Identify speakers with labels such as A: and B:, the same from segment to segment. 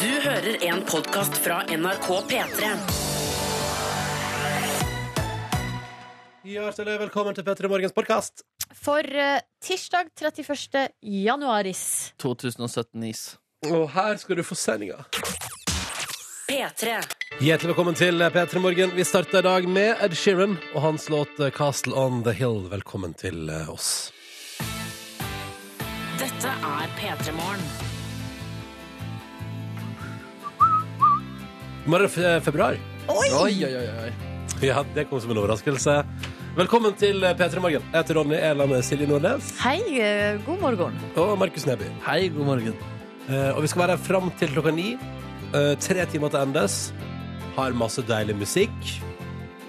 A: Du hører en podcast fra NRK P3.
B: Hjertelig velkommen til P3 Morgens podkast.
C: For eh, tirsdag 31. januaris
D: 2017-is.
B: Og her skal du få sendinga.
A: P3.
B: Hjertelig velkommen til P3 Morgen. Vi starter i dag med Ed Sheeran og hans låt eh, 'Castle on the Hill'. Velkommen til eh, oss.
A: Dette er P3 Morgen.
B: I Morgen er det fe- februar.
D: Oi, oi, oi, oi.
B: Ja, det kom som en overraskelse. Velkommen til eh, P3 Morgen. Jeg heter Ronny Eland og Silje Nordnes.
C: Hei, eh, god morgen.
B: Og Markus Neby.
D: Hei, god morgen.
B: Eh, Og vi skal være her fram til klokka ni. Eh, Tre timer til endes. Har masse deilig musikk.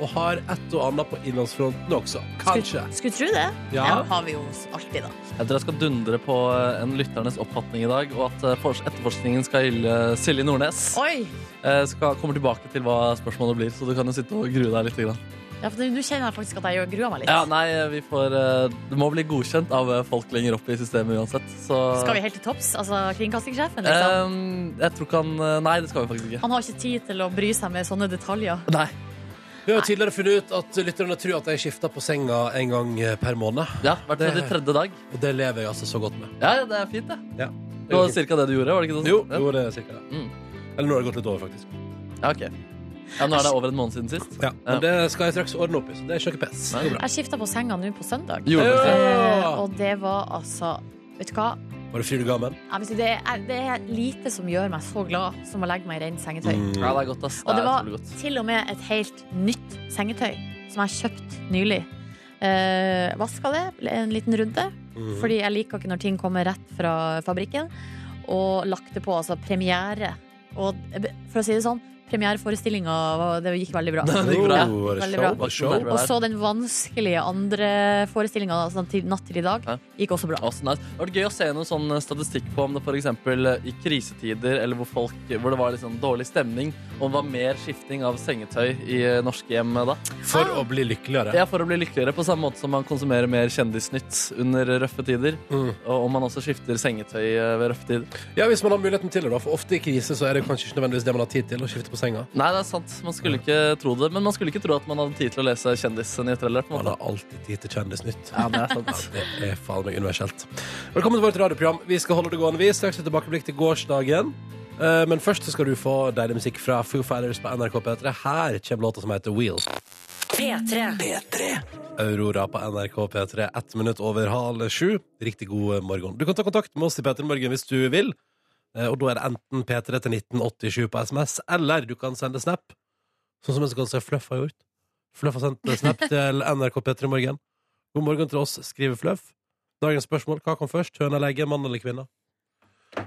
B: Og har et og annet på innlandsfronten også. Kanskje.
C: Skulle tro det.
B: Ja.
E: Den har vi jo alltid, da.
D: Jeg tror jeg skal dundre på eh, en lytternes oppfatning i dag, og at eh, fors- etterforskningen skal hylle Silje Nordnes.
E: Oi!
D: Jeg skal, kommer tilbake til hva spørsmålet blir, så du kan jo sitte og grue deg litt. Grann.
E: Ja, for Nå kjenner jeg faktisk at jeg gruer meg litt.
D: Ja, nei, vi får, eh, det må bli godkjent av eh, folk lenger opp i systemet uansett. Så,
E: Skal vi helt til topps? Altså kringkastingssjefen? Liksom.
D: Eh, jeg tror ikke han eh, Nei, det skal vi faktisk ikke.
E: Han har ikke tid til å bry seg med sånne detaljer.
D: Nei.
B: Vi har jo tidligere funnet ut at lytterne tror at jeg skifter på senga en gang eh, per måned.
D: Ja, Vært
B: Det-
D: med i tredje dag.
B: Og det lever jeg altså så godt med.
D: Ja, ja, det er fint, det.
B: Ja.
D: Det var cirka det du gjorde? var det ikke sånn?
B: Jo,
D: Ja.
B: jo, det er cirka det.
D: Mm.
B: Eller nå har det gått litt over, faktisk.
D: Ja, ok. ja, Nå er det over en måned siden sist.
B: Ja, Men det skal jeg straks ordne opp i, så det er ikke noe pes. Det går bra.
E: Jeg skifta på senga nå på søndag.
D: Gjorde du det?
E: Eh,
B: Ja.
E: og det var altså Vet du hva?
B: Var det fryd og gammen?
E: Jeg vil si, det, er, det er lite som gjør meg så glad som å legge meg i rent sengetøy.
B: Mm.
D: Ja, det er godt, ass.
E: Og
D: Det
E: det
D: er
E: var
D: utrolig godt.
E: til og med et helt nytt sengetøy som jeg kjøpte nylig. Eh, Vaska det en liten runde,
B: Mhm.
E: fordi jeg liker ikke når ting kommer rett fra fabrikken. Og lagt det på altså premiere. Og for å si det sånn, premiereforestillinga var- det gikk veldig bra.
D: Det gikk bra.
B: Oh, var det
E: Veldig
B: show?
E: bra.
B: Var det show?
D: bra.
E: Og så den vanskelige andre forestillinga altså, til- natt til i dag
D: Ja.
E: gikk også bra.
D: Også nice. Det har vært gøy å se noen sånn statistikk på om det for eksempel eh, i krisetider eller hvor, folk, hvor det var litt sånn dårlig stemning, om det var mer skifting av sengetøy i eh, norske hjem da.
B: For å bli lykkeligere.
D: Ja, for å bli lykkeligere, på samme måte som man konsumerer mer kjendisnytt under røffe tider.
B: Mm.
D: Og om man også skifter sengetøy eh, ved røffe tider.
B: Ja, hvis man har muligheten til det, da. For ofte i krise så er det kanskje ikke nødvendigvis det man har tid til å skifte på senga.
D: Nei, det er sant. Man skulle ikke tro det. Men man skulle ikke tro at man hadde tid til å lese kjendisnyheter heller. på en
B: Man
D: måte.
B: har alltid tid til Kjendisnytt.
D: Ja, det er sant.
B: Det er faen meg universelt. Velkommen til vårt radioprogram. Vi skal holde det gående. Vi straks et tilbakeblikk til gårsdagen. Eh, Men først så skal du få deilig musikk fra Foo Fighters på NRK P3. Her kommer låta som heter Wheel.
A: P3.
B: Aurora på NRK P3, ett minutt over halv sju. Riktig god morgen. Du kan ta kontakt med oss i P3 Morgen hvis du vil. Eh, Og da er det enten P3 til 1987 på SMS, eller du kan sende snap. Sånn som en som kan se Fløff har gjort. Fløff har sendt snap til NRK P3 Morgen. God morgen til oss, skriver Fløff. Dagens spørsmål, hva kom først? Høna eller egget, mann eller kvinne?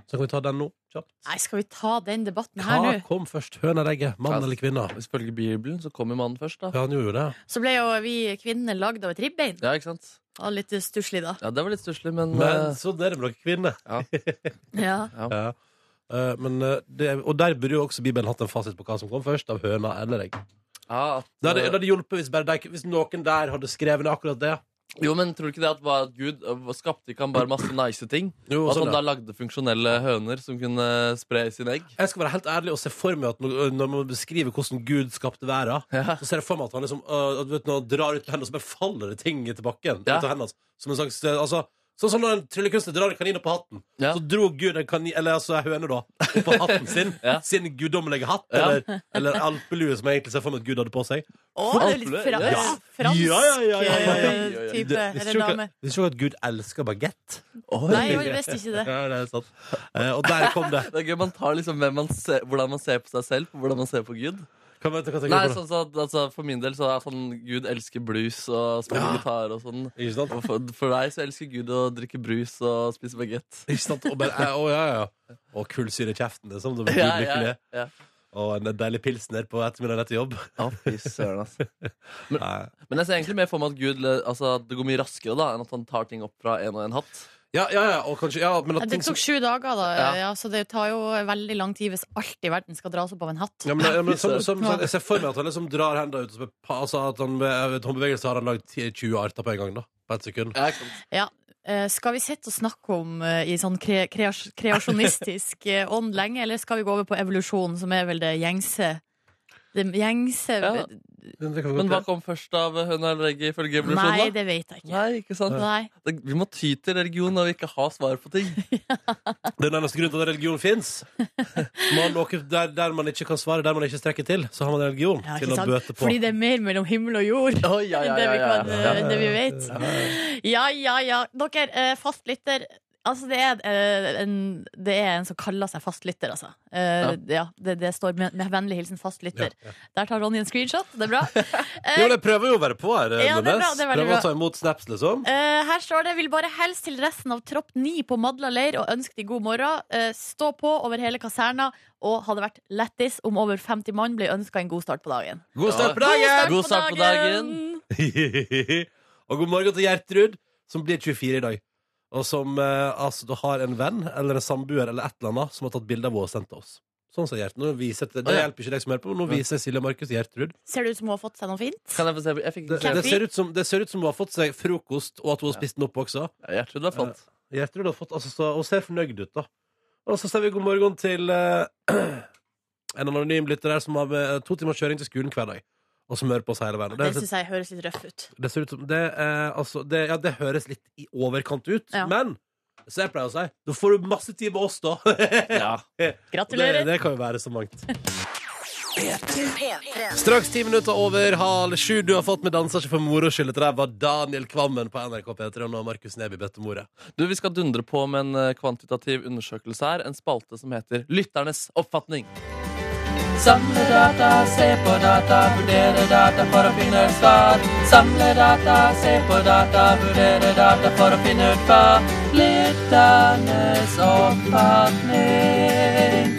B: Så kan vi ta den nå, kjapt.
E: Nei, skal vi ta den debatten her
B: Hva
E: nå?
B: kom først? Høna eller egget, mann
D: Hva-
B: eller kvinne?
D: Hvis følger Bibelen, så kommer mannen først, da.
B: Ja, han gjorde jo det.
E: Så ble jo vi kvinnene lagd av et ribbein.
D: Ja, ikke sant?
E: Og litt stusslig, da.
D: Ja, det var litt stusslig, men,
B: Men
D: eh,
B: så det er det nok kvinne.
E: Ja.
B: Ja. Eh, men, eh, det, og der burde jo også Bibelen hatt en fasit på hva som kom først, av høna eller egg.
D: ja, at,
B: Det hadde, det hadde hjulpet hvis, bare de, hvis noen der hadde skrevet ned akkurat det.
D: Jo, men tror du ikke det at, bare at Gud øh, skapte ikke han bare masse nice ting?
B: Jo,
D: Og at
B: sånn,
D: han da
B: ja.
D: lagde funksjonelle høner som kunne øh, spre sine egg?
B: Jeg skal være helt ærlig og se for meg at når, øh, når man beskriver hvordan Gud skapte verden,
D: Ja.
B: så ser jeg for meg at han liksom øh, at, vet, du, når han drar ut med hendene, så bare faller det ting til bakken. Ut
D: Ja.
B: av hendene, hans. som en slags, eh, altså, sånn som når en tryllekunstner drar en kanin opp på hatten.
D: Ja.
B: Så dro Gud en kanin, eller altså en høne, da, opp på hatten sin.
D: Ja.
B: Sin guddommelige hatt,
D: Ja.
B: eller, eller alpelue, som jeg egentlig ser for meg at Gud hadde på seg.
E: Å, det er litt fra,
D: Ja.
E: fransk
B: Ja, ja, ja, ja, ja, ja.
E: eh, type.
B: Det- visste
E: Eller
B: du ikke-
E: dame.
B: Visste du ikke at Gud elsker bagett?
E: Nei, jeg visste ikke det.
B: Ja, det er sant. Eh, og der kom det.
D: Det er gøy, Man tar liksom hvem man ser, hvordan man ser på seg selv, på hvordan man ser på Gud.
B: Kan vi, kan vi,
D: Nei, sånn så, at- altså, For min del så er sånn Gud elsker blues og spiller gitar og sånn.
B: Ikke sant?
D: Og for, for deg så elsker Gud å drikke brus og spise bagett.
B: Ikke sant? Og bare, eh, å, ja, ja. Og kullsyre i kjeften, liksom. Da blir Gud
D: Ja, ja,
B: lykkelig.
D: ja.
B: Og en deilig pilsner på ettermiddagen etter jobb.
D: Å, fy søren, altså.
B: Nei.
D: Men jeg ser egentlig mer for meg at Gud altså, at det går mye raskere da enn at han tar ting opp fra en og en hatt.
B: Ja, ja, ja, og kanskje, ja, men
E: Ja,
B: at
E: Det
B: ting som,
E: tok sju dager,
D: Ja.
E: da. Ja, så det tar jo veldig lang tid hvis alt i verden skal dras opp av en hatt.
B: ja, men, ja, men, som, som, som, jeg ser for meg at han liksom drar hendene ut og så eh, bare pa- altså, at han, med håndbevegelse har han lagd 10 20 arter på en gang. da På ett sekund.
D: Ja, ikke sant?
E: Ja, eh, skal vi sitte og snakke om eh, i sånn kre kreas kreasjonistisk eh, ånd lenge, eller skal vi gå over på evolusjon, som er vel det gjengse? Det gjengse
D: Ja,
B: Men det kan vi
D: Men hva
B: godt gjøre.
D: kom først av eh, høna eller egget
E: Nei,
D: ifølge evolusjonen? da?
E: det vet jeg ikke.
D: Nei, ikke sant?
E: Nei.
D: Det- Vi må ty til religion når vi ikke har svar på ting.
B: Det er den eneste grunnen til at religion fins. Der, der man ikke kan svare, der man ikke strekker til, så har man religion
E: Ja,
B: til
E: ikke
B: å
E: sant?
B: bøte på.
E: Fordi det er mer mellom himmel og jord.
D: Oh, ja,
E: enn Det, vi kan, eh, det vi vet. Ja, ja, ja. Dere, eh, fastlytter Altså, det er, eh, en, det er en som kaller seg fastlytter, altså. Eh, ja, det, det står med, med vennlig hilsen fastlytter. Der tar Ronny en screenshot. Det er bra. Eh,
B: Jo, det prøver jo å være på her.
E: Ja, det er bra,
B: Nordnes.
E: det er veldig
B: prøver
E: bra.
B: å ta imot snaps, liksom.
E: Eh, her står det 'Vil bare helst til resten av tropp 9 på Madla leir og ønske de god morgen'. Eh, stå på over hele kaserna, og hadde vært lættis om over 50 mann ble ønska en god start på dagen.
B: God start på dagen!
D: God start på dagen!
B: og god morgen til Gjertrud, som blir 24 i dag. Og som eh, altså, da har en venn eller en samboer eller et eller annet som har tatt bilde av henne og sendt til oss. Sånn sa Gjertrud. Nå viser jeg til- Det
D: Å, ja.
B: hjelper ikke deg som hører på, men nå viser Silje Markus Gjertrud.
E: Ser det ut som hun har fått seg noe fint?
D: Kan jeg få se? Jeg fikk
B: Det,
D: ikke
B: det,
D: se.
B: ser ut som, det ser ut som hun har fått seg frokost, og at hun har spist den opp også.
D: Ja, Gjertrud var flott.
B: Gjertrud har fått, altså, så, hun ser fornøyd ut, da. Og så sier vi god morgen til eh, en anonym lytter her som har eh, to timers kjøring til skolen hver dag, og som hører på oss hele veien. Og
E: Det
B: er-
E: syns jeg høres litt røff ut.
B: Det ser ut som det, eh, altså, det, ja, det høres litt i overkant ut,
E: Ja.
B: men så jeg pleier å si Da får du masse tid med oss, da!
D: Ja.
B: det,
E: Gratulerer.
B: det kan jo være så mangt.
A: P3.
B: Straks ti minutter over halv sju. Du har fått med danser ikke for moro skyld. Dette der var Daniel Kvammen på NRK P3 og nå Markus Neby Bøttemore.
D: Du, Vi skal dundre på med en eh, kvantitativ undersøkelse her. En spalte som heter Lytternes oppfatning. Samle data, se på data, vurdere data for å finne ut svar. Samle data, se på data, vurdere data for å finne ut hva. Lytternes oppfatning er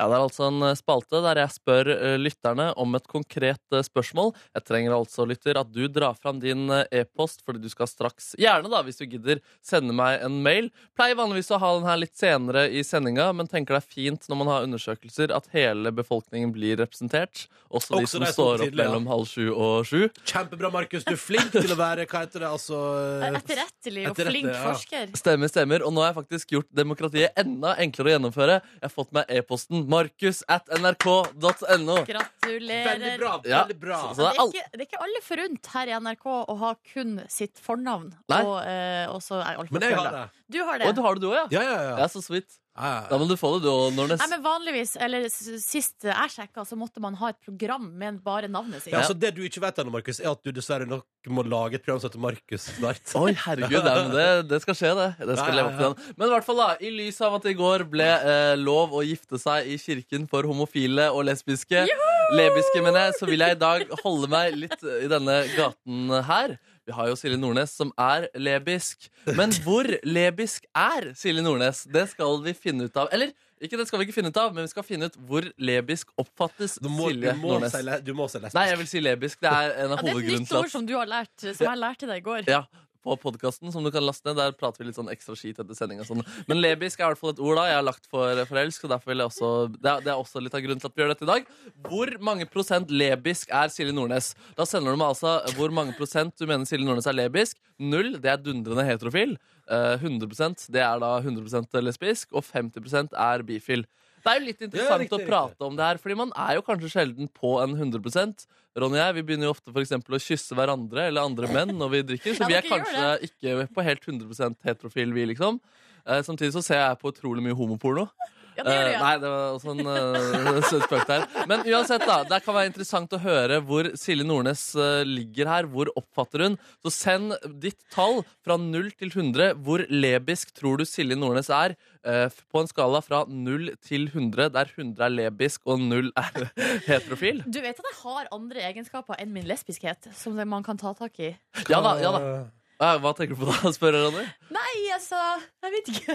D: Ja, Det er altså en eh, spalte der jeg spør eh, lytterne om et konkret eh, spørsmål. Jeg trenger altså, lytter, at du drar fram din eh, e-post, fordi du skal straks, gjerne da, hvis du gidder, sende meg en mail. Pleier vanligvis å ha den her litt senere i sendinga, men tenker det er fint når man har undersøkelser, at hele befolkningen blir representert.
B: Også
D: Også, de som
B: de som
D: står opp
B: tidlig, ja.
D: mellom halv sju og sju.
B: Kjempebra, Markus. Du er flink til å være Hva heter det, altså eh,
E: Etterrettelig og
B: Etterrettelig,
E: flink
B: ja.
E: forsker.
D: Stemmer, stemmer. Og nå har jeg faktisk gjort demokratiet enda enklere å gjennomføre. Jeg har fått meg e-posten markus at nrk.no.
B: Veldig
E: Gratulerer.
B: bra.
D: Ja.
B: Veldig bra.
D: Så- så
E: Det
D: Altså, det
E: er,
D: er alt
E: ikke, det er ikke alle forunt her i NRK å ha kun sitt fornavn.
D: Nei.
E: Og, eh, og så er alt
B: Men jeg har det.
E: Du har det.
D: Å, du har det du òg, ja?
B: Ja, ja,
D: Ja.
B: ja.
D: så sweet.
B: ja,
D: Da
B: ja.
D: må du få det du òg, Nornes.
E: Nei, men vanligvis, eller s- Sist jeg sjekka, så måtte man ha et program med bare navnet sitt.
B: Ja, så det du ikke vet ennå, Markus, er at du dessverre nok må lage et program som heter Markus snart.
D: Oi, herregud, nei, men det, det skal skje, det. Det skal
B: Ja,
D: leve
B: ja,
D: opp til den. Men i hvert fall da, i lys av at det i går ble eh, lov å gifte seg i kirken for homofile og lesbiske, lebiske, mener jeg, så vil jeg i dag holde meg litt eh, i denne gaten her. Vi har jo Silje Nordnes som er lebisk. Men hvor lebisk er Silje Nordnes? Det skal vi finne ut av. Eller ikke det skal vi ikke finne ut av, men vi skal finne ut hvor lebisk oppfattes
B: Du må, du
D: Silje
B: må,
D: Nordnes.
B: si, le- du må si lesbisk.
D: Nei, jeg vil si lebisk. Det er
E: Ja, det er
D: en av
E: et
D: hovedgrunnen
E: nytt
D: til at
E: ord som du har lært, som jeg lærte deg i går.
D: ja, på podkasten som du kan laste ned. Der prater vi litt sånn ekstra skit etter sending og sånn. Men lebisk er i hvert fall et ord da jeg har lagt for forelsk, og derfor vil jeg også det er, det er også litt av grunnen til at vi gjør dette i dag. Hvor mange prosent lebisk er Silje Nordnes? Da sender du meg altså hvor mange prosent du mener Silje Nordnes er lebisk. Null, det er dundrende heterofil. Eh, 100 det er da 100 lesbisk, og 50 er bifil. Det er jo litt interessant
B: riktig,
D: å
B: riktig.
D: prate om det her, fordi man er jo kanskje sjelden på en 100 Ronny og jeg vi begynner jo ofte for eksempel å kysse hverandre eller andre menn når vi drikker, så
E: Ja,
D: vi er
E: dere gjør
D: kanskje ikke på helt 100 heterofil, vi, liksom. Eh, samtidig så ser jeg på utrolig mye homoporno.
E: Ja, det gjør
D: Eh,
E: jeg.
D: nei, det var også en eh, søt spøk der. Men uansett, da. Det kan være interessant å høre hvor Silje Nordnes eh, ligger her. Hvor oppfatter hun? Så send ditt tall fra 0 til 100. Hvor lebisk tror du Silje Nordnes er? eh, f- på en skala fra 0 til 100, der 100 er lebisk og 0 er heterofil.
E: Du vet at jeg har andre egenskaper enn min lesbiskhet, som det- man kan ta tak i.
D: Ja da, ja da. Eh, Hva tenker du på da, spør Ronny?
E: Nei, altså Jeg vet ikke.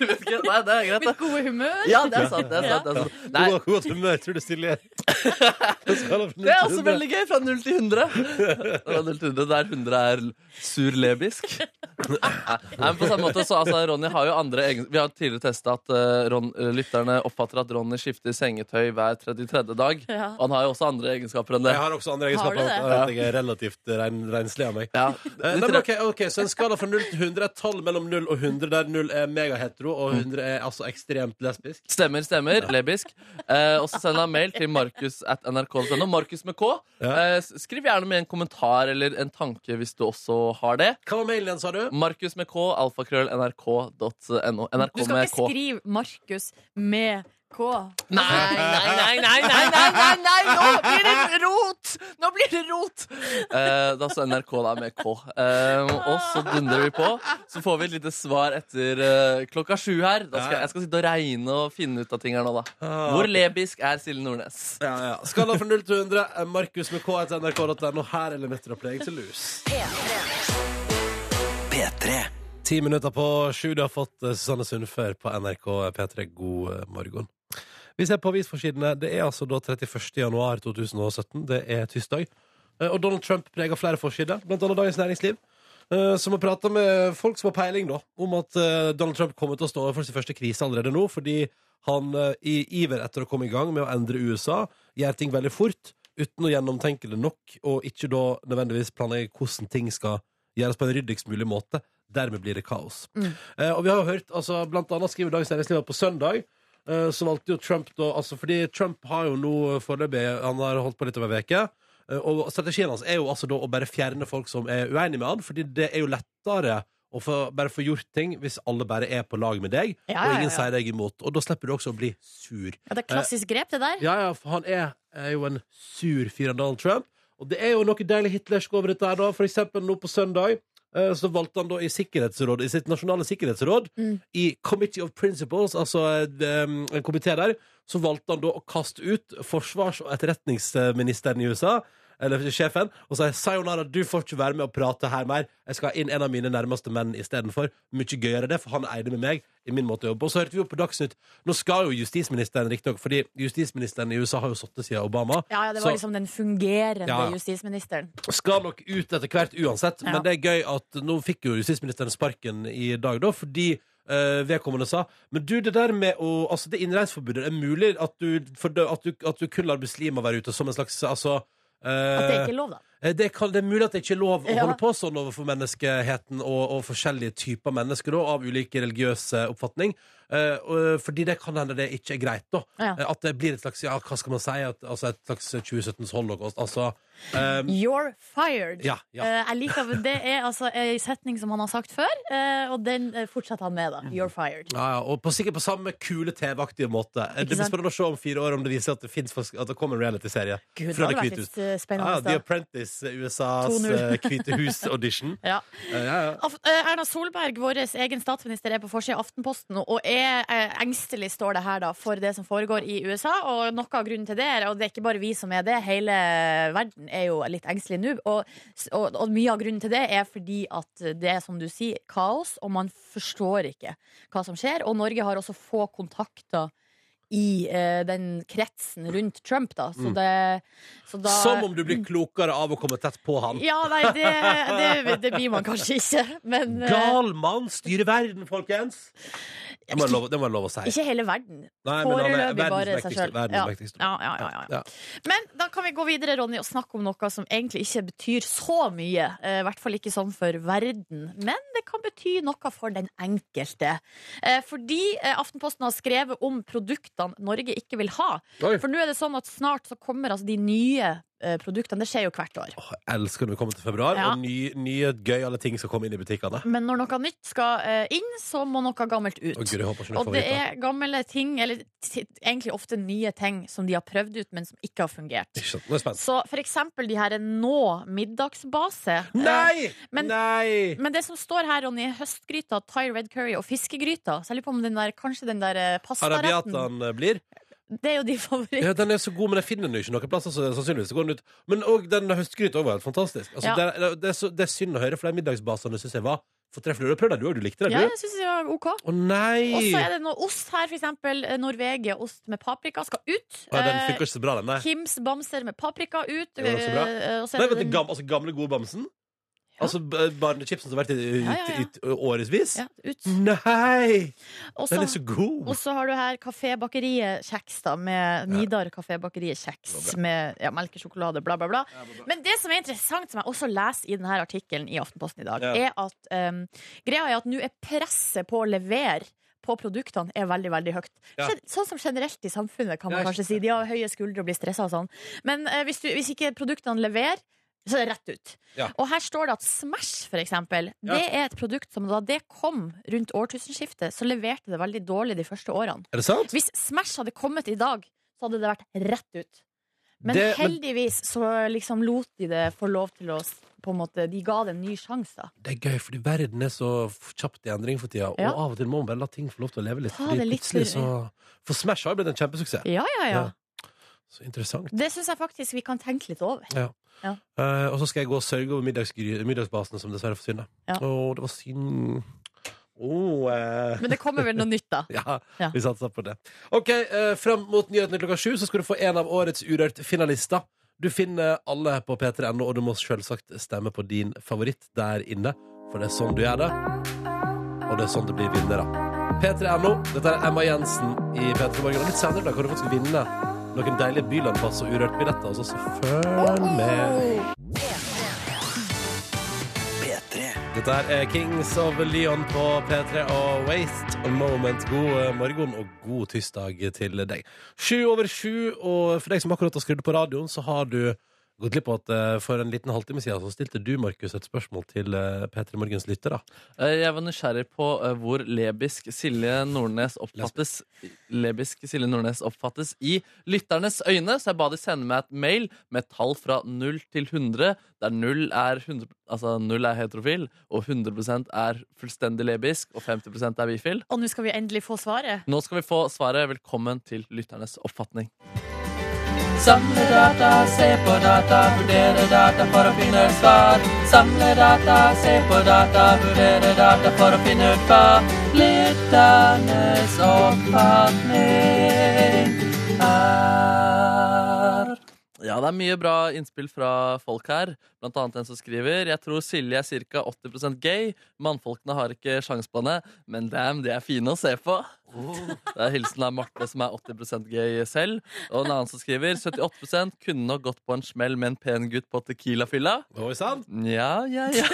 D: Du vet ikke? Nei, det er greit,
E: Mitt
D: det.
E: gode humør.
D: Ja, det er sant. det er sant, det er sant.
B: Nei.
D: Nei,
B: Hvor godt humør tror du Silje er?
D: Det er også veldig gøy! Fra 0 til 100. Fra 0 til 100 der 100 er l- sur lebisk. Nei, men på samme måte så altså, Ronny har jo andre egen... Vi har tidligere testa at eh, Ron, eh, lytterne oppfatter at Ronny skifter sengetøy hver 33. dag.
E: Ja.
D: Og han har jo også andre egenskaper enn det.
B: Jeg har også andre
E: Har
B: egenskaper.
E: du det?
B: annet enn at Jeg er relativt rein, renslig av meg.
D: Ja.
B: Eh, Nei, men ok, ok, Så en skala fra 0 til 100 er et tall mellom 0 og 100, der 0 er megahetero og 100 er altså ekstremt lesbisk.
D: Stemmer, stemmer. Lebisk. Eh, og så send han mail til markus at nrk.no. Markus med K. Eh, s- skriv gjerne med en kommentar eller en tanke hvis du også har det.
B: Hva var mailen igjen, sa du?
D: Markus med K, alfakrøll, nrk.no. NRK
E: Du skal
D: med
E: ikke
D: K.
E: skrive Markus med K.
D: Nei, nei, nei, nei, nei, nei, nei, nei, nå blir det rot! Nå blir det rot! Eh, da så NRK da med K. Eh, og så dundrer vi på. Så får vi et lite svar etter eh, klokka sju her. Da skal, jeg skal sitte og regne og finne ut av ting her nå, da. Hvor lebisk er Silje Nordnes?
B: Ja, ja. Skala fra 0 til 100. eh, Markus med K etter nrk.no. Her er Lemetra Play til lus. Ti minutter på sju. Du har fått eh, Susanne Sundfør på NRK P3. God eh, morgen. Vi ser på avisforsidene. Det er altså da 31. januar 2017. Det er tirsdag. Eh, Og Donald Trump preger flere forsider, blant annet Dagens Næringsliv. eh, Som har prata med folk som har peiling da, om at eh, Donald Trump kommer til å stå overfor sin første krise allerede nå, fordi han eh, i iver etter å komme i gang med å endre USA, gjør ting veldig fort uten å gjennomtenke det nok, og ikke da nødvendigvis planlegge hvordan ting skal gjøres på en ryddigst mulig måte. Dermed blir det kaos. Eh, og vi har jo hørt, altså, blant annet skriver Dagens Næringsliv at på søndag, eh, så valgte jo Trump da, altså fordi Trump har jo nå eh, foreløpig, han har holdt på litt over en veke, eh, og strategien hans er jo altså da å bare fjerne folk som er uenige med han, fordi det er jo lettere å få, bare få gjort ting hvis alle bare er på lag med deg, og
E: Ja, ja,
B: ingen
E: ja.
B: sier deg imot. Og da slipper du også å bli sur.
E: Ja, det er klassisk grep, det der.
B: Ja, ja, for han er, er jo en sur fyr av Donald Trump. Og det er jo noe deilig hitlersk over dette her, da. For eksempel nå på søndag eh, så valgte han da i Sikkerhetsrådet, i sitt nasjonale sikkerhetsråd,
E: Mm.
B: i Committee of Principles, altså eh, em, en komité der, så valgte han da å kaste ut forsvars- og etterretningsministeren i USA. Eller sjefen, og sa sayonara, du får ikke være med og prate her mer. Jeg skal ha inn en av mine nærmeste menn istedenfor. Mye gøyere det, for han eide med meg i min måte å jobbe. Og så hørte vi jo på Dagsnytt Nå skal jo justisministeren, riktignok, fordi justisministeren i USA har jo sittet siden Obama,
E: Ja, ja, det
B: Så-
E: var liksom den fungerende
B: Ja, ja.
E: justisministeren.
B: skal nok ut etter hvert uansett.
E: Ja.
B: Men det er gøy at nå fikk jo justisministeren sparken i dag, da, fordi eh, vedkommende sa Men du, det der med å Altså, det innreiseforbudet det er mulig at du, for, det- at, du, at du kun lar muslimer være ute som en slags Altså eh,
E: At det ikke er lov, da.
B: Eh, Det, kan, det er mulig at det ikke er lov å
E: Ja.
B: holde på sånn overfor menneskeheten og, og forskjellige typer mennesker da, av ulike religiøse oppfatning. Eh, og, fordi det kan hende det ikke er greit. da
E: Ja.
B: Eh, At det blir et slags ja, hva skal man si, at, altså et slags 2017s holocaust. Altså, eh,
E: You're fired.
B: ja, ja.
E: Eh, jeg liker, det er altså en setning som han har sagt før, eh, og den eh, fortsetter han med. da
B: Mm.
E: You're fired.
B: Ja, ja, og på, sikkert på samme kule TV-aktige måte. Eh, Det blir
E: sant?
B: spennende å se om fire år om det viser at det, finnes, folk- at det kommer en realityserie.
E: Gud, det
B: fra
E: hadde
B: det
E: vært
B: hvite
E: litt
B: hus.
E: eh,
B: Ja,
E: spennende.
B: The
E: da.
B: Apprentice, eh, USAs
E: 2-0.
B: eh, Hvite hus-audition.
E: Ja.
B: Eh, ja, ja.
E: Af- eh, Erna Solberg, vår egen statsminister, er på forsida av Aftenposten og er eh, engstelig, står det her, da, for det som foregår i USA. Og noe av grunnen til det er, og det er ikke bare vi som er det, hele verden er jo litt engstelig nå. Og, s- og, og mye av grunnen til det er fordi at det er, som du sier, kaos, og man forstår ikke hva som skjer. Og Norge har også få kontakter i eh, den kretsen rundt Trump, da. Så det så da,
B: Mm. Som om du blir klokere av å komme tett på han.
E: Ja, nei, det, det, det blir man kanskje ikke, men eh,
B: Gal mann styrer verden, folkens! Det må jeg lov, det må jeg lov å si.
E: Ikke hele verden.
B: Nei, men han er
E: Foreløpig bare
B: verdens
E: seg
B: mektigste.
E: sjøl.
B: Verdens mektigste.
E: Ja, ja, ja, ja, ja.
B: Ja.
E: Men da kan vi gå videre Ronny, og snakke om noe som egentlig ikke betyr så mye. eh, I hvert fall ikke sånn for verden. Men det kan bety noe for den enkelte. Eh, Fordi eh, Aftenposten har skrevet om produktene Norge ikke vil ha.
B: Oi.
E: For nå er det sånn at snart så kommer altså de nye eh, produktene. Det skjer jo hvert år.
B: Åh, jeg elsker når vi kommer til februar,
E: Ja.
B: og ny- nye gøyale ting skal komme inn i butikkene.
E: Men når noe nytt skal eh, inn, så må noe gammelt ut.
B: Å, Gud, jeg håper ikke
E: Og
B: noen
E: det
B: favoritter.
E: er gamle ting, eller t egentlig ofte nye ting, som de har prøvd ut, men som ikke har fungert.
B: Ikke sant? Nå er jeg spent.
E: Så for eksempel de her nå middagsbase. Eh,
B: Nei!
E: men-
B: Nei!
E: Men det som står her, Ronny, er høstgryta, Thai red curry og fiskegryta. Så jeg lurer på om den der, kanskje den der eh, pastaretten
B: Arabiataen blir.
E: Det er jo din favoritt.
B: Ja, den er så god, men jeg finner den jo ikke noen plasser. Så sannsynligvis så går den ut. Men òg den høstgryta var helt fantastisk. Altså,
E: Ja.
B: det, er- det, er så, det er synd å høre, for de middagsbasene syns jeg var For tre fluer. Prøv den du òg. Du likte den,
E: Ja,
B: du.
E: jeg syns det var OK.
B: Å nei!
E: Og så er det noe ost her, for eksempel eh, Norvegia-ost med paprika skal ut.
B: Å, ja, den
E: Eh,
B: funker ikke så bra, den. Nei,
E: Kims bamser med paprika ut.
B: Jo, det er så bra.
E: eh, og så er
B: nei
E: det
B: vet du,
E: den-
B: gam, altså gamle, gode bamsen? Altså b- barnechipsen som har vært i, i,
E: Ja, ja, ja.
B: i- i årevis?
E: ja, ut.
B: Nei! Mm.
E: Og
B: Den er
E: så-
B: så god!
E: og så har du her Kafébakeriet Kjeks, da, med Nidar Kafébakeriet Kjeks med ja, melkesjokolade, bla, bla, bla. Men det som er interessant, som jeg også leser i denne artikkelen i Aftenposten i dag,
B: Ja.
E: er at ehm, em, greia er at nå er presset på å levere på produktene er veldig veldig høyt.
B: Ja.
E: Gen- Sånn som generelt i samfunnet, kan man
B: Ja,
E: kanskje si. De har høye skuldre og blir stressa og sånn. Men eh, hvis, du, hvis ikke produktene leverer, så er det rett ut.
B: Ja.
E: Og her står det at Smash, for eksempel,
B: Ja.
E: det er et produkt som da det kom rundt årtusenskiftet, så leverte det veldig dårlig de første årene.
B: Er det sant?
E: Hvis Smash hadde kommet i dag, så hadde det vært rett ut. Men
B: Det- men-
E: heldigvis så liksom lot de det få lov til å s- på en måte, De ga det en ny sjanse. da.
B: Det er gøy, fordi verden er så f- kjapt i endring for tida.
E: Ja.
B: Og av og til må man bare la ting få lov til å leve litt.
E: Ta
B: fordi
E: det litt
B: plutselig så... For Smash har jo blitt en kjempesuksess.
E: Ja, ja, ja.
B: Ja. Så interessant.
E: Det syns jeg faktisk vi kan tenke litt over.
B: Eh, og så skal jeg gå og sørge over middagsgry- middagsbasen, som dessverre forsvinner.
E: Ja.
B: Å, det var synd. Åh, eh,
E: Men det kommer vel noe nytt, da.
B: ja,
E: Ja.
B: vi satser på det. Ok, eh, Fram mot nyhetene klokka sju så skal du få en av årets Urørt-finalister. Du finner alle på p3.no, og du må selvsagt stemme på din favoritt der inne. For det er sånn du gjør det, og det er sånn det blir vinnere. P3.no, dette er Emma Jensen i P3 Morgen. Og litt senere i dag kan du faktisk vinne noen deilige Bylandpass og Urørt-billetter. Altså, så følg med. Dette her er Kings of Leon på P3 og Waste a Moment. God eh, morgen og god tirsdag til deg. Sju over sju, og for deg som akkurat har skrudd på radioen, så har du gått glipp av at eh, for en liten halvtime siden så stilte du, Markus, et spørsmål til eh, P3 Morgens lyttere.
D: Eh, Jeg var nysgjerrig på eh, hvor lebisk Silje Nordnes oppfattes Lebisk Silje Nordnes oppfattes i lytternes øyne, så jeg ba de sende meg et mail med tall fra 0 til 100, der 0 er, 100, altså 0 er heterofil, og 100 er fullstendig lebisk, og 50 er bifil.
E: Og nå skal vi endelig få svaret.
D: Nå skal vi få svaret. Velkommen til lytternes oppfatning.
F: Samle data, se på data, vurdere data for å finne et svar. Samle data, se på data, vurdere data for å finne ut hva lytternes oppfatning er.
D: Ja, det er mye bra innspill fra folk her. Blant annet en som skriver Jeg tror Silje er ca. 80 gay. Mannfolkene har ikke sjans på henne, men damn, de er fine å se på. Det er hilsen av Marte, som er 80 gay selv. Og en annen som skriver 78 kunne nok gått på en smell med en pen gutt på Tequila-fylla.
B: Oi sann!
D: Nja, ja, ja.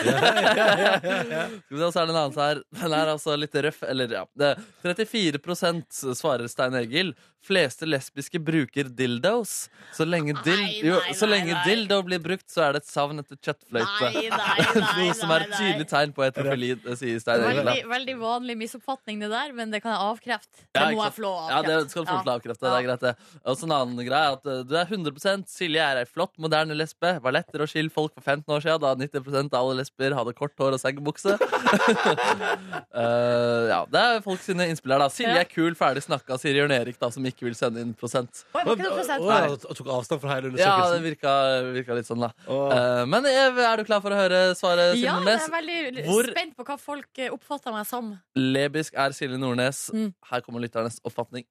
D: Skal vi se, så er det en annen her. Den er altså litt røff, eller ja. Det, 34 svarer Stein Egil. Fleste lesbiske bruker dildos. Så lenge, dil,
E: Nei,
D: jo,
E: nei,
D: så
E: nei,
D: lenge
E: nei.
D: dildo blir brukt, så er det et savn etter kjøttfløyte. Noe som er et tydelig tegn på heterofili, sier Stein Egil.
E: Veldig,
D: da.
E: veldig vanlig misoppfatning, det der, men det kan jeg avkrefte.
D: Ja,
E: Det
D: ikke
E: må jeg
D: sant?
E: få lov å
D: Ja, det
E: avkrefte.
D: skal du få lov til å avkrefte. Det er greit, det. Og så en annen greie er at eh, du er 100 Silje er ei flott, moderne lesbe. Var lettere å skille folk for 15 år siden, da 90 av alle lesber hadde kort hår og seggebukse. Eh, ja, det er folk sine innspill her, da. Silje er kul, ferdig snakka, sier Jørn Erik, da, som ikke vil sende inn prosent.
E: Oi, var ikke det prosent?
B: Å, ja, tok avstand fra hele
D: Ja, det
B: undersøkelsen.
D: virka, virka litt sånn, da.
B: Åh.
D: Eh, men Ev, er du klar for å høre svaret, Silje
E: Ja, jeg
D: Nordnes?
E: er veldig
D: Hvor-
E: spent på hva folk eh, oppfatter meg som.
D: Lebisk er Silje Nordnes.
E: Mm.
D: Her kommer lytternes oppfatning.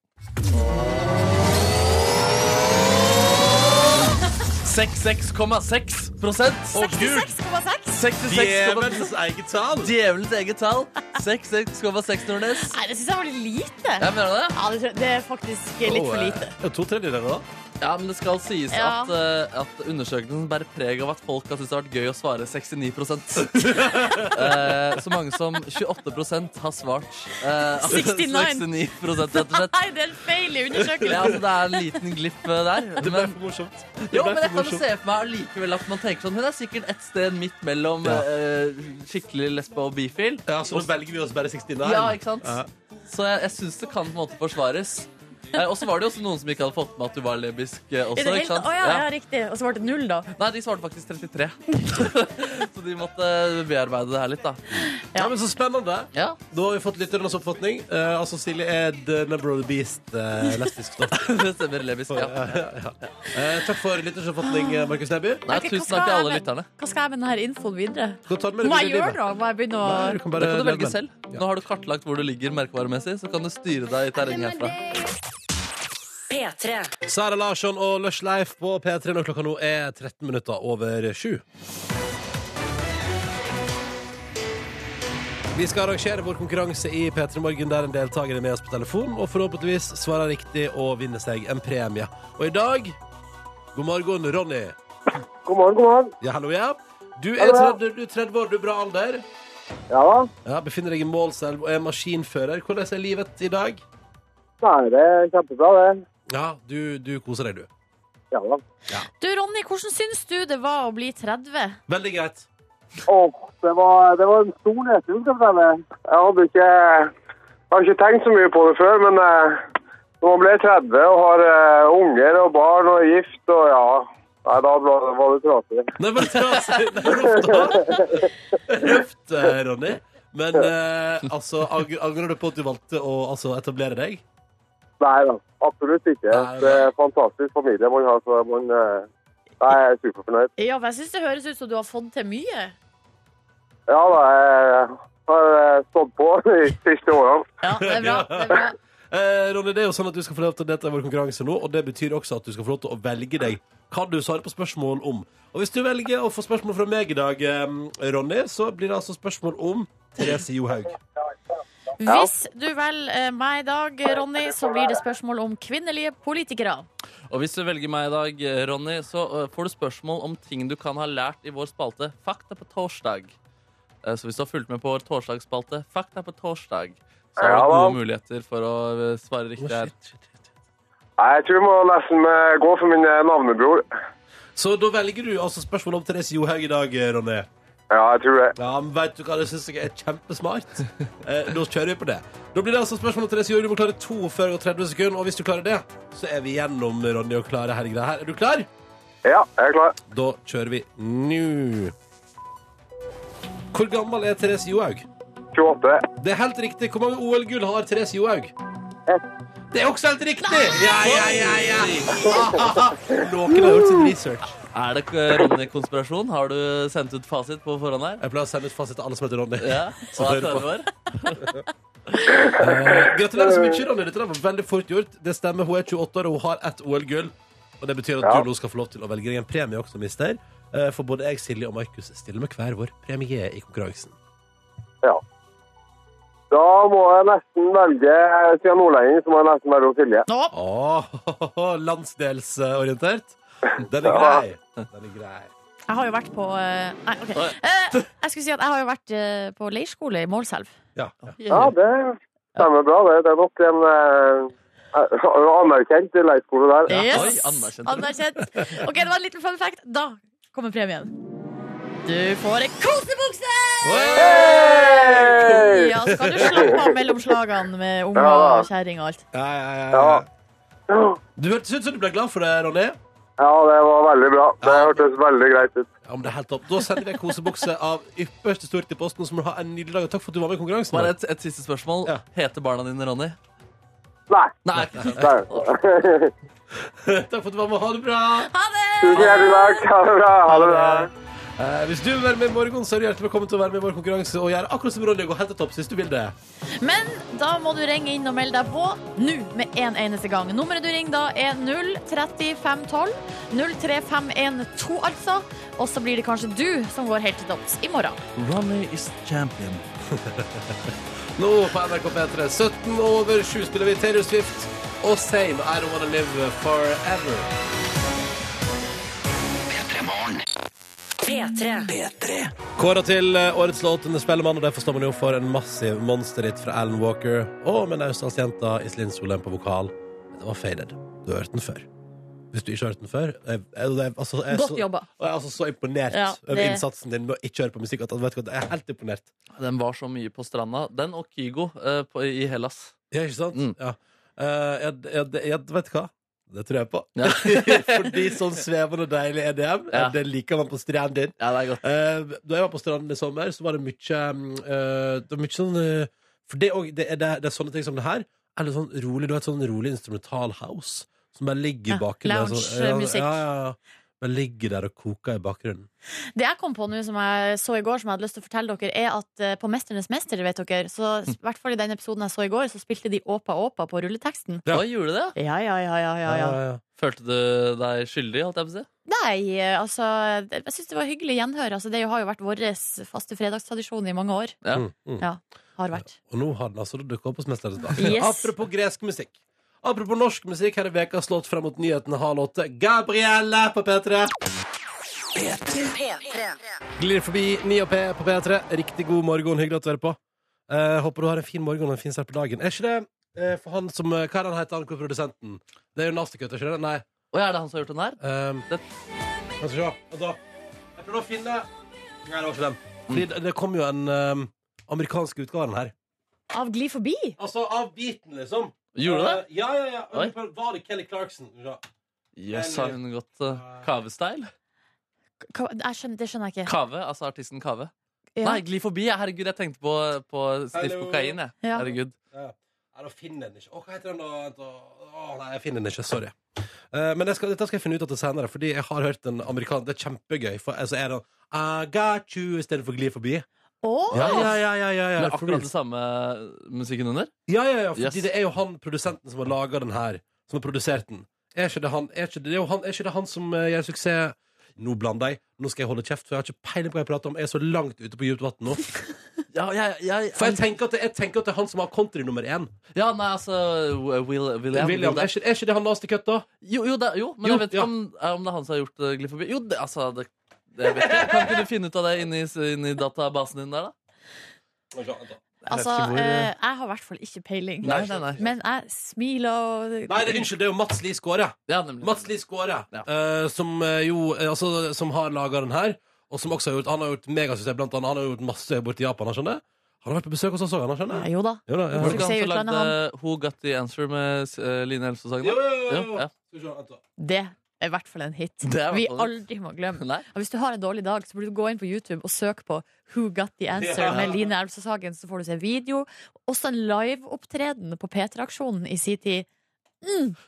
D: 66,6 Å, gud!
E: 66,6?
D: 66,6
B: eget tall!
D: Djevelens eget tall. 66,6 Nordnes.
E: Nei, det syns jeg var litt lite.
D: Jeg mener det.
E: Ja, det, tror jeg- det er faktisk litt for lite.
B: To tredjedeler, da.
D: Ja, men det skal sies
E: Ja.
D: at, eh, at undersøkelsen bærer preg av at folk har syntes det har vært gøy å svare 69 Eh, Så mange som 28 har svart. eh,
E: 69.
D: 69 rett og slett.
E: Nei, det er en feil i undersøkelsen.
D: Ja, altså, det er en liten glipp eh, der.
B: Det ble
D: Men,
B: for morsomt. Det
D: jo,
B: ble
D: men
B: for
D: jeg kan jo
B: morsomt.
D: se for meg allikevel at man tenker sånn Hun er sikkert et sted midt mellom
B: Ja.
D: eh, skikkelig lesbe og bifil.
B: Ja, så nå velger vi oss bare 69.
D: Ja, ikke sant?
B: Ja.
D: Så jeg, jeg syns det kan på en måte forsvares. Eh, Og så var det jo også noen som ikke hadde fått med at du var lebisk eh, også.
E: I det hele
D: ikke sant?
E: tatt- Å ja,
D: Ja.
E: ja, riktig. Og så ble det null, da.
D: Nei, de svarte faktisk 33. så de måtte eh, bearbeide det her litt, da.
B: Ja, men Så spennende.
D: Ja.
B: Da har vi fått lytternes oppfatning. Eh, altså Silje er the number of the beast eh, lesbisk. Da.
D: Det stemmer lebisk, ja.
B: Ja, ja, ja. Eh, takk for lytternes oppfatning, eh, Markus Neby.
D: Nei,
E: Ok, hva
D: tusen
E: skal
D: takk til
E: jeg
D: alle
E: med-
D: lytterne.
E: Hva skal jeg med denne infoen videre?
B: Du kan ta den med deg
E: Må jeg
B: videre i
E: gjøre
B: livet.
E: da? Må jeg begynne
B: Nei, du
E: å
B: kan
D: Det
B: bare
D: kan du
B: leve
D: velge
B: med.
D: selv. Nå har du kartlagt hvor du ligger merkevaremessig, så kan du styre deg i terrenget herfra.
A: P3.
B: Sara Larsson og Lush Life på P3 når klokka nå er 13 minutter over 7. Vi skal arrangere vår konkurranse i P3 Morgen, der en deltaker er med oss på telefon og forhåpentligvis svarer riktig og vinner seg en premie. Og i dag God morgen, Ronny.
G: God morgen, god morgen.
B: Ja, hallo, ja. Du er
G: Hallo, ja.
B: 30, du er 30 år, du er bra alder.
G: Ja da.
B: Ja, Befinner deg i Målselv og er maskinfører. Hvordan er livet i dag?
G: Nei, det er kjempebra, det.
B: Ja, du, du koser deg, du.
G: Ja da.
E: Du, Ronny, hvordan syns du det var å bli 30?
B: Veldig greit.
G: Åh, det var, det var en stor nedtur, skal jeg fortelle. Jeg hadde ikke, jeg hadde ikke tenkt så mye på det før, men eh, når man ble 30 og har eh, unger og barn og er gift og ja Nei, da var det- var det trasig.
B: Nei, men trasig. Det er røft, da. Røft, eh, Ronny. Men eh, altså, ag- angrer du på at du valgte å altså, etablere deg?
G: Nei da, absolutt ikke.
B: Nei,
G: Det er en fantastisk familie man har, så man eh, Nei, jeg er superfornøyd.
E: Ja, for jeg syns det høres ut som du har fått til mye.
G: Ja da, jeg har eh, stått på de siste årene.
E: Ja, det er bra. Det er bra.
B: Eh, Ronny, det er jo sånn at du skal få lov til å delta i vår konkurranse nå, og det betyr også at du skal få lov til å velge deg hva du svarer på spørsmål om. Og hvis du velger å få spørsmål fra meg i dag, eh, Ronny, så blir det altså spørsmål om Therese Johaug.
E: Hvis du velger eh, meg i dag, Ronny, så blir det spørsmål om kvinnelige politikere.
D: Og hvis du velger meg i dag, Ronny, så øh, får du spørsmål om ting du kan ha lært i vår spalte Fakta på torsdag. Eh, Så hvis du har fulgt med på vår torsdagsspalte Fakta på torsdag, så har
G: Ja,
D: du
G: da.
D: gode muligheter for å øh, svare riktig her.
G: Nei, jeg tror jeg må nesten eh, gå for min eh, navnebror.
B: Så da velger du altså spørsmål om Therese Johaug i dag, eh, Ronny.
G: Ja, jeg tror det.
B: Ja, men vet du hva, det synes jeg er kjempesmart eh, Da kjører vi på det Da blir det altså spørsmål om Therese Jorg Du må klare to før det går 30 sekunder Og hvis du klarer det, så er vi gjennom Ronny og klare her greia her Er du klar?
G: Ja, jeg er klar.
B: Da kjører vi nå Hvor gammel er Therese Johaug?
G: 28.
B: Det er helt riktig, hvor mange OL-gull har Therese Johaug?
G: Ett.
B: Det er også helt riktig! Ja, ja, ja, ja Noen har gjort sin research
D: Er det ikke Ronny-konspirasjon? Har du sendt ut fasit på forhånd her?
B: Jeg pleier å sende ut fasit til alle som heter Ronny
D: Ja,
B: Så
D: hva er
B: hører på.
D: svaret vår?
B: Eh, Gratulerer så mye, Ronny. Dette der var veldig fort gjort. Det stemmer, hun er 28 år og hun har ett OL-gull. Og Det betyr at
G: Ja.
B: du nå skal få lov til å velge deg en premie også, mister. Eh, For både jeg, Silje og Markus stiller med hver vår premie i konkurransen.
G: Ja. Da må jeg nesten velge Siden nordlending, så må jeg nesten velge Silje.
B: Åh, Landsdelsorientert. Den er grei. Den er grei.
E: Jeg har jo vært på eh, Nei, OK.
D: Oi.
E: Eh, Jeg skulle si at jeg har jo vært eh, på leirskole i Målselv.
B: Ja, ja.
G: Ja, det stemmer bra. Det, det er nok en eh, anerkjent leirskole der.
E: Yes.
D: Oi, anerkjent.
E: Anerkjent. OK, det var en liten fun fact. Da kommer premien. Du får ei kosebukse!
G: Hey!
E: Ja, så kan du slappe av mellom slagene med unger
G: Ja.
E: og kjerring og alt.
B: Ja, ja, ja, ja.
G: Ja.
B: Du hørtes ut som du ble glad for det, Ronny.
G: ja, det var veldig bra. Det hørtes veldig greit ut.
B: Ja, men det er helt topp. Da sender vi en kosebukse av ypperste stort til posten, så må du ha en nydelig dag. Og takk for at du var med i konkurransen.
D: Bare et, et siste spørsmål.
B: Ja.
D: Heter barna dine Ronny?
G: Nei.
D: Nei, ikke sant.
G: Nei.
B: Takk for at du var med. Ha det bra.
G: Tusen hjertelig takk. Ha det bra. Ha det bra.
B: Eh, hvis du vil være med i morgen, så er du hjertelig velkommen til å være med i vår konkurranse og gjøre akkurat som Ronny og gå helt til topps hvis du vil det.
E: Men da må du ringe inn og melde deg på nå med en eneste gang. Nummeret du ringer da er 03512. 03512, altså. Og så blir det kanskje du som går helt til topps i morgen.
D: Ronny is champion.
B: Nå på NRK P3, 17 over 7 spiller vi Taylor Swift og Same I Don't Wanna Live Forever.
A: P3.
B: Kåra til eh, årets låt under Spellemann, og derfor står man jo for en massiv monsterhit fra Alan Walker og med Naustdalsjenta Iselin Solheim på vokal. Det var faded. Du har hørt den før. Hvis du ikke har hørt den før jeg, jeg, jeg, altså, jeg, er
E: Godt
B: så-
E: jobba.
B: Og jeg er altså så imponert
E: Ja,
B: over
E: det-
B: innsatsen din med å ikke høre på musikk. At, vet du, hva, jeg er helt imponert.
D: Den var så mye på stranda. Den og Kygo eh, på, i Hellas.
B: Ja, ikke sant?
D: Mm.
B: Ja. Eh, jeg, jeg, jeg, vet du hva? Det tror jeg på.
D: Ja.
B: Fordi sånn svevende og deilig EDM,
D: Ja.
B: det liker man på stranden.
D: Ja, det er godt.
B: Eh, da jeg var på stranden i sommer, så var det mye, mm, eh, det var mye sånn eh, For det, er også- det, er, det, er- det er sånne ting som det her. Eller sånn rolig, du har et sånn rolig instrumental house som bare ligger i
E: Ja,
B: bakgrunnen. der,
E: lounge-musikk.
B: ja, ja, ja. Bare ligger der og koker i bakgrunnen.
E: Det jeg kom på nå som jeg så i går, som jeg hadde lyst til å fortelle dere, er at eh, på 'Mesternes mester', vet dere, så i hvert fall i den episoden jeg så i går, så spilte de Åpa Åpa på rulleteksten.
B: Ja.
D: Hva gjorde du det?
E: Ja, ja, ja, ja, ja, ja.
B: Ja, ja.
D: Følte du deg skyldig, holdt jeg på å si?
E: Nei, eh, altså Jeg syns det var hyggelig gjenhør. Altså, det har jo vært vår faste fredagstradisjon i mange år.
D: Ja.
B: Mm, mm.
E: Har vært.
B: Og nå har den altså dukket opp hos Mesternes bak.
E: Yes.
B: Apropos gresk musikk. Apropos norsk musikk, her er veka slått frem mot nyhetene halv åtte. Gabrielle på P3!
A: P3.
B: Glir forbi 9 og P på P3. Riktig god morgen, hyggelig at du er på. Eh, håper du har en fin morgen og en fin start på dagen. Er ikke det eh, for han som eh, Hva er det han heter, han produsenten? Det er jo Nasticut, ikke det? Nei.
D: Å, er det han som har gjort den her?
B: ehm,
D: Det-
B: Skal vi se. Og da- Jeg prøvde å finne Nei, det var ikke den. Fordi det, det kom jo en ehm, amerikansk utgave av den her.
E: Av Gli forbi?
B: Altså av biten, liksom.
D: Gjorde du det?
B: Eh, Ja, ja, ja.
D: Oi.
B: Var det Kelly Clarkson? Ja.
D: Jøss, har hun gått uh, kavestyle?
E: Hva- Jeg skjønner, det skjønner jeg ikke.
D: Kave, altså artisten Kave.
E: Ja.
D: Nei, gli forbi. ja, Herregud, jeg tenkte på, på sniff
B: Hello.
D: kokain, jeg.
E: Ja.
D: Herregud.
B: Nei, da finner jeg den ikke. Å, hva heter den da? Vent, å, å, nei, jeg finner den ikke. Sorry. Eh, men jeg skal, dette skal jeg finne ut av til senere, fordi jeg har hørt en amerikaner Det er kjempegøy. For altså, er det I got you i stedet for gli forbi.
E: Å,
B: Ja, ja, ja. ja, ja, ja,
D: Med
B: for real.
D: akkurat det samme musikken under.
B: ja, ja, ja fordi
D: Yes.
B: det er jo han produsenten som har laga den her, som har produsert den. Er ikke det han, er ikke det, det er jo han, er ikke det han som eh, gjør suksess Nå blander jeg. Nå skal jeg holde kjeft, for jeg har ikke peiling på hva jeg prater om. Jeg er så langt ute på dypt vann nå.
D: Ja, jeg, jeg,
B: For jeg tenker, at det, jeg tenker at det er han som har country nummer én.
D: ja nei, altså Will, William,
B: William, er ikke, er ikke det han Nasty Cut, da?
D: Jo, jo, det, jo men
B: Jo,
D: jeg vet
B: ja.
D: ikke om, om det er han som har gjort uh, Gli forbi. Jo, det, altså det, det jeg vet ikke. Kan ikke du finne ut av det inni, inni databasen din der, da?
E: altså,
D: ikke hvor-
E: eh, jeg har i hvert fall ikke peiling.
D: Nei, nei, nei.
E: Men jeg smiler og
B: Nei, det, unnskyld, det er jo Mats Lie Skåre.
D: Ja, nemlig.
B: Mats Lie Skåre,
D: Ja.
B: eh, som eh, jo eh, altså, Som har laga den her, og som også har gjort Han har gjort megasuksess, blant annet. Han har gjort masse borti Japan, har skjønner jeg. Han har vært på besøk hos oss òg, han har skjønner
E: Ja,
B: jeg.
E: Jo da.
B: Jo da, ja.
D: Var det Eh, ikke han
E: Suksess i
D: som
E: utlandet,
D: lagde Who Got The Answer med eh, Line Elvsås-sangen? da?
B: Jo, jo, jo, jo.
D: ja.
B: Skal vi se, vent da.
E: Det er i hvert fall en hit.
D: Det er i
E: Vi
D: hvert fall en
E: aldri må glemme.
D: Nei.
E: Og hvis du har en dårlig dag, så burde du gå inn på YouTube og søke på Who Got The Answer
B: Ja.
E: med Line Elvsåshagen, så får du se video. Også en liveopptreden på P3-aksjonen i sin tid.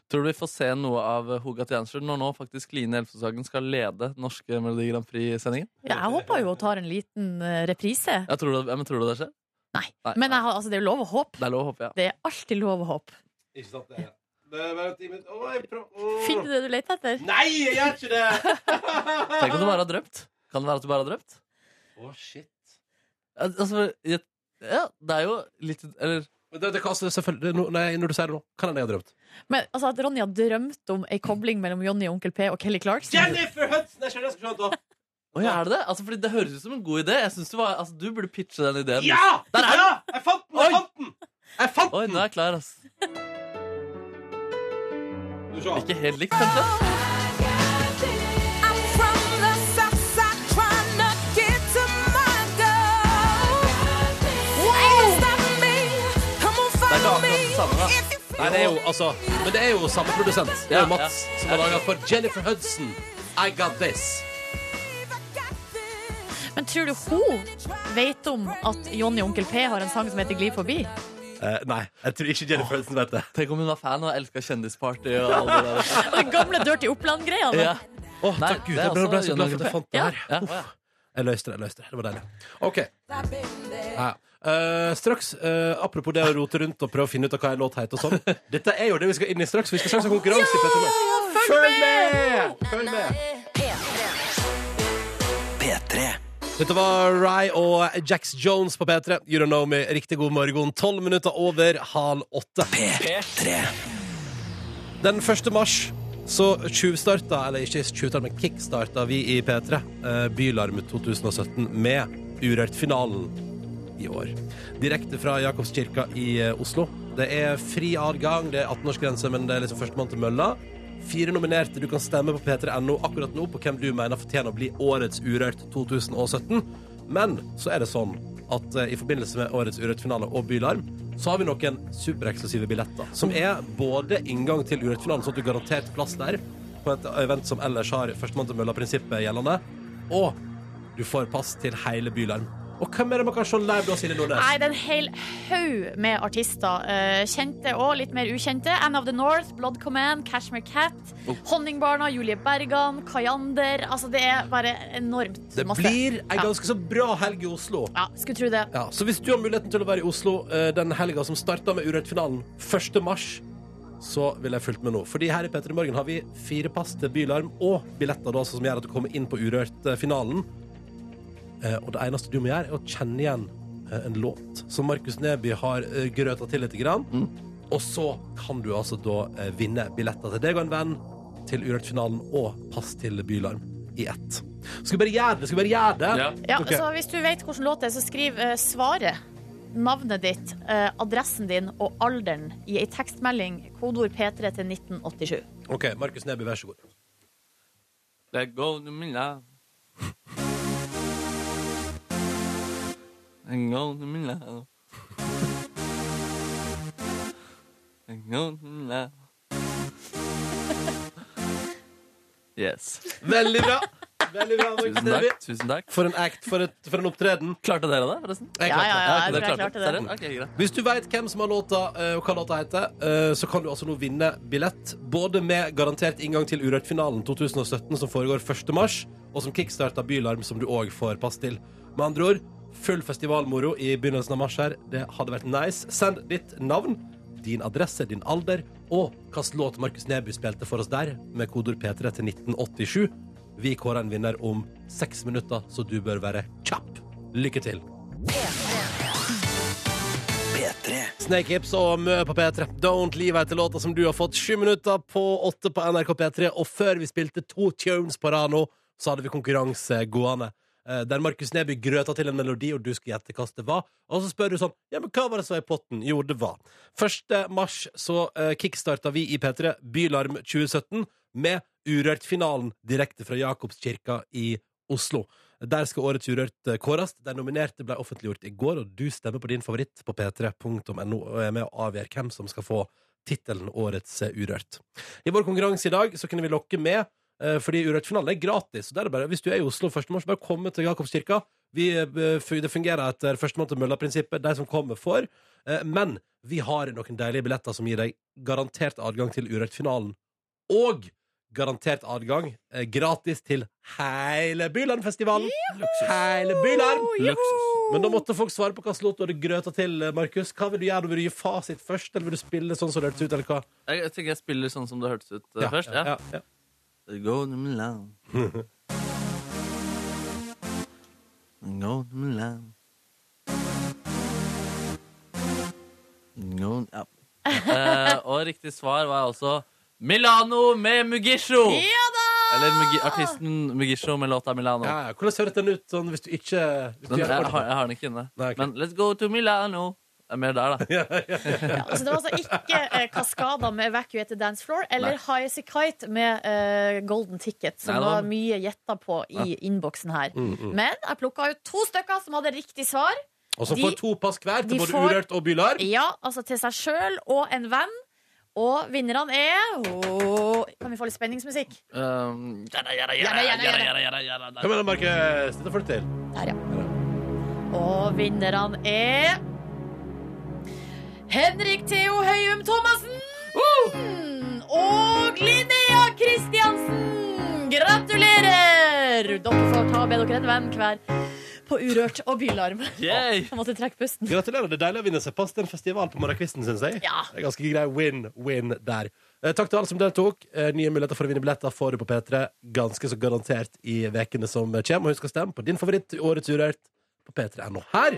D: Tror du vi får se noe av eh, Who Got The Answer når nå faktisk Line Elvsåshagen skal lede norske Melodi Grand Prix-sendingen?
E: Ja, jeg håper jo hun tar en liten eh, reprise.
D: Ja, tror, du- ja, men tror du det skjer?
E: Nei.
D: Nei,
E: Men
D: nei.
E: jeg, har- altså, det er jo lov å håpe.
D: Det er lov, håper jeg.
E: Det er alltid lov å håpe.
B: Ikke sant, det er det er bare ti minutter. Å, jeg prøv- Å.
E: Finner du det du leter etter?
B: Nei, jeg gjør ikke det!
D: Tenk om du bare har drømt. Kan det være at du bare har drømt?
B: Å, shit.
D: Ja, Altså, ja, ja, det er jo litt Eller
B: Men Det, det, kan- altså, selvfølgelig, det, er no- nei, når du sier det nå, kan hende jeg har drømt.
E: Men altså, at Ronny har drømt om ei kobling mellom Johnny og Onkel P og Kelly Clarkson
B: Jennifer Hudson! Jeg skjønner, jeg skal se, vent da.
D: Å, ja, er det det? Altså, fordi det høres ut som en god idé. Jeg synes du, var, altså, du burde pitche den ideen.
B: Ja!
D: Der er
B: Ja! Jeg fant den! Jeg
D: Oi!
B: fant den! Jeg fant
D: Oi,
B: den!
D: nå er jeg klar, ass.
B: Skal vi se.
D: Ikke helt likt, kanskje? Det er ikke akkurat det samme, da.
B: Nei, det er jo, altså, men det er jo samme produsent. Det er jo
D: Ja,
B: Mats
D: ja.
B: som har laga for Jennifer Hudson. I Got This.
E: Men tror du hun vet om at Johnny og Onkel P har en sang som heter Gli forbi?
B: Eh, nei, jeg tror ikke Jennifer Hudson vet det.
D: Tenk om hun var fan og elska Kjendisparty og alle det der.
E: Og den gamle Dirty Oppland-greia. da.
D: Ja.
B: Å, takk Gud.
D: det er
B: Jeg ble, ble
D: også
B: så glad for at jeg
D: Johnny
B: fant det
E: Ja.
B: her.
D: Ja,
B: Uff.
D: ja.
B: Jeg løste det. jeg løste Det Det var deilig. OK. Ja. Eh, straks, eh, Apropos det å rote rundt og prøve å finne ut av hva en låt heter og sånn. Dette er jo det vi skal inn i straks. Vi skal straks ha konkurranse. i Petter Morgen. Følg med! Følg med! Dette var Rai og Jax Jones på P3. You don't know me. Riktig god morgen. Tolv minutter over halv åtte. Den 1. mars så tjuvstarta, eller ikke tjuvstarta, men kickstarta vi i P3 eh, Bylarm 2017 med Urørt-finalen i år. Direkte fra Jakobskirka i eh, Oslo. Det er fri adgang, det er 18-årsgrense, men det er liksom førstemann til mølla. Fire nominerte. Du kan stemme på p3.no akkurat nå på hvem du mener fortjener å bli årets Urørt 2017. Men så er det sånn at eh, i forbindelse med årets Urørt-finale og Bylarm, Så har vi noen supereksklusive billetter, som er både inngang til Urett-finalen, sånn at du garantert plass der, på et event som ellers har førstemann til mølla-prinsippet gjeldende, og du får pass til hele Bylarm. Og hvem er det man kan se live da, Silje Nordnes?
E: Nei, det er en hel haug med artister. eh, Kjente og litt mer ukjente. Anne of the North, Blood Command, Cashmere Cat,
B: Oh.
E: Honningbarna, Julie Bergan, Kayander. Altså, det er bare enormt
B: Det
E: masse.
B: blir ei
E: Ja.
B: ganske så bra helg i Oslo.
E: Ja, skulle tro det.
B: Ja, så hvis du har muligheten til å være i Oslo eh, den helga som starta med Urørt-finalen 1. mars, så vil jeg fulgt med nå. Fordi her i P3 Morgen har vi fire pass til Bylarm og billetter da, altså, som gjør at du kommer inn på Urørt-finalen. Eh, og det eneste du må gjøre, er å kjenne igjen eh, en låt som Markus Neby har eh, grøta til litt. Grann. Og så kan du altså da eh, vinne billetter til deg og en venn til Urørt-finalen og pass til Bylarm i ett. Skal vi bare gjøre det? Skal vi bare gjøre det?
D: Ja.
E: Ja, altså-
B: Ok.
E: så Hvis du vet hvilken låt det er, så skriv eh, svaret, navnet ditt, eh, adressen din og alderen i ei tekstmelding, kodeord P3 til 1987.
B: OK, Markus Neby, vær så god.
D: Let go of me now. Let go of me now. Let go of me now. Yes.
B: Veldig bra. Veldig bra, Markus
D: Tusen
B: Neby.
D: takk. tusen takk
B: For en act, for, et, for en opptreden.
D: Klarte dere det, forresten?
B: Jeg
E: Ja,
B: klarte det.
E: ja, ja,
D: Ja,
E: jeg
D: dere
E: tror jeg klarte det.
D: Seriøst? Ok, greit.
B: Hvis du veit hvem som har låta, eh, og hva låta heter, eh, så kan du altså nå vinne billett. Både med garantert inngang til Urørt-finalen 2017, som foregår 1. mars, og som kickstarter Bylarm, som du òg får pass til. Med andre ord, full festivalmoro i begynnelsen av mars her. Det hadde vært nice. Send ditt navn, din adresse, din alder og hvilken låt Markus Neby spilte for oss der, med kodeord P3 til 1987. Vi kårer en vinner om seks minutter, så du bør være kjapp. Lykke til. Snake Hips og Mø på P3. Don't Leave etter låta som du har fått sju minutter på åtte på NRK P3. Og før vi spilte to tunes på rad nå, så hadde vi konkurranse gående. eh, Der Markus Neby grøta til en melodi, og du skulle gjette hva det var. Og så spør du sånn Ja, men hva var det som var i potten? Jo, det var 1. mars så eh, kickstarta vi i P3 Bylarm 2017 med Urørt-finalen direkte fra Jakobskirka i Oslo. Der skal årets Urørt eh, kåres. De nominerte ble offentliggjort i går, og du stemmer på din favoritt på p3.no og er med å avgjøre hvem som skal få tittelen Årets eh, Urørt. I vår konkurranse i dag så kunne vi lokke med, eh, fordi Urørt-finalen er gratis. Så der er det bare, hvis du er i Oslo 1. mars, bare kom til Jakobskirka. Vi, eh, f- det fungerer etter førstemann til mølla-prinsippet. De som kommer, får. Eh, Men vi har noen deilige billetter som gir deg garantert adgang til Urørt-finalen. Og garantert adgang eh, gratis til hele Bylandfestivalen! Hele Byland! Men da måtte folk svare på hva slått du hadde grøta til, eh, Markus. Hva vil du gjøre? Vil du gi fasit først, eller vil du spille sånn som det hørtes ut, eller hva?
D: Jeg, jeg tenker jeg spiller sånn som det hørtes ut eh, først.
B: ja,
D: Ja.
B: ja.
D: Let go of me now. Let go of me now. Let go of- ja. Eh, og riktig svar var altså Milano med Mugisho!
E: Ja da!
D: Eller Mugi artisten Mugisho med låta Milano.
B: Ja, ja. Hvordan høres den ut sånn hvis du ikke hvis du
D: Den, jeg,
B: gjør
D: har,
B: det på den?
D: jeg har den ikke inne.
B: Nei, ok.
D: Men Let's go to Milano. Det er mer der, da.
E: Ja, så det var altså ikke eh, Kaskada med Evacuated Dance Floor eller
D: Nei.
E: High as a Kite med eh, Golden Ticket, som
D: Nei, det var-
E: var
D: Mm,
E: mye gjetta på i innboksen her. Men jeg plukka ut to stykker som hadde riktig svar.
B: Og så
E: de-
B: får to pass hver til
E: de
B: både
E: får-
B: Urørt og Bylarm.
E: Ja, altså til seg sjøl og en venn. Og vinnerne er Åh, Kan vi få litt spenningsmusikk?
D: Um, jada, jada,
E: Jada,
D: jada,
E: jada,
D: jada,
E: jada.
D: jada, jada, jada.
B: Kom igjen, da, Markus. Dette får du til.
E: Der, ja. Og vinnerne er Henrik Theo Høyum Thomassen! Og Linnea Kristiansen! Gratulerer! Dere får ta med dere en venn hver på Urørt og Bylarm.
D: Yay!
E: Jeg måtte trekke pusten.
B: Gratulerer. Det er deilig å vinne seg pass til en festival på morgenkvisten, syns jeg.
E: Ja.
B: Det er ganske grei win-win der. Eh, takk til alle som deltok. Eh, nye muligheter for å vinne billetter får du på P3 ganske så garantert i vekene som kommer. Og husk å stemme på din favoritt Årets Urørt på p3.no. Her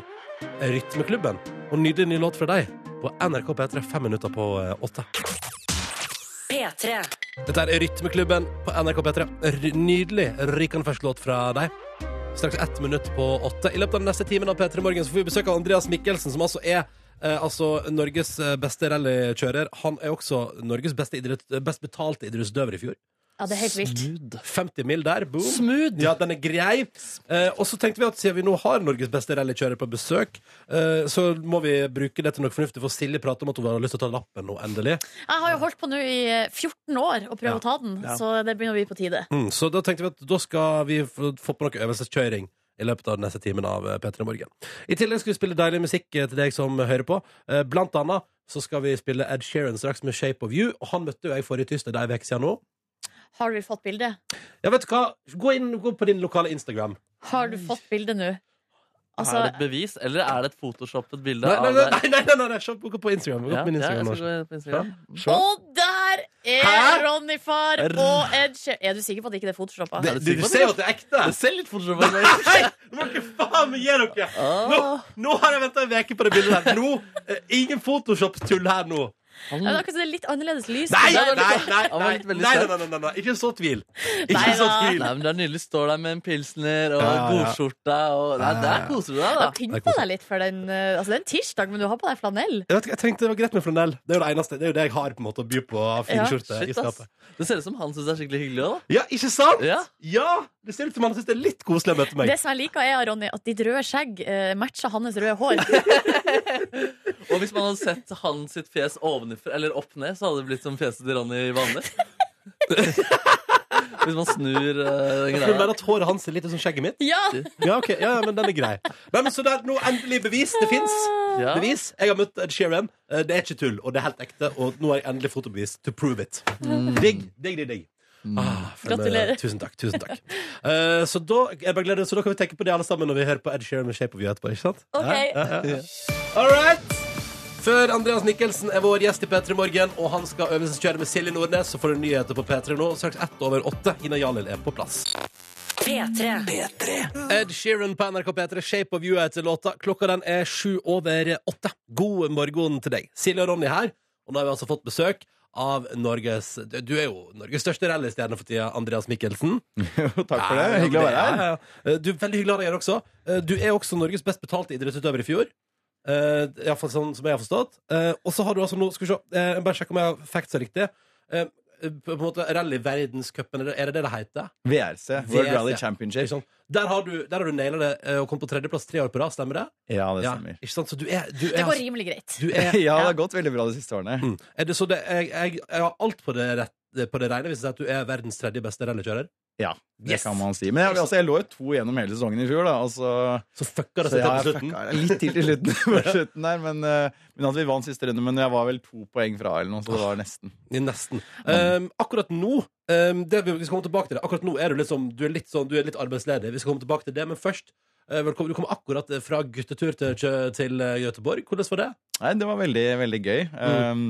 B: er Rytmeklubben og nydelig ny låt fra deg på NRK P3 fem minutter på eh, åtte.
A: P3.
B: Dette er Rytmeklubben på NRK P3. R nydelig rykende fersk låt fra deg. Straks ett minutt på åtte. I løpet av den neste timen av P3 Morgen så får vi besøk av Andreas Mikkelsen, som altså er eh, altså Norges eh, beste rallykjører. Han er også Norges beste idrett, best betalte eh, idrettsutøver i fjor.
E: Ja, det er helt vilt.
D: Smooth.
B: 50 mil der, boom.
D: Smooth.
B: Ja, den er grei. Eh, og så tenkte vi at siden vi nå har Norges beste rallykjører på besøk, eh, så må vi bruke det til noe fornuftig, for Silje prater om at hun har lyst til å ta lappen nå, endelig.
E: Jeg har jo holdt på nå i eh, 14 år å prøve
B: Ja.
E: å ta den,
B: Ja.
E: så det begynner å bli på tide.
B: Mm, så da tenkte vi at da skal vi få få på noe øvelseskjøring i løpet av den neste timen av eh, P3 Morgen. I tillegg skal vi spille deilig musikk eh, til deg som hører på. Eh, Blant annet så skal vi spille Ed Sheeran straks med Shape of You, og han møtte jo jeg forrige tirsdag, det er en uke siden nå.
E: Har du fått bilde?
B: Ja, vet du hva? Gå inn gå på din lokale Instagram.
E: Har du fått bilde nå? Altså,
D: er det et bevis, eller er det et photoshoppet bilde?
B: Nei, nei, nei,
D: av
B: nei, nei, nei, nei, nei. se- Gå på Instagram. Gå
D: Ja,
B: på min
D: ja, jeg
B: Instagram nå.
D: skal gå på Instagram.
B: Se.
E: og der er
D: Hæ?
E: Ronny Far
D: R-
E: og Ed Sheer- Er du sikker på at ikke det er photoshoppa?
B: Det,
D: Er du
B: du,
D: sikker
B: du
D: på
B: ser jo
D: det?
B: at det er ekte.
D: Det ser litt photoshoppet ut.
B: Nei, du må ikke faen meg gi dere! Nå, nå har jeg venta ei uke på det bildet der. Nå, eh, ingen Photoshop-tull her nå.
E: Ja, men akkurat det er litt annerledes lys.
B: Nei,
D: Det
B: nei,
D: var
B: nei,
D: litt-
B: nei,
D: det var
B: nei,
D: litt veldig
B: nei,
D: sterkt.
B: nei, nei, nei, nei. Ikke så tvil. Ikke
E: Nei
B: så
E: da.
B: tvil.
D: Nei, men Det er nydelig. Står der med en pilsner og
B: Ja, ja, ja.
D: godskjorte. Og... Nei, der koser du deg,
E: Du
D: da.
E: har pynta deg litt for den eh, Altså, det er en tirsdag, men du har på deg flanell.
B: Jeg, vet ikke, jeg tenkte det var greit med flanell. Det er jo det eneste Det er jo det jeg har på en måte å by på av
E: Ja,
B: finskjorte i
D: Shit, ass.
B: skapet.
D: Det ser ut som han syns det er skikkelig hyggelig òg, da.
B: Ja, ikke sant?
D: Ja.
B: Det ser ut som han syns det er litt koselig å møte meg.
E: Det som jeg liker, er Ronny, at ditt røde skjegg eh, matcher hans røde hår.
D: Og hvis man hadde sett han sitt fjes ovenifra, eller opp ned, så hadde det blitt som fjeset til Ronny vanlig. hvis man snur eh, den
B: Jeg tror
D: greia.
B: bare at håret hans er litt som skjegget mitt.
E: Ja!
B: Ja, ok, ja, ja, men den er grei. Nei, men så det er nå endelig bevis. Det fins.
D: Ja.
B: Bevis. Jeg har møtt Ed Sheeran. Eh, Det er ikke tull, og det er helt ekte. Og nå har jeg endelig fotobevis to prove it. Digg, digg, digg. digg. Ah, for-
E: Gratulerer.
B: Tusen takk. tusen takk Eh, Så da jeg bare gleder, så da kan vi tenke på det alle sammen når vi hører på Ed Sheeran med Shape of You etterpå. ikke sant?
E: Ok.
B: Ja, ja, ja. All right. Før Andreas Nikkelsen er vår gjest i P3 Morgen, og han skal øvelseskjøre med Silje Nordnes, så får du nyheter på P3 nå straks ett over åtte. Ina Jalil er på plass.
A: P3.
B: Ed Sheeran på NRK P3, Shape of You heter låta. Klokka den er sju over åtte. God morgen til deg. Silje og Ronny her, og nå har vi altså fått besøk av Norges Du er jo Norges største rallystjerne for tida, Andreas Mikkelsen.
H: Takk for det. Hyggelig å være her.
B: Ja, ja, ja. Du, Veldig hyggelig å ha deg her også. Eh, Du er også Norges best betalte idrettsutøver i fjor. Eh, i hvert fall sånn som jeg har forstått. Eh, og så har du altså nå Skal vi se, eh, jeg bare sjekke om jeg har factsa riktig. Eh, på en måte Rally-verdenscupen, er det- er det det det heter?
H: VRC, World
B: VRC.
H: Rally Championship.
B: Ikke sant? Der har du, der har du naila det eh, og kom på tredjeplass tre år på rad, stemmer det?
H: Ja, det stemmer.
B: ikke sant? Så du er, du er,
E: Det går
B: altså-
E: rimelig greit.
B: du
H: Ja,
B: er,
H: det har gått veldig bra de siste årene.
B: Mm. er det, så det, jeg, jeg, jeg har alt på det, rett, på det rene hvis jeg sier at du er verdens tredje beste rallykjører.
H: Ja, det
B: Yes.
H: kan man si. Men jeg, altså, jeg lå jo to gjennom hele sesongen i fjor, da. Og så,
B: Så fucka det
H: så
B: seg til
H: jeg
B: på
H: har
B: slutten.
H: fucka litt til til slutten. på slutten der, men, eh, men at vi vant siste runde. Men jeg var vel to poeng fra eller noe, så det var nesten.
B: Ja, Nesten. Um, akkurat nå um, det, vi skal komme tilbake til det. Akkurat nå er du, liksom, du, er litt sånn, du er litt arbeidsledig. Vi skal komme tilbake til det, men først eh, Velkommen. Du kom akkurat fra guttetur til, Kjø- til eh, Göteborg. Hvordan var det?
H: Nei, det var veldig, veldig gøy.
E: Mm.
H: Um,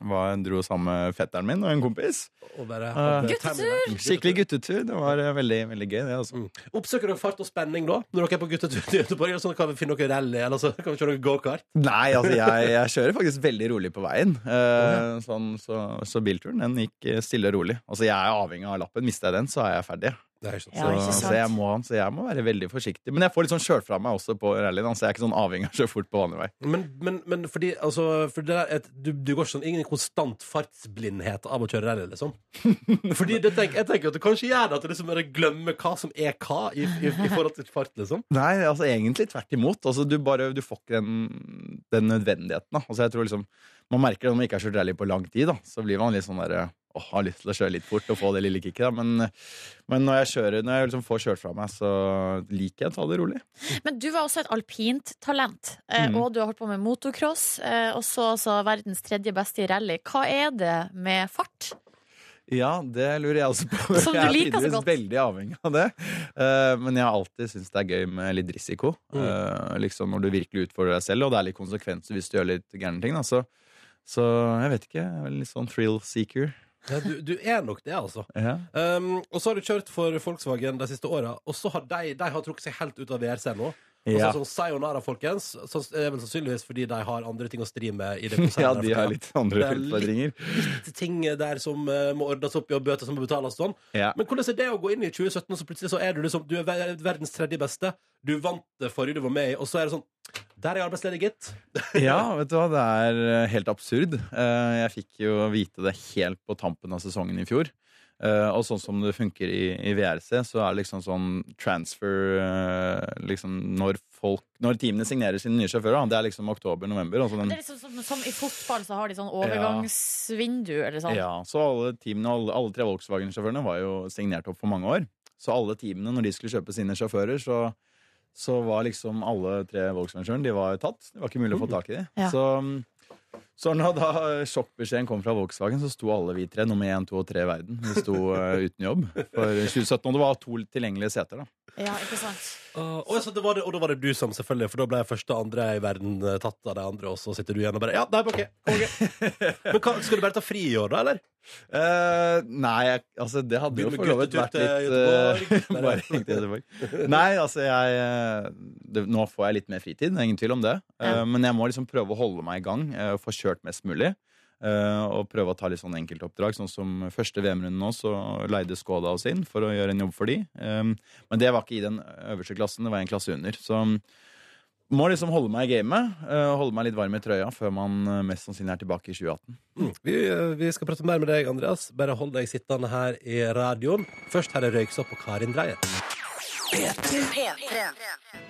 H: var, dro sammen med fetteren min og en kompis.
B: Å være-
H: Eh,
B: Guttetur!
H: Skikkelig guttetur. Det var eh, veldig, veldig gøy, det, altså.
B: Oppsøker dere fart og spenning da, når dere er på guttetur til Göteborg? Eller så kan vi finne noe rally, eller så kan vi kjøre noe gokart?
H: Nei, altså jeg, jeg kjører faktisk veldig rolig på veien. Eh, sånn, så, så bilturen den gikk eh, stille og rolig. Altså Jeg er avhengig av lappen. Mister jeg den, så er jeg ferdig.
B: Det er ikke sant.
E: Ja,
H: Så,
E: ikke sant.
H: så, jeg, må, så jeg må være veldig forsiktig. Men jeg får litt sånn kjørt fra meg også på rallyen. da, Så jeg er ikke sånn avhengig av å kjøre fort på vanlig vei.
B: Men, men, men fordi altså, for det der, er et, du, du går ikke sånn ingen konstant fartsblindhet av å kjøre rally, liksom? Fordi det tenk, jeg tenker at du kanskje gjør det, at du liksom bare glemmer hva som er hva i, i, i forhold til fart, liksom.
H: Nei, altså egentlig tvert imot. Altså Du bare, du får ikke den, den nødvendigheten. da Altså jeg tror liksom Man merker det når man ikke har kjørt rally på lang tid. da Så blir man litt sånn der eh, Åh, har lyst til å kjøre litt fort og få det lille kicket. da Men, men når jeg kjører Når jeg liksom får kjørt fra meg, så liker jeg å ta det rolig.
E: Men du var også et alpint talent, eh,
H: Mhm.
E: og du har holdt på med motocross. eh, Og så altså verdens tredje beste i rally. Hva er det med fart?
H: Ja, det lurer jeg også på.
E: Som du
H: jeg er
E: liker så
H: tydeligvis
E: godt.
H: veldig avhengig av det. Eh, men jeg har alltid syntes det er gøy med litt risiko.
E: Mm.
H: Eh, liksom Når du virkelig utfordrer deg selv, og det er litt konsekvenser hvis du gjør litt gærne ting. Da. Så, så jeg vet ikke. Jeg er litt sånn thrill seeker.
B: Ja, du, du er nok det, altså.
H: Ja.
B: Um, og så har du kjørt for Volkswagen de siste åra, og så har de, de har trukket seg helt ut av VRC nå.
H: Ja.
B: Altså, sånn sayonara, folkens. Så er det vel sannsynligvis fordi de har andre ting å stri med i det konsernet.
H: ja,
B: der
H: de
B: for
H: har
B: tiden.
H: litt andre
B: Det er litt-
H: utfordringer.
B: litt ting der som eh, må ordnes opp i, og bøter som må betales og sånn.
H: Ja.
B: Men hvordan er det å gå inn i 2017, og så plutselig så er du liksom Du er ver- verdens tredje beste. Du vant det forrige du var med i, og så er det sånn Der er jeg arbeidsledig, gitt.
H: Ja, vet du hva, det er eh, helt absurd. Eh, Jeg fikk jo vite det helt på tampen av sesongen i fjor. Eh, og sånn som det funker i, i VRC, så er det liksom sånn transfer eh, liksom når, folk, når teamene signerer sine nye sjåfører. da. Det er liksom oktober-november. Altså den-
E: Det er liksom som, som i fotball, så har de sånn overgangsvindu, eller sånn.
H: ja, så alle teamene, alle, alle tre Volkswagen-sjåførene var jo signert opp for mange år. Så alle teamene, når de skulle kjøpe sine sjåfører, så, så var liksom alle tre Volkswagen-sjåførene de var tatt. Det var ikke mulig å få tak i dem.
E: Ja.
H: Så, så når da sjokkbeskjeden kom fra Volkswagen, så sto alle vi tre, nummer én, to og tre i verden, vi sto eh, uten jobb for 2017. Og det var to tilgjengelige seter, da.
E: Ja, ikke sant?
B: Ah, og, så det var det, og da var det du som, selvfølgelig, for da ble jeg første og andre i verden eh, tatt av de andre, og så sitter du igjen og bare Ja, nei, ok. konge. Men hva, skal du bare ta fri i år, da, eller?
H: Eh, nei, jeg, altså det hadde jo
B: Begynne med
H: for så vidt
B: guttetur
H: vært
B: til
H: litt eh,
B: Göteborg.
H: Bare ringt til Göteborg. Nei, altså jeg eh, det, Nå får jeg litt mer fritid, det er ingen tvil om det. Eh,
E: Ja.
H: Men jeg må liksom prøve å holde meg i gang eh, og få kjørt mest mulig. eh, og prøve å ta litt sånn enkeltoppdrag. Sånn som første VM-runden nå, så leide Skoda oss inn for å gjøre en jobb for de. Eh, men det var ikke i den øverste klassen, det var en klasse under. Så må liksom holde meg i gamet. eh, holde meg litt varm i trøya før man eh, mest sannsynlig er tilbake i 2018.
B: Mm. Vi, eh, vi skal prate mer med deg, Andreas. Bare hold deg sittende her i radioen. Først her er Røyksopp og Karin Dreyer.
A: P3.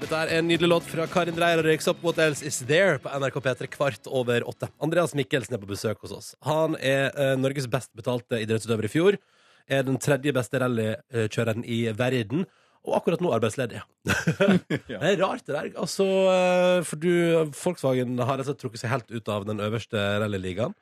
B: Dette er en nydelig låt fra Karin Dreyer og Røyksopp What Else Is There på NRK P3 kvart over åtte. Andreas Mikkelsen er på besøk hos oss. Han er eh, Norges best betalte idrettsutøver i fjor. Er den tredje beste rallykjøreren i verden. Og akkurat nå arbeidsledig. Det er rart, det der. Altså, eh, for du, Volkswagen har altså trukket seg helt ut av den øverste rallyligaen.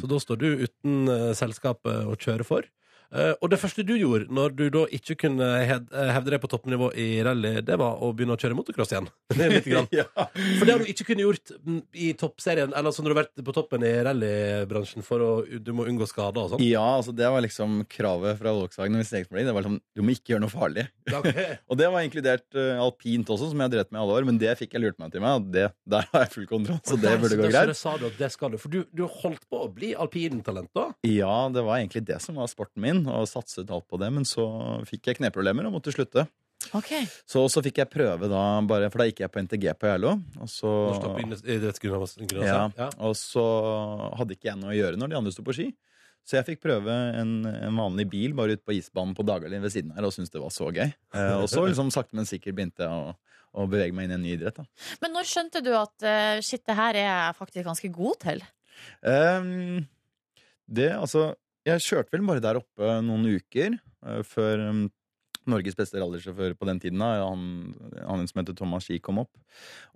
B: Så da står du uten eh, selskap eh, å kjøre for. Eh, og det første du gjorde når du da ikke kunne hed, eh, hevde deg på toppnivå i rally, det var å begynne å kjøre motocross igjen. Litt grann. For det har du ikke kunnet gjort mm, i toppserien, eller altså når du har vært på toppen i rallybransjen for å du må unngå skader og sånn.
H: Ja, altså det var liksom kravet fra Volkswagen. og Stegsplanning. Det var liksom, Du må ikke gjøre noe farlig.
B: Ok.
H: Og det var inkludert eh, alpint også, som jeg har drevet med i alle år. Men det fikk jeg lurt meg til meg, og det, der har jeg full kontroll. Så det
B: Nei,
H: burde gå
B: da- så det
H: greit.
B: sa du at det skal du. For du, du holdt på å bli alpintalent da.
H: Ja, det var egentlig det som var sporten min, og satset alt på det. Men så fikk jeg kneproblemer og måtte slutte.
E: Ok.
H: Så, så fikk jeg prøve da, bare, for da gikk jeg på NTG på Geilo. Og så
B: Norsk alpinist- idrettsgymnas-
H: Ja.
B: Ja.
H: Og så hadde ikke jeg noe å gjøre når de andre sto på ski. Så jeg fikk prøve en, en vanlig bil bare ute på isbanen på Dagali ved siden her og syntes det var så gøy. Eh, og så liksom sakte, men sikkert begynte jeg å, å bevege meg inn i en ny idrett. Da.
E: Men når skjønte du at eh, shit, det her er jeg faktisk ganske god til?
H: Ehm, det, altså Jeg kjørte vel bare der oppe noen uker eh, før ehm, Norges beste rallysjåfør på den tiden, da, han, han som heter Thomas Ski, kom opp.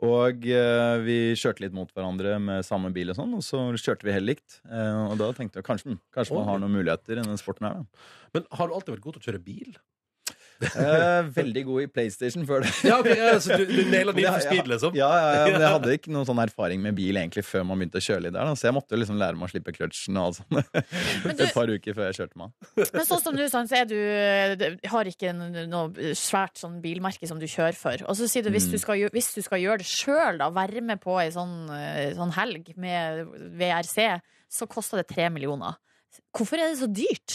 H: Og eh, vi kjørte litt mot hverandre med samme bil og sånn, og så kjørte vi helt likt. Eh, og da tenkte jeg kanskje, kanskje man har noen muligheter i denne sporten her, da.
B: Men har du alltid vært god til å kjøre bil?
H: Eh, veldig god i PlayStation før det.
B: Ja, ok, ja, så du, du naila Need
H: Ja,
B: for
H: ja.
B: Speed, liksom?
H: Ja, ja, ja, men jeg hadde ikke noen sånn erfaring med bil egentlig før man begynte å kjøre litt der, da. så jeg måtte liksom lære meg å slippe kløtsjen og alt sånt
E: du-
H: et par uker før jeg kjørte med han.
E: Men sånn som du sa, så er du eh, har ikke en- noe svært sånn bilmerke som du kjører for. Og så sier du
H: Mm.
E: hvis du skal, gjø- hvis du skal gjøre det sjøl, da, være med på ei sånn, eh, sånn helg med VRC, så koster det tre millioner. Hvorfor er det så dyrt?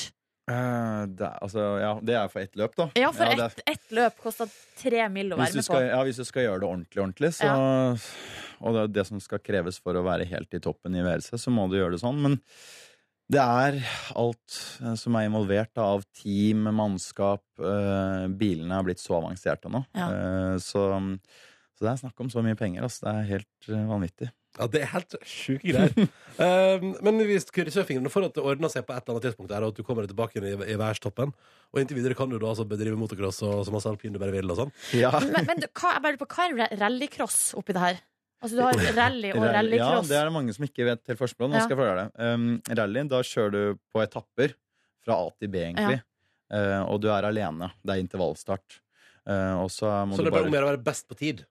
H: Eh, det, er, altså, ja, det er for ett løp, da.
E: Ja, for
H: det er-
E: ett ett løp koster tre mill. å
H: hvis,
E: være
H: du
E: med
H: skal,
E: på.
H: ja, hvis du skal gjøre det ordentlig, ordentlig så, og det er det som skal kreves for å være helt i toppen i VRC, så må du gjøre det sånn. Men det er alt eh, som er involvert da, av team, mannskap eh, Bilene er blitt så avanserte nå.
E: Ja.
H: Eh, så, så det er snakk om så mye penger. Altså, det er helt eh, vanvittig.
B: Ja, det er helt sjuke greier. um, men hvis kurvsurfingen for at det ordner seg på et eller annet tidspunkt, er at du kommer tilbake igjen i, i værstoppen. Og inntil videre kan du da altså bedrive motocross og så masse alpin du bare vil og sånn.
H: Ja.
E: Men, men du, hva, jeg bare lurer på, hva er ra- rallycross oppi det her? Altså du har rally og
H: Rally- Ja,
E: rallycross.
H: det er det mange som ikke vet helt forskjell på. Nå
E: Ja.
H: skal jeg forklare det. Um, rally, da kjører du på etapper fra A til B, egentlig. Eh, og du er alene. Det er intervallstart. Eh, og så må
B: Så
H: du
B: det er bare om å gjøre å være best på tid.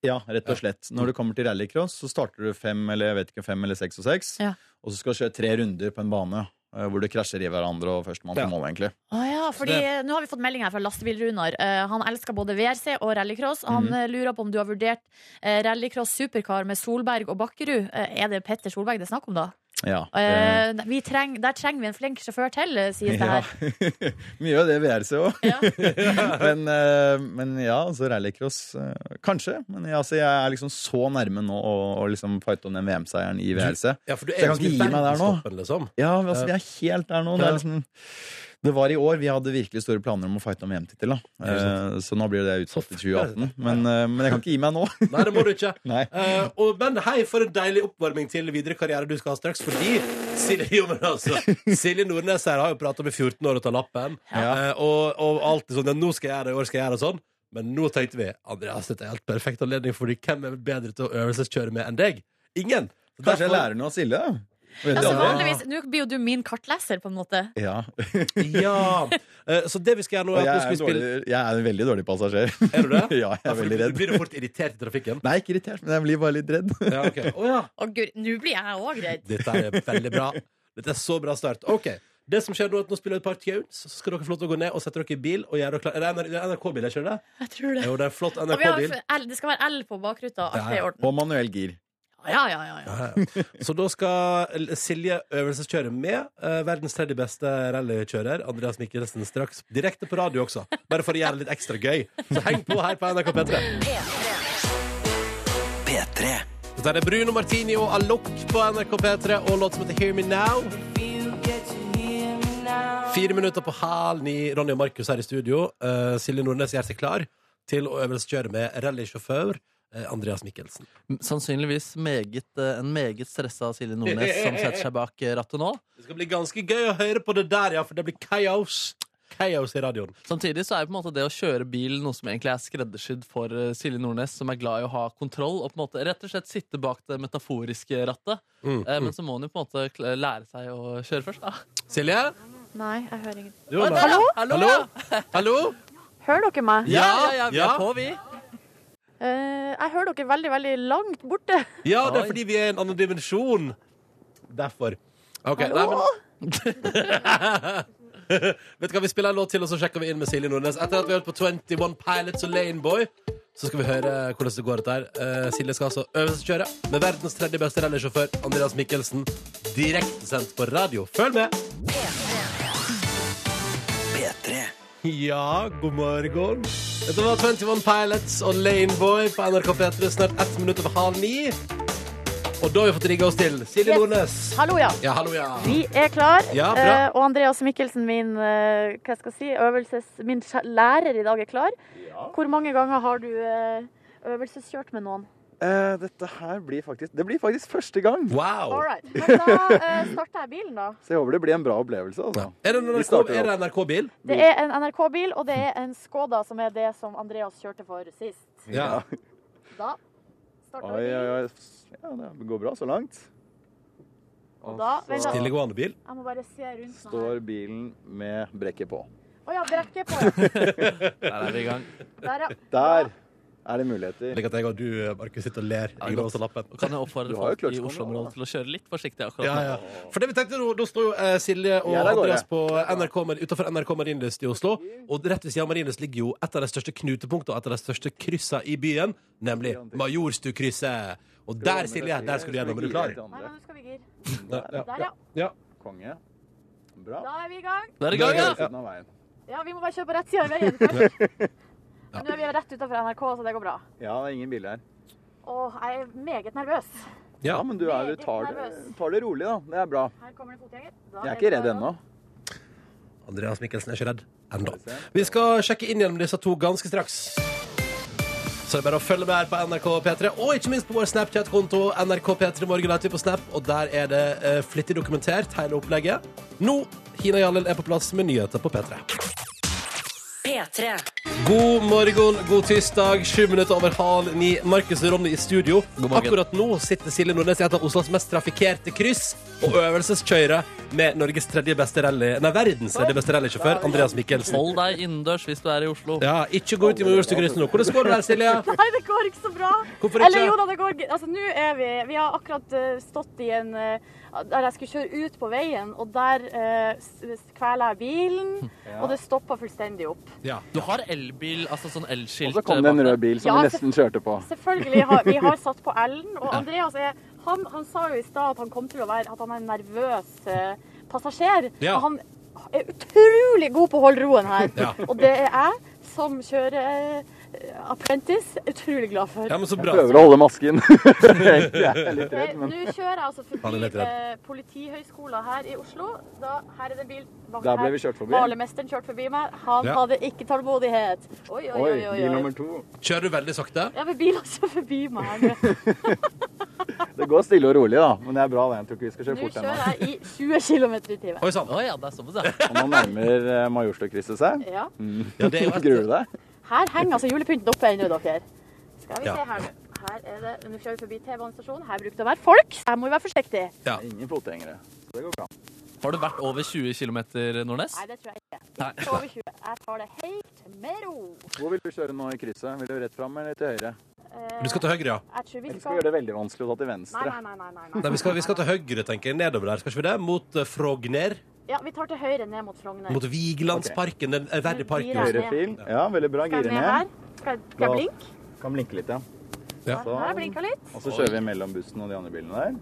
H: Ja, rett
B: Ja.
H: og slett. Når du kommer til rallycross, så starter du fem eller jeg vet ikke, fem eller seks og seks.
E: Ja.
H: Og så skal du kjøre tre runder på en bane eh, hvor du krasjer i hverandre og førstemann
B: Ja.
H: til mål, egentlig.
E: Å ja, fordi
B: det-
E: Nå har vi fått melding her fra Lastebil-Runar. Eh, han elsker både WRC og rallycross. Han
H: Mhm.
E: eh, lurer på om du har vurdert eh, rallycross supercar med Solberg og Bakkerud. Eh, er det Petter Solberg det er snakk om, da?
H: Ja. det-
E: Eh, vi treng, der trenger vi en flink sjåfør til, eh, sies det
H: Ja.
E: her.
H: Mye av det VRC òg.
E: Ja.
H: men, eh, men ja, altså rallycross eh, Kanskje. Men ja, altså, jeg er liksom så nærme nå å, å liksom fighte om den VM-seieren i VRC.
B: Ja, for du
H: Så jeg
B: er
H: kan
B: ganske
H: ikke gi meg der nå.
B: verdenstoppen, liksom.
H: Ja, men altså, vi er helt der nå. Det er liksom Det var i år. Vi hadde virkelig store planer om å fighte om EM-tittel. da.
B: Ja, ikke
H: Eh, Så nå blir det utsatt til 2018. Men, eh, men jeg kan ikke gi meg nå.
B: Nei, det må du ikke.
H: Nei.
B: Eh, og, men hei, for en deilig oppvarming til videre karriere du skal ha straks, fordi Silje, jo, men altså, Silje Nordnes her har jo prata med 14 år og tar lappen, Eh, og, og alltid sånn ja, 'Nå skal jeg gjøre det, i år skal jeg gjøre det', og sånn. Men nå tenkte vi Andreas, dette er helt perfekt anledning, fordi hvem er bedre til å øvelseskjøre med enn deg? Ingen! Så
H: Kanskje jeg
B: derfor-
H: lærer noe av Silje? da? Vet
E: Altså,
I: Ja,
H: du
I: så
H: aldri.
I: vanligvis, Nå blir jo du min kartleser, på en måte.
H: Ja.
B: Ja. Eh, så det vi skal gjøre nå,
H: Og
B: er
H: jeg
B: at nå
H: er,
B: skal
H: en
B: vi spille
H: dårlig, jeg er en veldig dårlig passasjer.
B: Er du det?
H: Ja, jeg
B: Ja,
H: er
B: for
H: veldig
B: du- Du
H: redd.
B: blir jo fort irritert i trafikken.
H: Nei, ikke irritert, men jeg blir bare litt redd.
B: Ja, ok. Å ja.
I: Å, gud, nå blir jeg òg redd.
B: Dette er veldig bra. Dette er så bra start. Ok, det som skjer nå er at nå spiller vi et par tunes, så skal dere få lov til å gå ned og sette dere i bil og gjøre dere klar. Er det NR- det er NRK-bil, jeg kjører det?
I: Jeg tror det.
B: Jo, det er en flott
I: Og vi har,
B: NRK-bil.
I: L, det skal være L på bakruta. Alt er i orden.
H: Og manuell gir.
I: Ja, ja, ja, ja.
B: Ja, ja. Så da skal Silje øvelseskjøre med eh, verdens tredje beste rallykjører, Andreas Mikkelsen, straks direkte på radio også. Bare for å gjøre det litt ekstra gøy. Så heng på her på NRK P3.
J: P3.
B: Dette er Bruno Martini og Alok på NRK P3 og låt som heter Hear Me Now. Fire minutter på halv ni. Ronny og Markus her i studio. Eh, Silje Nordnes gjør seg klar til å øvelseskjøre med rallysjåfør eh, Andreas Mikkelsen.
D: Sannsynligvis meget, eh, en meget stressa Silje Nordnes som setter seg bak eh, rattet nå.
B: Det skal bli ganske gøy å høre på det der, ja, for det blir kaos. Kaos i radioen.
D: Samtidig så er på en måte det å kjøre bil noe som egentlig er skreddersydd for eh, Silje Nordnes, som er glad i å ha kontroll og på en måte rett og slett sitte bak det metaforiske rattet.
B: Mm.
D: Eh, Men så må hun jo på en måte kl- lære seg å kjøre først, da.
B: Silje?
E: Nei, jeg hører ingenting.
B: Du, Ola?
E: Hallo?
D: Hallo? Hallo?
E: Hører dere meg?
D: Ja, ja, ja, vi
B: Ja.
D: er på, vi.
E: Eh, jeg hører dere veldig, veldig langt borte.
B: Ja, det er fordi vi er i en annen dimensjon. Derfor. Ok, nei, men... Vet du hva, Vi spiller en låt til, og så sjekker vi inn med Silje Nordnes. Etter at vi har hørt på 21 Pilots og Laneboy, så skal vi høre hvordan det går. dette her Eh, Silje skal altså øvelseskjøre med verdens tredje beste rallysjåfør, Andreas Mikkelsen, direktesendt på radio. Følg med! Ja, god morgen. Dette var 21 Pilots og Laneboy på NRK P3 snart ett minutt over halv ni. Og da har vi fått rigga oss til. Silje
E: Yes.
B: Nordnes.
E: Hallo, ja.
B: Ja, hallo, ja.
E: Vi er klar.
B: Ja, bra.
E: Eh, og Andreas Mikkelsen, min, eh, hva skal jeg si, øvelses, min skje- lærer i dag, er klar. Hvor mange ganger har du eh, øvelseskjørt med noen?
H: Eh, dette her blir faktisk Det blir faktisk første gang!
B: Wow.
E: All right. Men da eh, starter jeg bilen, da.
H: Så jeg håper det blir en bra opplevelse. Altså.
B: Er det en
H: Vi
B: NRK
H: starter
B: er det en NRK-bil?
E: Det er en NRK-bil, og det er en Skoda, som er det som Andreas kjørte for sist.
B: Ja.
E: Da starter
H: Oi,
E: vi
H: oi,
E: bilen,
H: oi. Ja, det går bra så langt.
E: og da Vent, da.
B: Tillegående bil?
E: Jeg må bare se rundt meg. her.
H: Står bilen med brekket på.
E: Å ja, brekket på. ja.
D: Der er vi i gang.
E: Der, ja.
H: Der er det muligheter.
B: Slik at jeg og du, eh, Markus, sitter og ler
D: Ja,
B: i
D: godt.
B: lappen.
D: Og kan jeg oppfordre
H: Du har jo
D: folk i
H: kløtsj på
D: Oslo-området til å kjøre litt forsiktig akkurat
B: Ja,
D: nå?
B: ja. For det vi tenkte, nå- Da står jo eh, Silje og
H: Ja, der går
B: Andreas
H: jeg.
B: på NRK, Mar- utenfor NRK Marienlyst i Oslo. Og rett ved siden av Marienlyst ligger jo et av de største knutepunktene og et av de største kryssene i byen, nemlig Majorstukrysset. Og der, Silje, der skal du gjennom. Er du klar?
E: Nei, men nå skal vi gire.
B: Ja,
E: Der, ja.
H: Konge. Bra.
E: Da er vi i gang.
D: Der er i gang, ja!
H: Siden av veien.
E: Ja, vi må bare kjøre på rett side av veien først. Men nå er vi rett utenfor NRK, så det går bra.
H: Ja, det er ingen biler her.
E: Og jeg er meget nervøs.
B: Ja.
H: Ja, men du, er, du tar, det, tar det rolig, da. Det er bra.
E: Her kommer det fotgjenger. Da
H: Jeg
E: vi
H: er ikke redd
E: klare.
H: ennå.
B: Andreas Mikkelsen er ikke redd ennå. Vi skal sjekke inn gjennom disse to ganske straks. Så det er bare å følge med her på NRK P3, og ikke minst på vår Snapchat-konto. NRK P3 Morgen heter vi på Snap, og der er det eh, flittig dokumentert, hele opplegget. Nå, Hina Jalil er på plass med nyheter på P3.
A: P3.
B: God morgen, god tirsdag, sju minutter over halv ni. Markus og Ronny i studio.
D: morgen.
B: Akkurat nå sitter Silje Nordnes i et av Oslos mest trafikkerte kryss og øvelseskjører med Norges tredje beste rally... Nei, verdens tredje beste rallysjåfør, Andreas Mikkelsen.
D: Hold deg innendørs hvis du er i Oslo.
B: Ja, ikke gå ut i Majorstukrysset nå. Hvordan går det der, Silje?
E: Nei, det går ikke så bra.
B: Hvorfor
E: Eller jo
B: ikke?
E: da, det går g- Altså, nå er vi Vi har akkurat eh, stått i en eh, Der jeg skulle kjøre ut på veien, og der eh, s- s- kveler jeg bilen, og det stoppa fullstendig opp.
B: Ja.
D: Du har elbil, altså sånn elskilt.
H: Og så kom det en
D: bak deg.
H: rød bil som
E: Ja,
H: vi nesten kjørte på.
E: Selvfølgelig har vi har satt på L-en, og Andreas er han, han sa jo i stad at han kom til å være At han er en nervøs eh, passasjer.
B: Ja.
E: Og han er utrolig god på å holde roen her.
B: Ja.
E: Og det er jeg som kjører eh, Apprentice. Utrolig glad for.
B: Ja, men så
H: Jeg
B: bra.
H: prøver å holde masken. Egentlig er jeg litt
E: Ok,
H: redd, men
E: Nå kjører jeg altså
B: Han er
E: forbi
B: litt redd.
E: eh, Politihøgskolen her i Oslo. Da, her er det en bil bak
H: der ble
E: her.
H: vi kjørt forbi. Oi,
E: Malermesteren kjørte forbi meg. Han
B: Ja.
E: hadde ikke tålmodighet. Oi, oi, oi. oi,
H: bil
E: oi.
H: nummer to.
B: Kjører du veldig sakte?
E: Ja, men bilen også forbi meg her nå.
H: Det går stille og rolig, da. Men det er bra, det. Jeg tror ikke vi skal kjøre
E: Nå
H: fort ennå.
E: kjører jeg i 20 km i timen.
B: Oi sann.
D: Å ja, det er såpass, ja.
H: Og Nå nærmer eh, Majorstukrysset seg.
E: Ja.
B: Ja, det er jo
H: Gruer du deg?
E: Her henger altså julepynten oppe ennå, dere. Skal vi
B: Ja.
E: se her nå. Her er det, Nå kjører vi forbi T-banestasjonen. Her bruker det å være folk. Her må vi være forsiktige.
H: Ingen fotgjengere. Så det går bra.
D: Har du vært over 20 km, Nordnes?
E: Nei, det tror jeg ikke. Ikke over 20. Jeg tar det helt med ro.
H: Hvor vil du kjøre nå i krysset? Vil du rett fram eller til høyre?
E: Eh,
B: Du skal til høyre, ja.
E: jeg tror vi
H: Eller skal vi
E: skal
H: gjøre det veldig vanskelig å ta til
E: Nei,
H: venstre?
E: nei, nei. nei, nei,
B: Nei, vi, skal, vi skal til høyre, tenker jeg. Nedover der, skal ikke vi det? Mot eh, Frogner.
E: Ja, vi tar til høyre ned mot Frogner.
B: Mot Vigelandsparken. Den er verre parken.
E: Gir
B: også.
H: Høyre fil. Ja, veldig bra.
E: Skal jeg
H: Gire
E: ned her?
H: ned.
E: Skal jeg, skal jeg
H: Da-
E: blinke?
H: Kan blinke litt, ja.
B: Ja.
H: Så,
E: Her har jeg blinka litt.
H: og så kjører vi mellom bussen og de andre bilene der.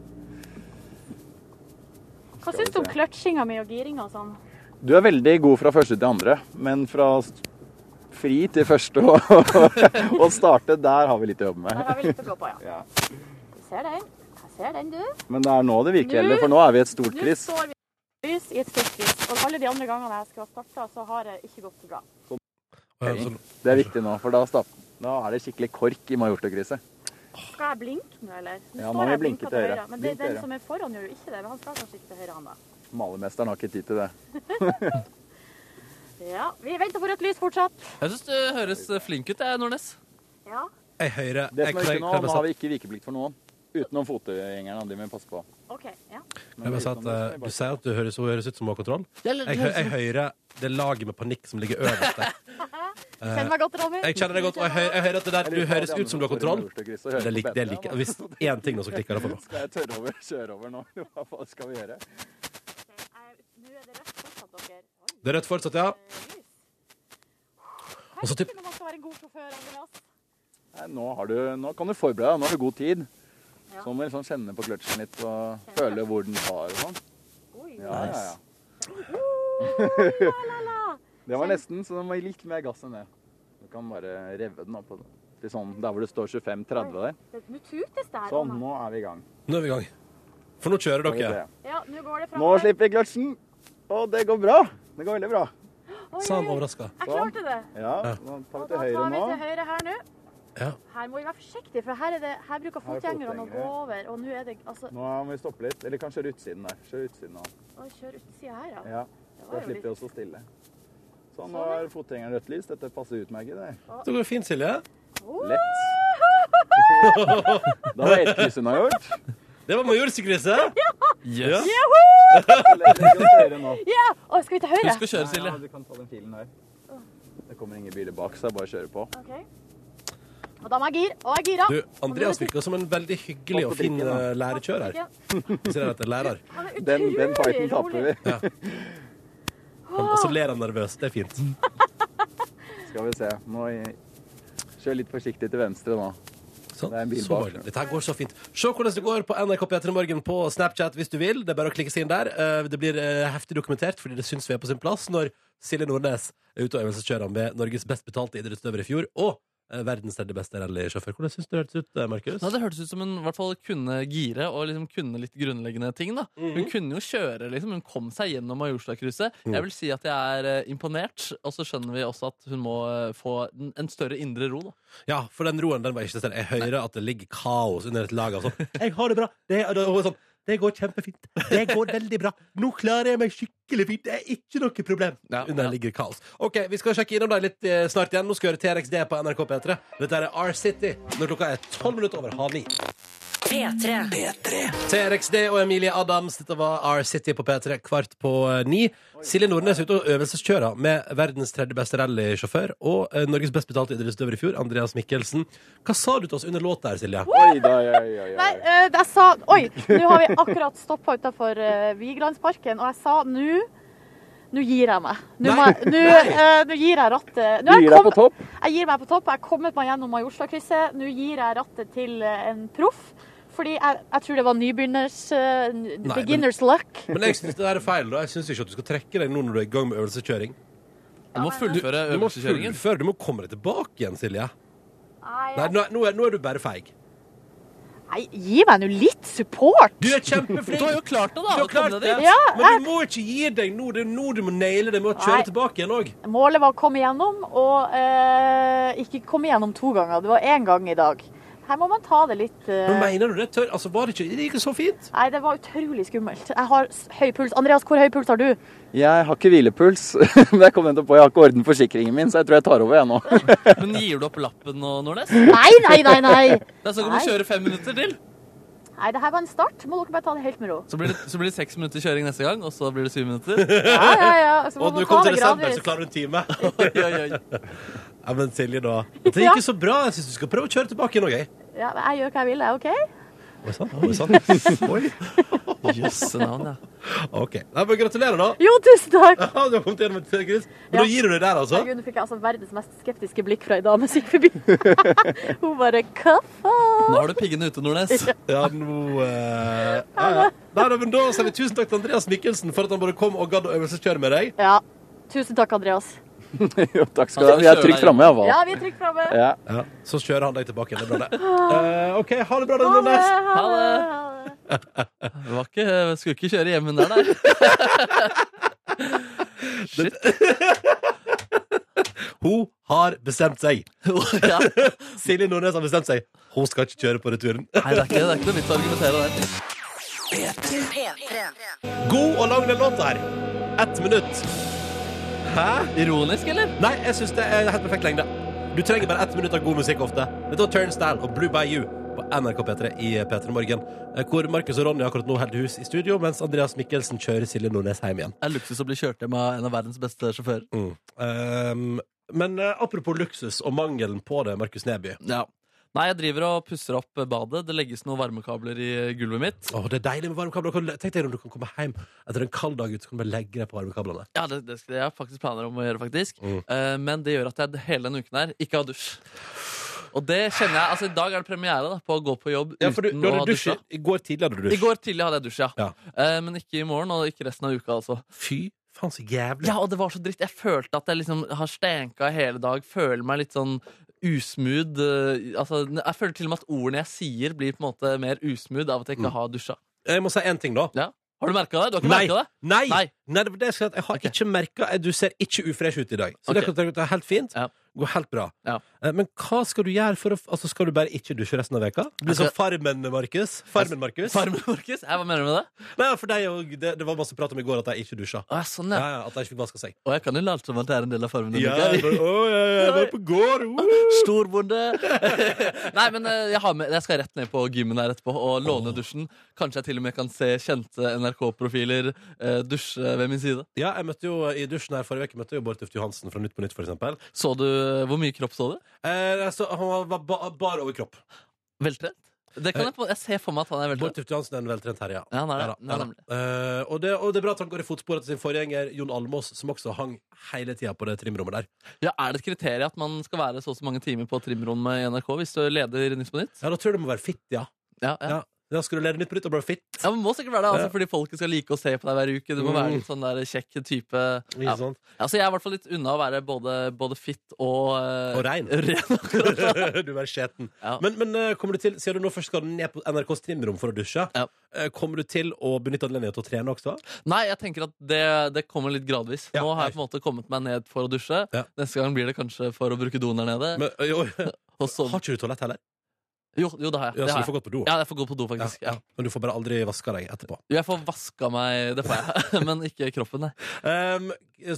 E: Hva syns du om kløtsjinga mi og giringa og sånn?
H: Du er veldig god fra første til andre, men fra s- fri til første og og starte, der har vi litt å jobbe
E: Der
H: med.
E: har vi litt å gå på, ja.
H: Ja.
E: Du ser den. Jeg ser den, du.
H: Men det er nå det virkelig gjelder, for nå er vi i et stort
E: Nå
H: kryss.
E: står vi i et lys i et stort lys. Og alle de andre gangene jeg skulle ha starta, så har det ikke gått så bra.
B: Ja, sånn. så-
H: Det er viktig nå, for da, start, da er det skikkelig kork i Majorstukrysset.
E: Skal jeg blinke nå, eller? Nå
H: Ja,
E: står
H: nå må
E: jeg
H: vi
E: og
H: blinke
E: blinker
H: til høyre.
E: Men det,
H: Blink til
E: den
H: høyre.
E: som er foran, gjør jo ikke det. Men han skal kanskje ikke til høyre, han da.
H: Malermesteren har ikke tid til det.
E: Ja, vi venter på rødt lys fortsatt.
D: Jeg syns du høres flink ut, jeg, Nordnes.
E: Ja.
B: Jeg høyre.
H: Det
B: Jeg
H: som
B: kan-
H: er viktig
B: kan
H: nå,
B: jeg
H: nå
B: bare
H: har vi
B: si-
H: ikke vikeplikt for noen. Utenom fotgjengerne, de må vi passe på.
E: OK. Ja.
B: kan jeg bare si at eh, Du sier at du høres, hun høres ut som hun har kontroll.
D: Ja, eller-
B: Jeg, hø- jeg hører det laget med panikk som ligger øverst der.
E: Kjenn meg godt, Ronny.
B: Eh, Jeg kjenner det godt, og jeg hører, jeg hører at det der du høres ut som du har kontroll. Det liker det liker- Hvis én ting nå, så klikker det for meg.
H: Skal jeg tørre over, kjøre over nå? eller Hva faen skal vi gjøre?
E: Jeg- Nå er det rødt fortsatt, dere. Oi,
B: Det er rødt fortsatt, ja.
E: lys.
B: Og så typ-
E: Kanskje man skal være en god sjåfør, Andreas.
H: Nei, nå, har du, nå kan du forberede deg, nå har du god tid.
E: Ja.
H: Så må du liksom kjenne på kløtsjen litt og føle hvor den tar og sånn.
E: Oi.
H: Ja, ja, ja.
E: La, la.
H: Det var nesten, så den var litt mer gass enn det. Du kan bare revve den opp. og- Til sånn, der hvor det står 25-30 der.
E: Det- Nå tutes det her.
H: Sånn,
E: Ronny.
H: nå er vi i gang.
B: Nå er vi i gang. For nå kjører dere.
E: Ja, nå går det fram.
H: Nå slipper vi kløtsjen, og det går bra. Det går veldig bra.
B: Sa
H: Sånn,
B: han overraska.
E: Jeg klarte det.
H: Ja, nå tar
E: Og
H: vi til
E: da
H: høyre
E: tar vi
H: nå.
E: til høyre her nå.
B: Ja.
E: Her må vi være forsiktige, for her, er det, her bruker
H: Her er
E: fotgjengerne å gå
H: fotgjengere.
E: over. Og nå er det altså
H: Nå må vi stoppe litt. Eller kan kjøre utsiden der. Kjør utsiden nå.
E: Å, kjør utsida her, ja.
H: Ja,
E: Det
H: Da
E: var jo
H: slipper vi
E: litt
H: oss å stille. Sånn, nå er fotgjengeren rødt lys. Dette passer utmerket. det.
B: Det går fint, Silje.
H: Lett. Da var ett kryss unnagjort.
B: Det var majorstukrysset.
D: Yes.
E: Ja! Å, skal vi til høyre?
D: Husk å kjøre, Silje.
H: Ja, du kan ta den filen der. Det kommer ingen biler bak, så det er bare å kjøre på.
E: OK. Og da må jeg gire. Og jeg girer.
B: Du, Andreas virker som en veldig hyggelig og fin eh, lærekjører. Vi Ser at det er lærer.
E: Han er
H: Den, den
E: utrolig
H: fighten tapte
E: rolig.
H: vi.
B: Og så ler han nervøs. Det er fint.
H: Skal vi se. Må i- kjøre litt forsiktig til venstre nå.
B: Sånn.
H: Det er en bil
B: Så
H: bak.
B: deilig. Dette her går så fint. Se hvordan det går på NRK P3 Morgen på Snapchat hvis du vil. Det er bare å klikke seg inn der. Eh, Det blir eh, heftig dokumentert fordi det syns vi er på sin plass når Silje Nordnes er ute og øvelseskjører han med Norges best betalte idrettsutøver i fjor, og eh, verdens tredje beste rallysjåfør. Hvordan syns du det hørtes ut, eh, Markus?
D: Nei, det hørtes ut som hun i hvert fall kunne gire og liksom kunne litt grunnleggende ting. da
B: Mhm.
D: Hun kunne jo kjøre, liksom. Hun kom seg gjennom Majorstadkrysset.
B: Mm.
D: Jeg vil si at jeg er eh, imponert, og så skjønner vi også at hun må eh, få en- en større indre ro. da
B: Ja, for den roen den var ikke til stede. Jeg hører at det ligger kaos under et lag av sånn Jeg har det bra. Det, og da- og sånn, det går kjempefint. Det går veldig bra. Nå klarer jeg meg skikkelig fint. Det er ikke noe problem.
D: Ja,
B: under
D: ja.
B: ligger kaos. OK, vi skal sjekke innom deg litt eh, snart igjen. Nå skal vi høre TRXD på NRK P3. E. Dette er R-City når klokka er tolv minutter over halv ni.
A: P3.
B: TRXD og Emilie Adams, dette var R-City på P3 kvart på eh, ni. Silje Nordnes er ute og øvelseskjører med verdens tredje beste rallysjåfør og eh, Norges best betalte idrettsutøver i fjor, Andreas Mikkelsen. Hva sa du til oss under låt der, Silje?
H: Oi, da, oi, oi, oi,
E: Nei,
H: oi.
E: eh, jeg sa Oi, nå har vi akkurat stoppa utafor Vigelandsparken, og jeg sa nå Nå gir jeg meg. Nå, må jeg, nå, eh, nå gir jeg rattet nå
H: Du
E: har
H: gir
E: jeg
H: deg
E: kom-
H: på topp.
E: Jeg gir meg på topp. Jeg har kommet meg gjennom Majorstadkrysset. Nå gir jeg rattet til eh, en proff. Fordi jeg, jeg tror det var nybegynners eh,
B: men-
E: Beginners luck.
B: Men jeg syns det der er feil. da Jeg syns ikke at du skal trekke deg nå når du er i gang med øvelseskjøring.
D: Du må fullføre
B: Du må
D: øvelseskjøringen.
B: fullføre, du må komme deg tilbake igjen, Silje.
C: Nei,
B: Nei, nå, er- nå, er, nå er du bare feig.
C: Nei, gi meg nå litt support!
B: Du er kjempeflink!
D: Du har jo klart det, da!
B: Du har
D: å komme
B: klart
D: deg
B: det.
D: dit.
C: Ja,
B: Men du må ikke gi deg nå. Det er nå du må naile det med å kjøre
C: Nei.
B: tilbake igjen òg.
C: Målet var å komme gjennom, og eh, ikke komme gjennom to ganger. Det var én gang i dag. Her må man ta det litt eh,
B: Mener du det? Tør? Altså, var det ikke det gikk så fint?
C: Nei, det var utrolig skummelt. Jeg har s- høy puls. Andreas, hvor høy puls har du?
F: Jeg har ikke hvilepuls, men jeg kom nettopp på jeg har ikke orden forsikringen min, så jeg tror jeg tar over jeg nå.
D: Men gir du opp lappen nå, Nordnes?
C: Nei, nei, nei! Nei,
D: Det er snakk om å
C: Nei.
D: kjøre fem minutter til.
C: nei det her var en start. Må dere bare ta det helt med ro.
D: Så blir det, så blir det seks minutter kjøring neste gang, og så blir det syv minutter.
C: Ja, ja, ja. Så må
B: Og
C: man
B: når du
C: ta
B: kom til
C: det
B: desember,
C: gradvis.
B: så klarer du en time.
D: Oi, oi, oi.
B: Ja, men Silje, da. Det gikk jo så bra. Jeg syns du skal prøve å kjøre tilbake igjen òg, jeg.
C: Ja, men jeg gjør hva jeg vil, jeg, OK?
B: Oi sann. Oi sann. Oi.
D: Jøsse navn, ja.
B: OK. Nei, men gratulerer, da.
C: Jo, tusen takk!
B: Ja, du har kommet gjennom et kryss.
C: Ja.
B: Men da gir du deg der, altså?
C: Herregud, nå fikk jeg altså verdens mest skeptiske blikk fra ei dame som gikk forbi. Hun bare Hva faen?
D: Nå har du piggene ute, Nordnes.
B: Ja, nå eh, ja, ja. Nei, nei, men Da sier vi tusen takk til Andreas Mikkelsen for at han både kom og gadd å øvelseskjøre med deg.
C: Ja. Tusen takk, Andreas.
F: Jo, takk skal du ha. Vi er trygt framme, iallfall.
C: Ja, vi er trygt framme.
F: Ja.
B: Ja, Så kjører han deg tilbake igjen. Det er bra, det.
C: Ah.
B: Eh, OK, ha det bra, da, Nordnes.
D: Ha det.
C: Ha det.
D: Det var ikke, jeg skulle ikke kjøre hjem hun der, nei.
B: Hun har bestemt seg.
D: Ja. Nei,
B: Silje Nordnes har bestemt seg. Hun skal ikke kjøre på returen.
D: det er ikke, det er ikke noe vits å argumentere der.
A: P3.
B: God og lang den låta her. Ett minutt. Hæ?
D: Ironisk, eller?
B: Nei, jeg syns det er helt perfekt lengde. Du trenger bare ett minutt av god musikk ofte. Dette var Turnstyle og Blue by You på NRK P3 i P3 Morgen, eh, hvor Markus og Ronny akkurat nå holder hus i studio, mens Andreas Mikkelsen kjører Silje Nordnes hjem igjen.
D: Det er luksus å bli kjørt hjem av en av verdens beste sjåfører.
B: Mm. Um, men eh, apropos luksus og mangelen på det, Markus Neby.
D: Ja. Nei, jeg driver og pusser opp badet. Det legges noen varmekabler i gulvet mitt.
B: Åh, det er deilig med varmekabler. Kan- Tenk deg om du kan komme hjem etter en kald dag ute, så kan du bare legge deg på varmekablene.
D: Ja, det, det skal jeg har faktisk planer om å gjøre, faktisk.
B: Mm.
D: Eh, men det gjør at jeg hele denne uken her ikke har dusj. Og det kjenner jeg, altså I dag er det premiere da, på å gå på jobb
B: Ja, for du,
D: uten
B: du
D: å ha
B: hadde dusj
D: dusja.
B: i- i går tidlig. hadde du dusj.
D: I går tidlig hadde jeg dusj, ja.
B: Ja.
D: Eh, men ikke i morgen, og ikke resten av uka, altså.
B: Fy faen, så jævlig.
D: Ja, og det var så dritt. Jeg følte at jeg liksom har stenka i hele dag. Føler meg litt sånn usmooth. eh, Altså, jeg føler til og med at ordene jeg sier, blir på en måte mer usmooth av at jeg ikke har dusja.
B: Jeg må si én ting, da.
D: Har du merka det? Du har ikke
B: Mm. Nei.
D: merket det?
B: Nei! Nei.
D: Nei.
B: det var det jeg, skal, si at jeg har
D: Ok.
B: ikke merka Du ser ikke ufresh ut i dag. Så det
D: Ok.
B: kan det er helt fint.
D: Ja.
B: Går helt bra.
D: Ja.
B: Eh, Men hva skal du gjøre for å Altså, skal du bare ikke dusje resten av veka? Bli
D: Jeg skal-
B: som Farmen, Markus.
D: Altså,
B: Farmen, Markus.
D: Farmen, Markus? Jeg, Hva mener du med det?
B: Nei, for deg, og det, det var masse prat om i går at de ikke dusja.
D: Å, ja, sånn,
B: Ja,
D: ja.
B: ja, at de ikke fikk vaska seg.
D: Og jeg kan jo late som at det er en del av farmen.
B: Ja,
D: Ulrika.
B: jeg bare, å, jeg, jeg var på gård! Uh.
D: Storbonde! Nei, men eh, jeg, har med, jeg skal rett ned på gymmen her etterpå og låne dusjen. Kanskje jeg til og med kan se kjente NRK-profiler eh, dusje ved min side.
B: Ja, jeg møtte jo i dusjen her forrige uke møtte jeg jo Bård Tufte Johansen fra Nytt på Nytt, for eksempel.
D: Så du eh, Hvor mye kropp så du?
B: Eh, så han var ba, bar over kropp.
D: Veltrent? Det kan jeg, på- jeg ser for meg at han er
B: Bård
D: veltrent.
B: Tufte Johansen er en veltrent herre, ja.
D: Ja, han er
B: Ja
D: det.
B: da, ja da.
D: nemlig.
B: Eh, og, det, og det er bra at han går i fotsporet til sin forgjenger Jon Almås, som også hang hele tida på det trimrommet der.
D: Ja, Er det et kriterium at man skal være så og så mange timer på trimrommet i NRK hvis du leder Nytt på Nytt?
B: Ja, Da tror jeg det må være fit, ja.
D: Ja, ja.
B: Ja. Da skal du lede Nytt på Nytt og bli fit.
D: Ja, men må sikkert være det, altså,
B: Ja.
D: fordi folket skal like å se på deg hver uke. Du må være litt sånn der kjekk type.
B: Ikke
D: Ja.
B: sant?
D: Altså, jeg er i hvert fall litt unna å være både, både fit og eh,
B: Og rein. du er skjeten.
D: Ja.
B: Men, men eh, kommer du til, siden du nå først skal ned på NRKs trimrom for å dusje,
D: Ja.
B: eh, kommer du til å benytte anledningen til å trene også?
D: Nei, jeg tenker at det, det kommer litt gradvis.
B: Ja,
D: Nå har jeg på en måte kommet meg ned for å dusje.
B: Ja.
D: Neste gang blir det kanskje for å bruke doen der nede.
B: Men, eh, jo, har
D: og så,
B: ikke du toalett heller?
D: jo, jo, det har jeg.
B: Ja,
D: Det
B: så
D: har
B: du
D: jeg.
B: får gått på do?
D: Ja, jeg får gå på do, faktisk.
B: Ja,
D: Ja.
B: ja. Men du får bare aldri vaska deg etterpå.
D: Jo, Jeg får vaska meg, det får jeg. Men ikke kroppen, nei.
B: Ehm,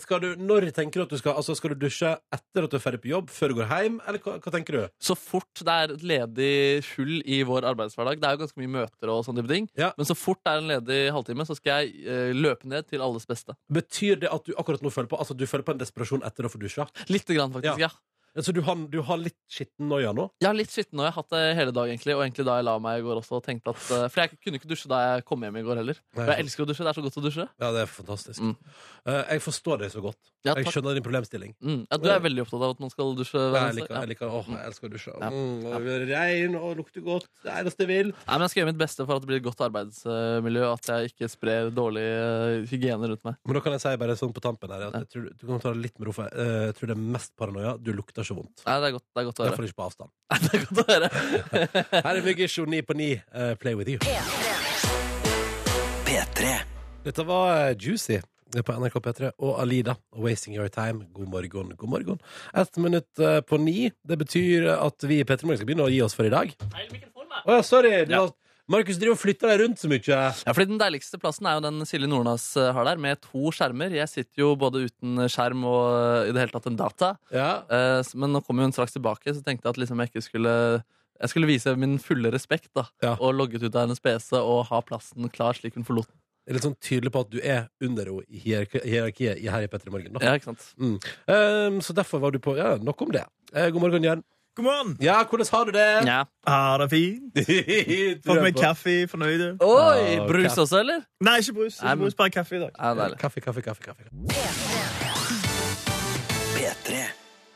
B: skal du, når tenker du at du skal Altså, skal du dusje etter at du er ferdig på jobb, før du går hjem, eller hva, hva tenker du?
D: Så fort det er et ledig hull i vår arbeidshverdag Det er jo ganske mye møter og sånne type ting.
B: Ja.
D: Men så fort det er en ledig halvtime, så skal jeg eh, løpe ned til alles beste.
B: Betyr det at du akkurat nå føler på Altså du føler på en desperasjon etter å få dusja?
D: Litt grann, faktisk,
B: Ja.
D: ja.
B: Så du har, du har litt skitten noia nå?
D: Jeg har litt skitten, og jeg har hatt det hele dag, egentlig. Og egentlig da jeg la meg i går også, og tenkte at eh, For jeg kunne ikke dusje da jeg kom hjem i går heller.
B: Nei.
D: For jeg elsker å dusje. Det er så godt å dusje.
B: Ja, det er fantastisk.
D: Mm.
B: Eh, jeg forstår deg så godt.
D: Ja,
B: jeg
D: takk.
B: skjønner din problemstilling.
D: Mm. Ja, du er veldig opptatt av at man skal dusje. hver
B: Jeg
D: eneste-
B: liker,
D: ja.
B: jeg liker Åh, jeg elsker å dusje.
D: Ja.
B: Mm, og det er Rein og lukter godt. Det er det eneste jeg vil.
D: Nei, men Jeg skal gjøre mitt beste for at det blir et godt arbeidsmiljø, og at jeg ikke sprer dårlig eh, hygiene rundt meg.
B: Men da kan jeg si bare sånn på tampen her at
D: Ja.
B: jeg tror, Du kan ta det litt med ro, for jeg, eh, jeg tror det er mest paranoia. Du lukter så vondt.
D: Nei, det er godt, det er godt å høre.
B: Derfor ikke på avstand.
D: Det er godt å høre.
B: Her er Muggish og 9 på 9, eh, Play With You.
A: P3.
B: Dette var eh, Juicy på NRK P3 og Alida og Wasting Your Time. God morgen, god morgen. Ett minutt eh, på ni. Det betyr at vi i P3 Morgen skal begynne å gi oss for i dag. Å ja, sorry! Du har- Markus driver og flytter deg rundt så mye.
D: Ja, fordi Den deiligste plassen er jo den Silje Nordnes eh, har der, med to skjermer. Jeg sitter jo både uten skjerm og eh, i det hele tatt en data.
B: Ja.
D: Eh, s- Men nå kommer hun straks tilbake, så tenkte jeg at liksom jeg ikke skulle jeg skulle vise min fulle respekt da,
B: Ja.
D: og logget ut av hennes PC og ha plassen klar slik hun forlot den.
B: Jeg er litt sånn tydelig på at du er under henne i hierarki- hierarkiet i- her i P3 Morgen. Da.
D: Ja, ikke sant?
B: Ehm, så derfor var du på Ja, nok om det. Eh, god morgen, Jørn.
K: God morgen!
B: Ja, hvordan har du det?
D: Ja.
K: Ah, det er fint.
B: Tror
K: Fått
B: jeg
K: meg
B: på.
K: kaffe, fornøyde.
D: Oi!
B: Ja,
D: Brus
B: kaffe.
D: også, eller?
K: Nei, ikke
D: Nei,
K: brus. Ikke
D: men-
K: brus bare kaffe i dag.
D: Ja, deilig.
B: Kaffe, kaffe, kaffe. kaffe.
A: P3.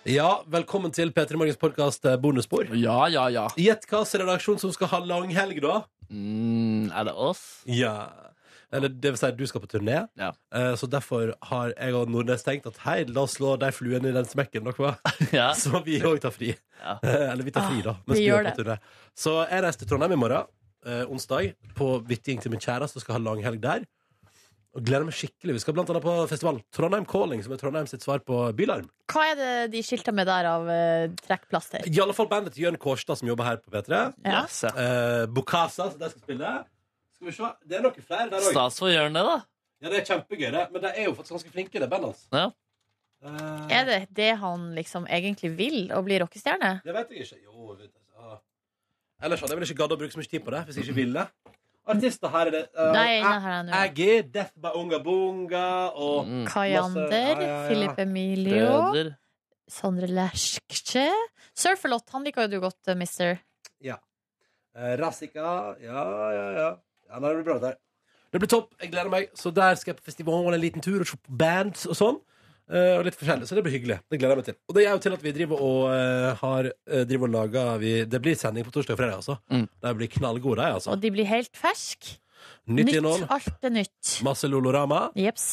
B: Ja, velkommen til P3 Morgens podkast Bonusspor.
D: Ja, ja, ja.
B: Gjett hva slags redaksjon som skal ha langhelg, da?
D: Mm, er det oss?
B: Ja Eller det vil si, du skal på turné,
D: Ja.
B: Eh, så derfor har jeg og Nordnes tenkt at hei, la oss slå de fluene i den smekken, dere. hva?
D: Ja.
B: Så vi òg tar fri.
D: Ja.
B: Eh, Eller vi tar fri, da.
E: Ah, vi
B: vi
E: gjør
B: er på turné. Så jeg reiser til Trondheim i morgen, eh, onsdag, på vitting til min kjæreste og skal ha langhelg der. Og gleder meg skikkelig. Vi skal blant annet på festival Trondheim Calling, som er Trondheim sitt svar på Bylarm.
E: Hva er det de skilter med der av eh, trekkplaster?
B: I alle fall bandet til Jørn Kårstad, som jobber her på P3.
E: Ja.
D: Yes, ja.
B: Eh, Bokasa, som de skal spille. Skal vi se. Det er noen flere der òg.
D: Stas for Jørn, det, da.
B: Ja, det er kjempegøy, det. Men de altså. er jo faktisk ganske flinke, det bandet hans.
D: Ja.
B: Eh,
E: Er det det han liksom egentlig vil, å bli rockestjerne?
B: Det vet jeg ikke. Jo, vet jeg. Ah. Ellers hadde jeg vel ikke gadd å bruke så mye tid på det hvis jeg ikke ville. Artister her er det eh,
E: Nei, nei, her er han jo.
B: Aggie, Death by Unga Bunga og
D: Mm.
E: Kayander,
B: masse- ja, ja, ja.
E: Philip Emilio,
D: Brødre.
E: Sondre Lerche Surferlot, han liker jo du godt, eh, mister.
B: eh, Razzica. Ja, ja, ja. ja nei, det blir bra, dette her. Det blir topp. Jeg gleder meg. Så der skal jeg på festival en liten tur og se på bands og sånn. Eh, og litt forskjellig, så det blir hyggelig. Det gleder jeg meg til. Og det er jo til at vi driver og eh, har eh, driver og lager vi, Det blir sending på torsdag og fredag, altså.
D: Mm.
B: De blir knallgode, de, altså.
E: Og de blir helt fersk
B: Nytt innhold.
E: Alt er nytt.
B: Masse Lolorama.
E: Jeps.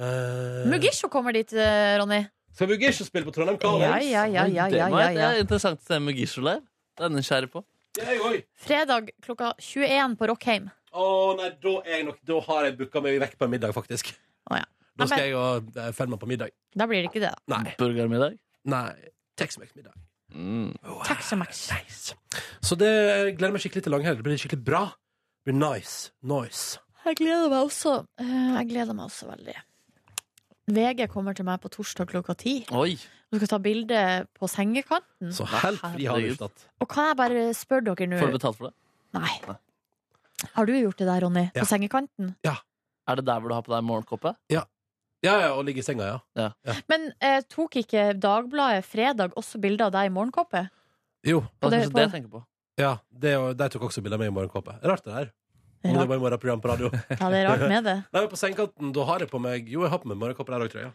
B: Eh,
E: Mugisho kommer dit, eh, Ronny.
B: Skal Mugish spille på Trondheim Calling?
E: Ja, ja, ja, ja,
D: det,
E: ja,
D: må
E: ja,
D: jeg-
E: ja.
D: det er interessant å se med Gisho der. Det er jeg nysgjerrig på.
B: Jeg òg.
E: Fredag klokka 21 på Rockheim.
B: Å nei, da, er jeg nok, da har jeg booka meg vekk på en middag, faktisk.
E: Å, ja.
B: Da skal
E: Ja,
B: jeg og eh, Feldman på middag.
E: Da blir det ikke det, da.
B: Nei.
D: Burgermiddag.
B: nei Texmax-middag.
D: Mm.
E: Taxamax.
B: Så det jeg gleder meg skikkelig til langhelg. Det blir skikkelig bra. Det blir nice. Nice.
E: Jeg gleder meg også. Eh, Jeg gleder meg også veldig. VG kommer til meg på torsdag klokka ti.
D: Oi!
E: Du skal ta bilde på sengekanten.
B: Så helt fri har vi
D: herregud.
B: ikke tatt.
E: Og kan jeg bare spørre dere nå
D: Får du betalt for det?
E: Nei. Har du gjort det der, Ronny?
B: Ja.
E: På sengekanten?
D: Er det der hvor du har på deg morgenkåpe?
B: Ja, ja, og ligge i senga, ja.
E: Men eh, tok ikke Dagbladet fredag også bilde av deg i morgenkåpe?
B: Jo.
D: Det er
E: det-
D: kanskje det jeg tenker på.
B: Ja, det, og de tok også bilde av meg i morgenkåpe. Rart det der. Om det
E: Rart.
B: var i morgenprogram på radio.
E: Ja, det er rart med det.
B: Nei, men på sengekanten, da har jeg på meg Jo, jeg har på meg morgenkåpe der òg, tror jeg.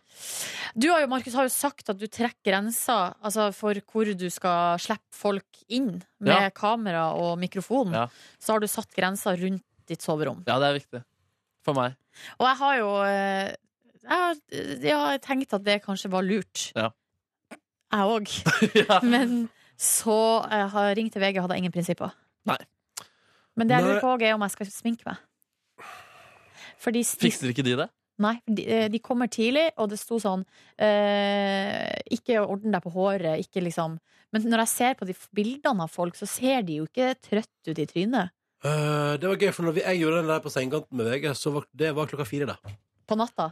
E: Du har jo, Markus, har jo sagt at du trekker grensa altså for hvor du skal slippe folk inn med
D: Ja.
E: kamera og mikrofon.
D: Ja.
E: Så har du satt grensa rundt ditt soverom.
D: Ja, det er viktig. For meg.
E: Og jeg har jo eh, jeg har, jeg har tenkt at det kanskje var lurt.
D: Ja.
E: Jeg òg.
D: Ja.
E: Men så jeg har ringt til VG, hadde jeg ingen prinsipper.
D: Nei.
E: Men det jeg
B: Nei.
E: lurer på òg, er om jeg skal sminke meg. For de, de,
D: Fikser ikke de det?
E: nei, de, eh, de kommer tidlig, og det sto sånn eh, Ikke ordne deg på håret, ikke liksom Men når jeg ser på de f- bildene av folk, så ser de jo ikke trøtt ut i trynet.
B: Eh, det var gøy, for når vi, jeg gjorde den der på sengekanten med VG, så var det var klokka fire, da.
E: På natta.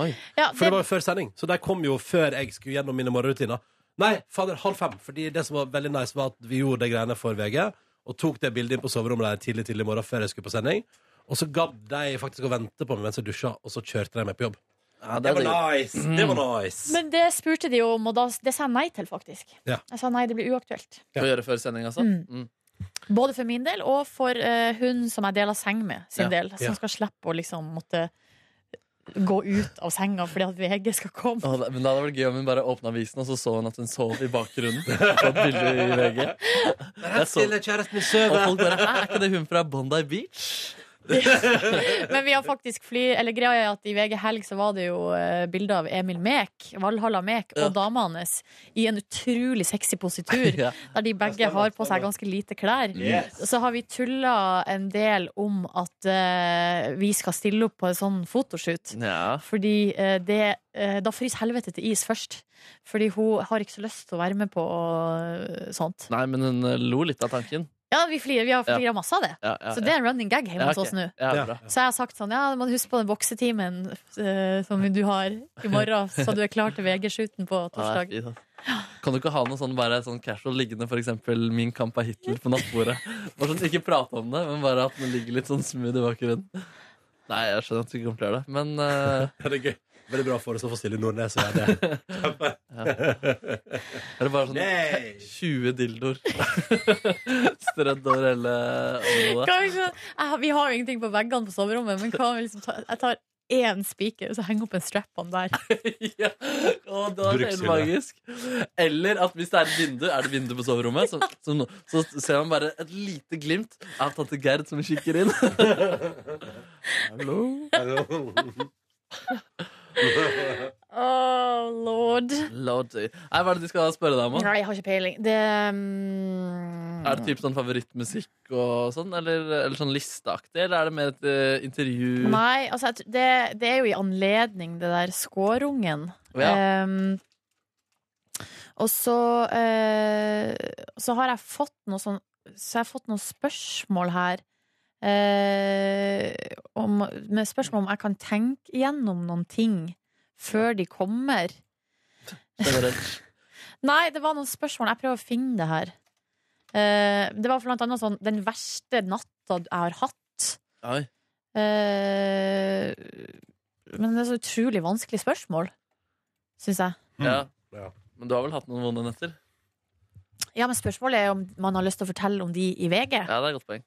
D: Oi.
E: Ja,
B: For det var jo før sending, så de kom jo før jeg skulle gjennom mine morgenrutiner. Nei, fader, halv fem. Fordi det som var veldig nice, var at vi gjorde de greiene for VG, og tok det bildet inn på soverommet der tidlig tidlig i morgen før jeg skulle på sending. Og så gadd de faktisk å vente på meg mens jeg dusja, og så kjørte de meg på jobb.
D: Ja,
B: Det
D: det er
B: var
D: digg.
B: nice!
K: Mm.
B: Det var nice.
E: Men det spurte de jo om, og da, det sa jeg nei til, faktisk.
B: Ja.
E: Jeg sa nei, det blir uaktuelt.
D: Å gjøre før sending, altså.
E: Mm.
D: Mm.
E: Både for min del og for eh, hun som jeg deler seng med, sin
D: Ja.
E: del. Som
B: Ja.
E: skal slippe å liksom måtte gå ut av senga fordi at VG skal komme.
D: Å, det- men da hadde det vært gøy om hun bare åpna avisen, og så så hun at hun sov i bakgrunnen. På et bilde i VG. Jeg så, og folk bare Hæ, er ikke det hun fra Bondi Beach?
E: Men vi har faktisk fly Eller greia er at i VG Helg så var det jo eh, bilde av Emil Mek, Valhalla Mek,
D: Ja.
E: og dama hans i en utrolig sexy positur.
D: Ja.
E: Der de begge har på seg ganske lite klær. Så har vi tulla en del om at eh, vi skal stille opp på en sånn fotoshoot.
D: Ja.
E: Fordi eh, det eh, Da fryser helvete til is først. Fordi hun har ikke så lyst til å være med på eh, sånt.
D: Nei, men hun eh, lo litt av tanken.
E: Ja, vi, flirer, vi har
D: Ja.
E: flira masse av det.
D: Ja, ja,
E: Så det er en running gag hjemme
D: ja.
E: hos
D: Ja,
E: oss nå.
D: ok. Ja,
B: Ja.
D: bra.
E: Så jeg har sagt sånn, ja, du må huske på den boksetimen eh, som du har i morgen, så du er klar til VG-shooten på
D: Ja,
E: torsdag.
D: det er fint, ass. Kan du ikke ha noe sånn, bare sånn casual liggende, for eksempel Min kamp er Hitler på nattbordet? Bare sånn, Ikke prate om det, men bare at den ligger litt sånn smooth i bakgrunnen. Nei, jeg skjønner at du ikke kommer til å gjøre det, men eh,
B: Ja, Det er gøy. Veldig bra for oss å få Silje Nordnes å gjøre det.
D: er det bare sånn
B: Nei.
D: 20 dildoer strødd over hele området.
E: Kan vi ikke- Jeg har- Vi har jo ingenting på veggene på soverommet, men hva om vi liksom tar, jeg tar én spiker og så henger jeg opp en strap-on der.
D: ja. Å, det var helt
B: Brukshylle.
D: magisk. Eller at hvis det er et vindu, er det vindu på soverommet, så, så, nå- så ser man bare et lite glimt av tante Gerd som kikker inn. Hallo?
E: Oh lord.
D: Lordy. Nei, hva er det de skal spørre deg om? da?
E: Nei, jeg har ikke peiling. Det mm,
D: Er det typ sånn favorittmusikk og sånn, eller, eller sånn listeaktig, eller er det mer et eh, intervju?
E: Nei, altså jeg tr- det, det er jo i anledning det der skårungen.
D: Ja.
E: Ehm, og så eh, Så har jeg fått noe sånn Så jeg har fått noen spørsmål her. eh, om, med spørsmål om jeg kan tenke igjennom noen ting før de kommer.
D: Generelt.
E: Nei, det var noen spørsmål. Jeg prøver å finne det her. Eh, det var blant annet sånn Den verste natta jeg har hatt.
D: Oi.
E: Eh, men det er så utrolig vanskelig spørsmål, syns jeg.
D: Mm. Ja.
B: Ja.
D: Men du har vel hatt noen vonde netter?
E: Ja, men spørsmålet er om man har lyst til å fortelle om de i VG.
D: Ja, det er et godt poeng.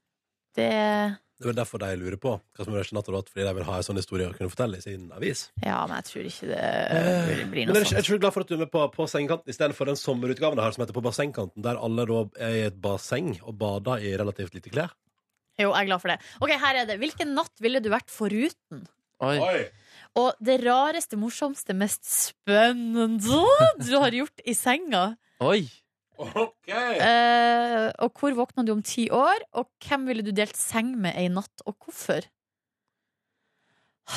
E: Det,
B: Det er vel derfor de lurer på hva som er verste natta du har hatt, fordi de vil ha en sånn historie å kunne fortelle i sin avis.
E: ja, men jeg tror ikke det eh, blir
B: Men
E: noe
B: jeg er ikke- jeg
E: sånt.
B: er ikke glad for at du er med på På sengekanten istedenfor den sommerutgaven jeg har som heter På bassengkanten, der alle da er i et basseng og bader i relativt lite klær.
E: Jo, jeg er glad for det. Ok, her er det. Hvilken natt ville du vært foruten?
D: Oi.
E: Og det rareste, morsomste, mest spennende du har gjort i senga?
D: Oi.
E: Eh, og hvor våkna du om ti år? Og hvem ville du delt seng med ei natt, og hvorfor?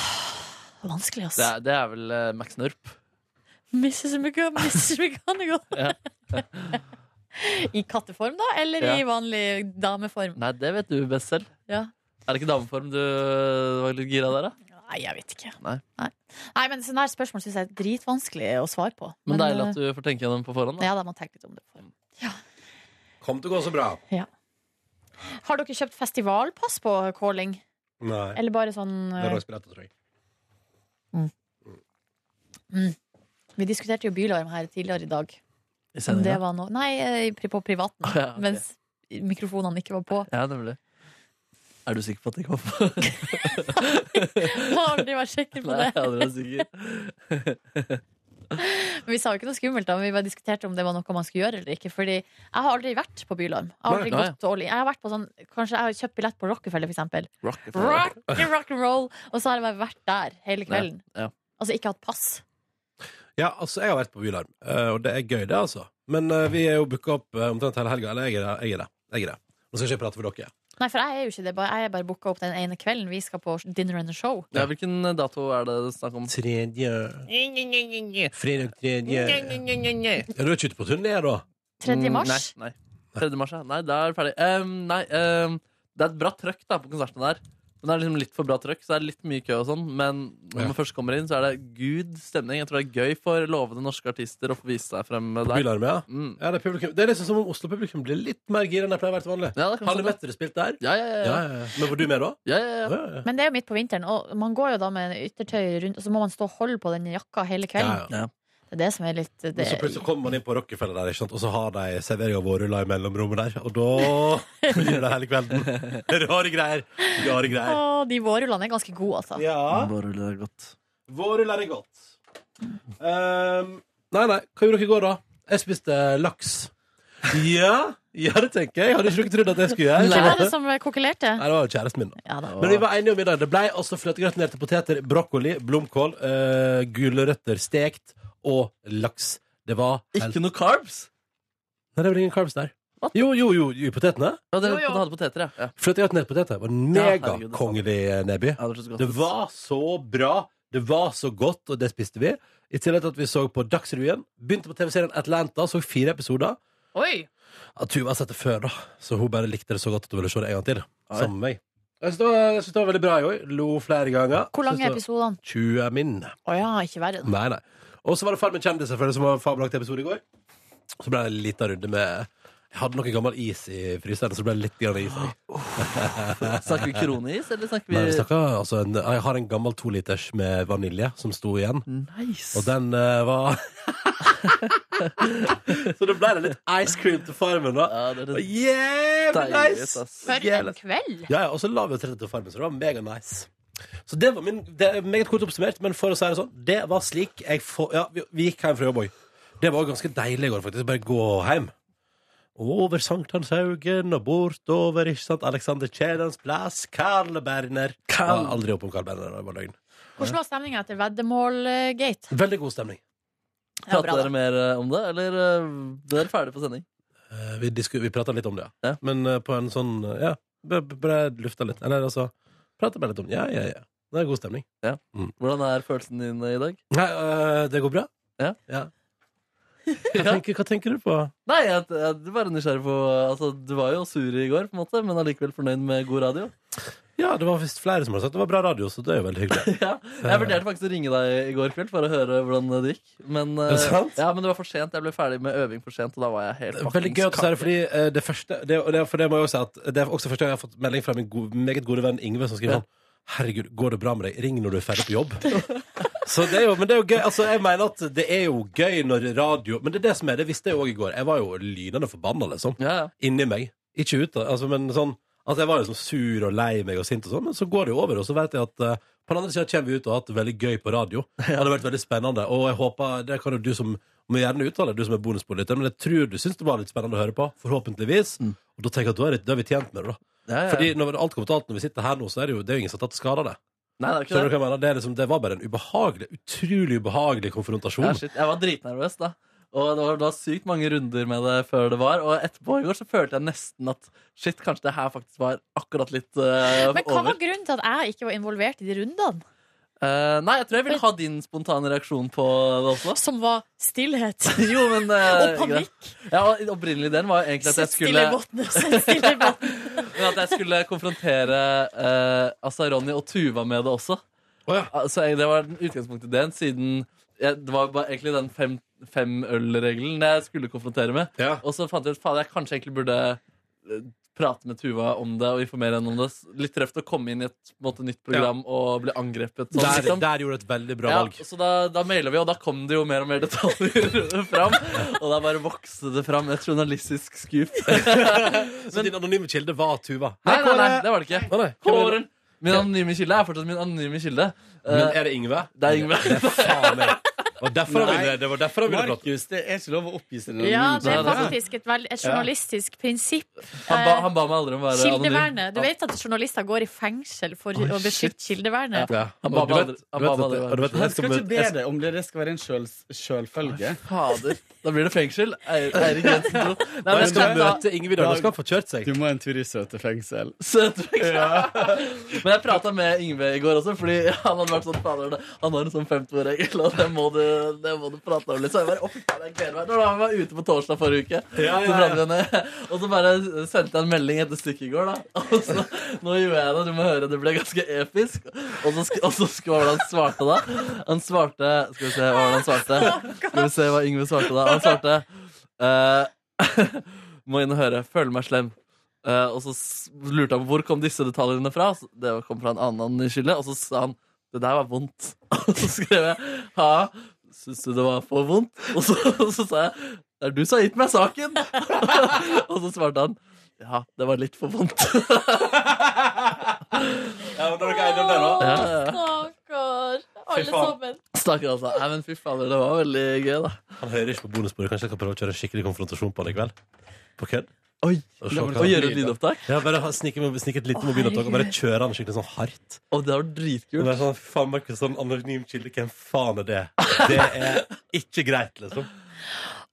E: Vanskelig, ass.
D: Det er, det er vel eh, Max Nurp.
E: Mrs. Mega- Mrs. Mechanical.
D: Ja.
E: I katteform, da? Eller i vanlig dameform?
D: Nei, det vet du best selv.
E: Ja.
D: Er det ikke dameform du eh, var litt gira der, da?
E: Nei, jeg vet ikke.
D: Nei.
E: Nei. Nei, men Sånne her spørsmål syns jeg er dritvanskelig å svare på.
D: Men deilig at du Mm. får tenke gjennom på forhånd. da
E: eh, ja, da må man tenke litt om det. på forhånd.
B: Kom til å gå så bra.
E: Har dere kjøpt festivalpass på calling?
B: Nei.
E: Eller bare sånn eh,
B: Lørdagsbilletter, tror jeg.
E: Vi diskuterte jo bylarm her tidligere i dag.
D: I
E: Om det
D: sendinga.
E: var noe Nei, eh, pri- på privaten.
D: Å, ja, Ah, ok.
E: Mens mikrofonene ikke var på.
D: Ja, nemlig. Er du sikker på at det kom?
E: Har aldri vært sikker på
D: Nei,
E: det.
D: jeg er aldri sikker.
E: Men vi sa jo ikke noe skummelt, da, men vi bare diskuterte om det var noe man skulle gjøre eller ikke. Fordi jeg har aldri vært på bylarm. Jeg har aldri
D: Nei, nei.
E: gått all in. Jeg har vært på sånn, kanskje jeg har kjøpt billett på Rockefeller, for eksempel.
D: Rockefeller.
E: Rock, rock and roll! Og så har jeg bare vært der hele kvelden.
D: ja.
E: Altså ikke hatt pass.
B: Ja, altså, jeg har vært på Bylarm, eh, og det er gøy, det, altså. Men eh, vi er jo booka opp eh, omtrent hele helga. Eller jeg er det. Jeg er det. Jeg er det. Nå skal ikke jeg prate for dere.
E: Nei, for jeg er jo ikke det. bare- Jeg er bare booka opp den ene kvelden vi skal på dinner and a show.
D: Ja, hvilken eh, dato er det snakk om?
B: Tredje Fredag tredje Ja, du er ikke ute på turné, da?
E: 3. mars.
D: Mm, Nei, nei. 3. mars, ja. Nei, da er det ferdig. Ehm, nei, ehm, det er et bra trøkk da på konsertene der. Men det er liksom litt for bra trøkk, så det er litt mye kø og sånn. Men når
B: Ja.
D: man først kommer inn, så er det gud stemning. Jeg tror det er gøy for lovende norske artister å få vise seg frem der.
B: Bylarm, ja.
D: Mm.
B: ja det, er publikum, det er liksom som om Oslo-publikum blir litt mer gira enn de pleier å være til vanlig.
D: Ja, det kan
B: Har
D: man
B: du
D: si.
B: møtt dere spilt der?
D: Ja, ja, ja. ja.
B: Men var du med da?
D: ja, ja, ja.
B: Ja, ja,
E: Men det er jo midt på vinteren, og man går jo da med yttertøy rundt, og så må man stå og holde på den jakka hele
B: ja.
E: kvelden.
B: ja.
E: Det er det som er litt det,
B: Men så plutselig kommer man inn på Rockefeller der, ikke sant? og så har de servering av vårruller i mellomrommet der. Og da blir det hele kvelden. Rare greier. Rare greier.
E: Å, de vårrullene er ganske gode, altså.
B: Ja,
D: Bare er godt.
B: vårruller er godt. Ehm, nei, nei, hva gjorde dere i går, da? Jeg spiste laks. Ja, ja det tenker jeg. Hadde ikke dere trodd at jeg skulle gjøre
E: Hvem er det
B: Nei,
E: som kokkelerte?
B: det var jo kjæresten min, da.
E: Ja da.
B: Men vi var enige om middag. Det blei altså fløtegratinerte poteter, brokkoli, blomkål, uh, gulrøtter stekt og laks. Det var helt...
D: Ikke noe carbs?
B: Nei, det var ingen carbs der. Jo, jo, jo, jo, i potetene.
D: Ja, det
E: Jo, jo.
D: du hadde poteter, ja. ja.
B: Fløtegratinerte poteter var
D: herregud, det er
B: megakongelig, ja, Neby.
D: ja det, var så godt.
B: Det var så bra, det var så godt, og det spiste vi. I tillegg til at vi så på Dagsrevyen. Begynte på TV-serien Atlanta, så fire episoder.
E: Oi!
B: Ja, Tuva har sett det før, da, så hun bare likte det så godt at hun ville se det en gang til.
D: Oi.
B: Sammen med meg. Jeg syns det, var- jeg synes det var veldig bra i år. Lo flere ganger.
E: Hvor
B: Synes
E: lange er
B: det
E: episodene?
B: var 20 min.
E: Å ja, ikke verre. enn-
B: Nei, nei. Og så var det Farmen kjendis, selvfølgelig, som var en fabelaktig episode i går. Så ble det en liten runde med Jeg hadde noe gammel is i fryseren, så det ble litt grann is. i.
D: Snakker vi kronis, eller snakker vi
B: Men vi snakket, altså, en, jeg har en gammel toliters med vanilje som sto igjen.
D: Nice.
B: Og den eh, var Så det ble det litt ice cream til farmen, da.
D: Ja, det er
B: Og
D: det
B: Jævlig
D: deilig,
B: nice!
D: ass.
E: For en kveld!
B: Ja, ja, og så la vi jo 30 til farmen, så det var mega nice. Så det var min det er Meget kort oppsummert, men for å si det sånn, det var slik jeg få, Ja, vi, vi gikk hjem fra jobb òg. Det var ganske deilig i går, faktisk. Bare gå hjem. Over Sankthanshaugen og bortover, ikke sant? Alexander Kiellands plass, Karl Berner. Jeg var aldri oppe om Karl Berner, det var løgn.
E: Hvordan var stemninga etter veddemål-gate?
B: Veldig god stemning.
E: Ja, bra,
D: Prater dere
E: da.
D: mer eh, om det, eller eh, dere er ferdige på sending?
B: Eh, Vi, disku- vi prata litt om det, ja.
D: Ja.
B: Men eh, på en sånn eh, Ja, b- b- bare lufta litt. Eller altså Prata bare litt om det. Ja, ja, ja. Det er god stemning.
D: Hvordan er følelsen din eh, i dag?
B: Nei, eh, det går bra?
D: Ja.
B: Hva, tenker, hva tenker du på?
D: Nei, jeg, jeg er bare nysgjerrig på altså, Du var jo sur i går, på en måte, men allikevel fornøyd med god radio.
B: Ja, det var visst flere som hadde sagt det var bra radio, så det er jo veldig hyggelig.
D: Ja, jeg vurderte faktisk å ringe deg i går kveld for å høre hvordan det gikk. Men, eh,
B: det sant?
D: ja, men det var for sent. Jeg ble ferdig med øving for sent, og da var jeg helt
B: Veldig
D: fuckings
B: gøy at du
D: kake.
B: sier det, fordi eh, det første det, og det, For det må jeg også si at Det er også første gang jeg har fått melding fra min go meget gode venn Ingve, som skriver
D: Ja.
B: sånn Herregud, går det bra med deg? Ring når du er ferdig på jobb. Så det er jo, men det er jo gøy. Altså, jeg mener at det er jo gøy når radio Men det er det som er, det visste jeg jo òg i går. Jeg var jo lynende forbanna, liksom.
D: Ja, ja.
B: Inni meg. Ikke ute, altså, men sånn Altså, jeg var liksom sur og lei meg og sint og sånn, men så går det jo over, og så vet jeg at eh, på den andre sida kommer vi ut og har hatt det veldig gøy på radio. Det hadde vært veldig spennende, og jeg håper Det kan jo du som må gjerne uttale du som er bonuspolitiker, men jeg tror du syns det var litt spennende å høre på. Forhåpentligvis.
D: Mm.
B: Og da tenker jeg at da er, det, da er vi tjent med det, da.
D: ja, ja.
B: Fordi når alt kommer til alt, når vi sitter her nå, så er det jo, det er jo ingen som har tatt skade av det.
D: Nei, det er ikke
B: Skjønner du
D: det.
B: hva jeg mener? Det, er liksom, det var bare en ubehagelig, utrolig ubehagelig konfrontasjon.
D: Ja, shit. Jeg var dritnervøs da. Og det var, det var sykt mange runder med det før det var. Og etterpå i går så følte jeg nesten at shit, kanskje det her faktisk var akkurat litt eh,
E: Men hva
D: over.
E: var grunnen til at jeg ikke var involvert i de rundene?
D: Eh, nei, jeg tror jeg vil ha din spontane reaksjon på det også.
E: Som var stillhet
D: Jo, men eh,
E: og panikk.
D: greit. Ja, og Opprinnelig ideen var egentlig at jeg
E: Sitt
D: skulle
E: stille i båten, sitt stille i båten.
D: Men at jeg skulle konfrontere eh, altså Ronny og Tuva med det også.
B: Å ja.
D: Altså, jeg- det var den utgangspunktideen, siden jeg, det var bare egentlig den fem, femølregelen jeg skulle konfrontere med.
B: Ja.
D: Og så fant jeg ut faen, jeg kanskje egentlig burde eh, prate med Tuva om det og informere henne om det. Litt tøft å komme inn i et på en måte, nytt program og bli angrepet. Sånn,
B: Der,
D: liksom.
B: der gjorde du et veldig bra
D: Ja,
B: valg.
D: så da, da mailet vi, og da kom det jo mer og mer detaljer fram. Og da bare vokste det fram et journalistisk scoop.
B: Så din anonyme kilde var Tuva.
D: Nei, nei, nei,
B: Kåre!
D: det var det ikke.
B: Å, nei.
D: Kåren. Min anonyme kilde er fortsatt min anonyme kilde.
B: Men
D: Eh,
B: er det Ingve?
D: det er Yngve.
B: Det er faen meg. Og derfor han
K: Nei.
B: ville, det var derfor han ville prate.
K: Markus, det er ikke lov å oppgi sin
E: Ja, det er
D: Nei, det-
E: faktisk et, veld, et journalistisk prinsipp.
D: Han ba, han ba meg aldri om å være anonym.
E: Kildevernet. Du vet at journalister går i fengsel for å beskytte kildevernet?
B: Ja.
D: Han ba
B: Og du
D: meg
B: vet-
D: aldri- han
B: du vet
D: ba meg
B: at det-
D: aldri
B: og du vet at
K: Han
B: jeg skal
K: skal ikke
B: møte-
K: be
B: jeg skal-
K: deg om det, det skal være en sjøls- sjølfølge.
D: Fader. Da blir det fengsel. Ei- Eirik Jensen tror. Nei, men
B: jeg
D: jeg skal
B: skal
D: ta
B: møte Ingvild, og da skal han få kjørt seg.
K: Du må en tur i søte fengsel.
D: søtfengsel. Men jeg prata med Yngve i går også, fordi han hadde vært sånn fader. det- Han har en sånn femtoårsregel, og det må du du, det må du prate om litt. Så jeg bare, «Å, fy faen, jeg gleder meg. Når han var ute på torsdag forrige uke,
B: Ja,
D: så
B: ja,
D: pratet vi ned. Og så bare sendte jeg en melding etter stykket i går, da. Og så, nå gjorde jeg det, du må høre, det ble ganske episk. Og så, sk- og så sk- hva var det han svarte da? Han svarte, skal vi se, hva var det han svarte? Skal vi se hva Yngve svarte da? Han svarte, eh, må inn og høre, føler meg slem. Eh, og så s- lurte han på hvor kom disse detaljene fra. Så Det kom fra en annen kilde. Og så sa han det der var vondt. Og så skrev jeg ha, syns du det var for vondt? Og så, og så sa jeg det er du som har gitt meg saken. og så svarte han ja, det var litt for vondt.
B: Ja, men da er dere enige om det, da?
D: Ja, ja, ja.
E: Stakkar. Alle
B: faen.
E: sammen.
D: Stakkar, altså. Nei, men fy fader, det var veldig gøy, da.
B: Han hører ikke på bonusbordet. Kanskje jeg kan prøve å kjøre en skikkelig konfrontasjon på han i kveld? På kødd?
D: Oi,
B: Og se
D: Å
B: hva-
D: gjøre et lydopptak?
B: Ja, bare ha- snike med- snike et lite mobilopptak og bare kjøre han skikkelig sånn hardt.
D: Å, det var
B: Og
D: dritkult.
B: bare sånn, faen, Markus, sånn anonym kilde, hvem faen er det? Det er ikke greit, liksom.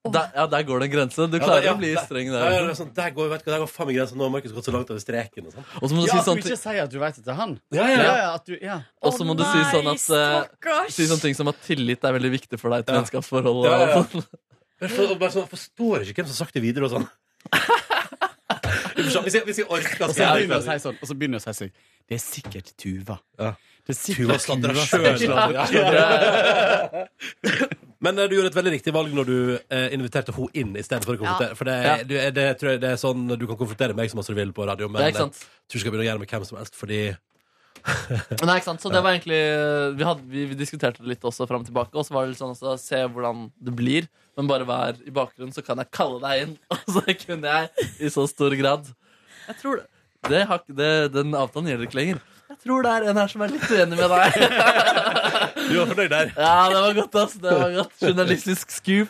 D: Der, ja, der går det en grense. Du
B: Ja,
D: klarer
B: ja,
D: å bli
B: der-
D: streng
B: Ja, ja, det
D: der.
B: er sånn, der går, vet du, hva, der går faen meg grensa. Nå har Markus gått så langt over streken. Og sånn.
D: Og så må du
K: Ja,
D: si
K: at du
D: sånn
K: ikke sier at du vet at det er han.
B: Ja,
K: Ja,
B: ja, ja.
K: ja, at du, ja.
D: Og så må du si sånn at, eh, Si sånne ting som at tillit er veldig viktig for deg i et
B: Ja.
D: vennskapsforhold.
B: Ja, ja, ja.
D: og sånn.
B: Jeg forstår, bare sånn, forstår ikke hvem som har sagt det videre, og sånn. Hvis jeg- Hvis jeg orker,
K: Og så
B: skal jeg
K: begynner jeg å si sånn, og så begynner jeg å si sånn Det er sikkert Tuva.
B: Ja.
K: Det er
B: Tuva
K: sikkert
B: sladrer
K: Tuva.
B: selv, sladrer.
K: Ja.
B: Men eh, du gjorde et veldig riktig valg når du eh, inviterte henne inn istedenfor å konfrontere. For det,
D: Ja.
B: du, det, tror jeg, det er sånn du kan konfrontere meg så masse du vil på radio, men
D: Det er
B: jeg
D: ikke
B: tror
D: sant.
B: ikke jeg skal begynne å gjøre det med hvem som helst, fordi
D: Nei, ikke sant? Så det var egentlig Vi, hadde, vi, vi diskuterte det litt også fram og tilbake, og så var det litt sånn også Se hvordan det blir, men bare vær i bakgrunnen, så kan jeg kalle deg inn. Og så kunne jeg i så stor grad Jeg tror det. Det har, ikke- det, den avtalen gjelder ikke lenger. Jeg tror det er en her som er litt uenig med deg.
B: Du var fornøyd der?
D: Ja, det var godt, ass. Det var godt. Journalistisk scoop.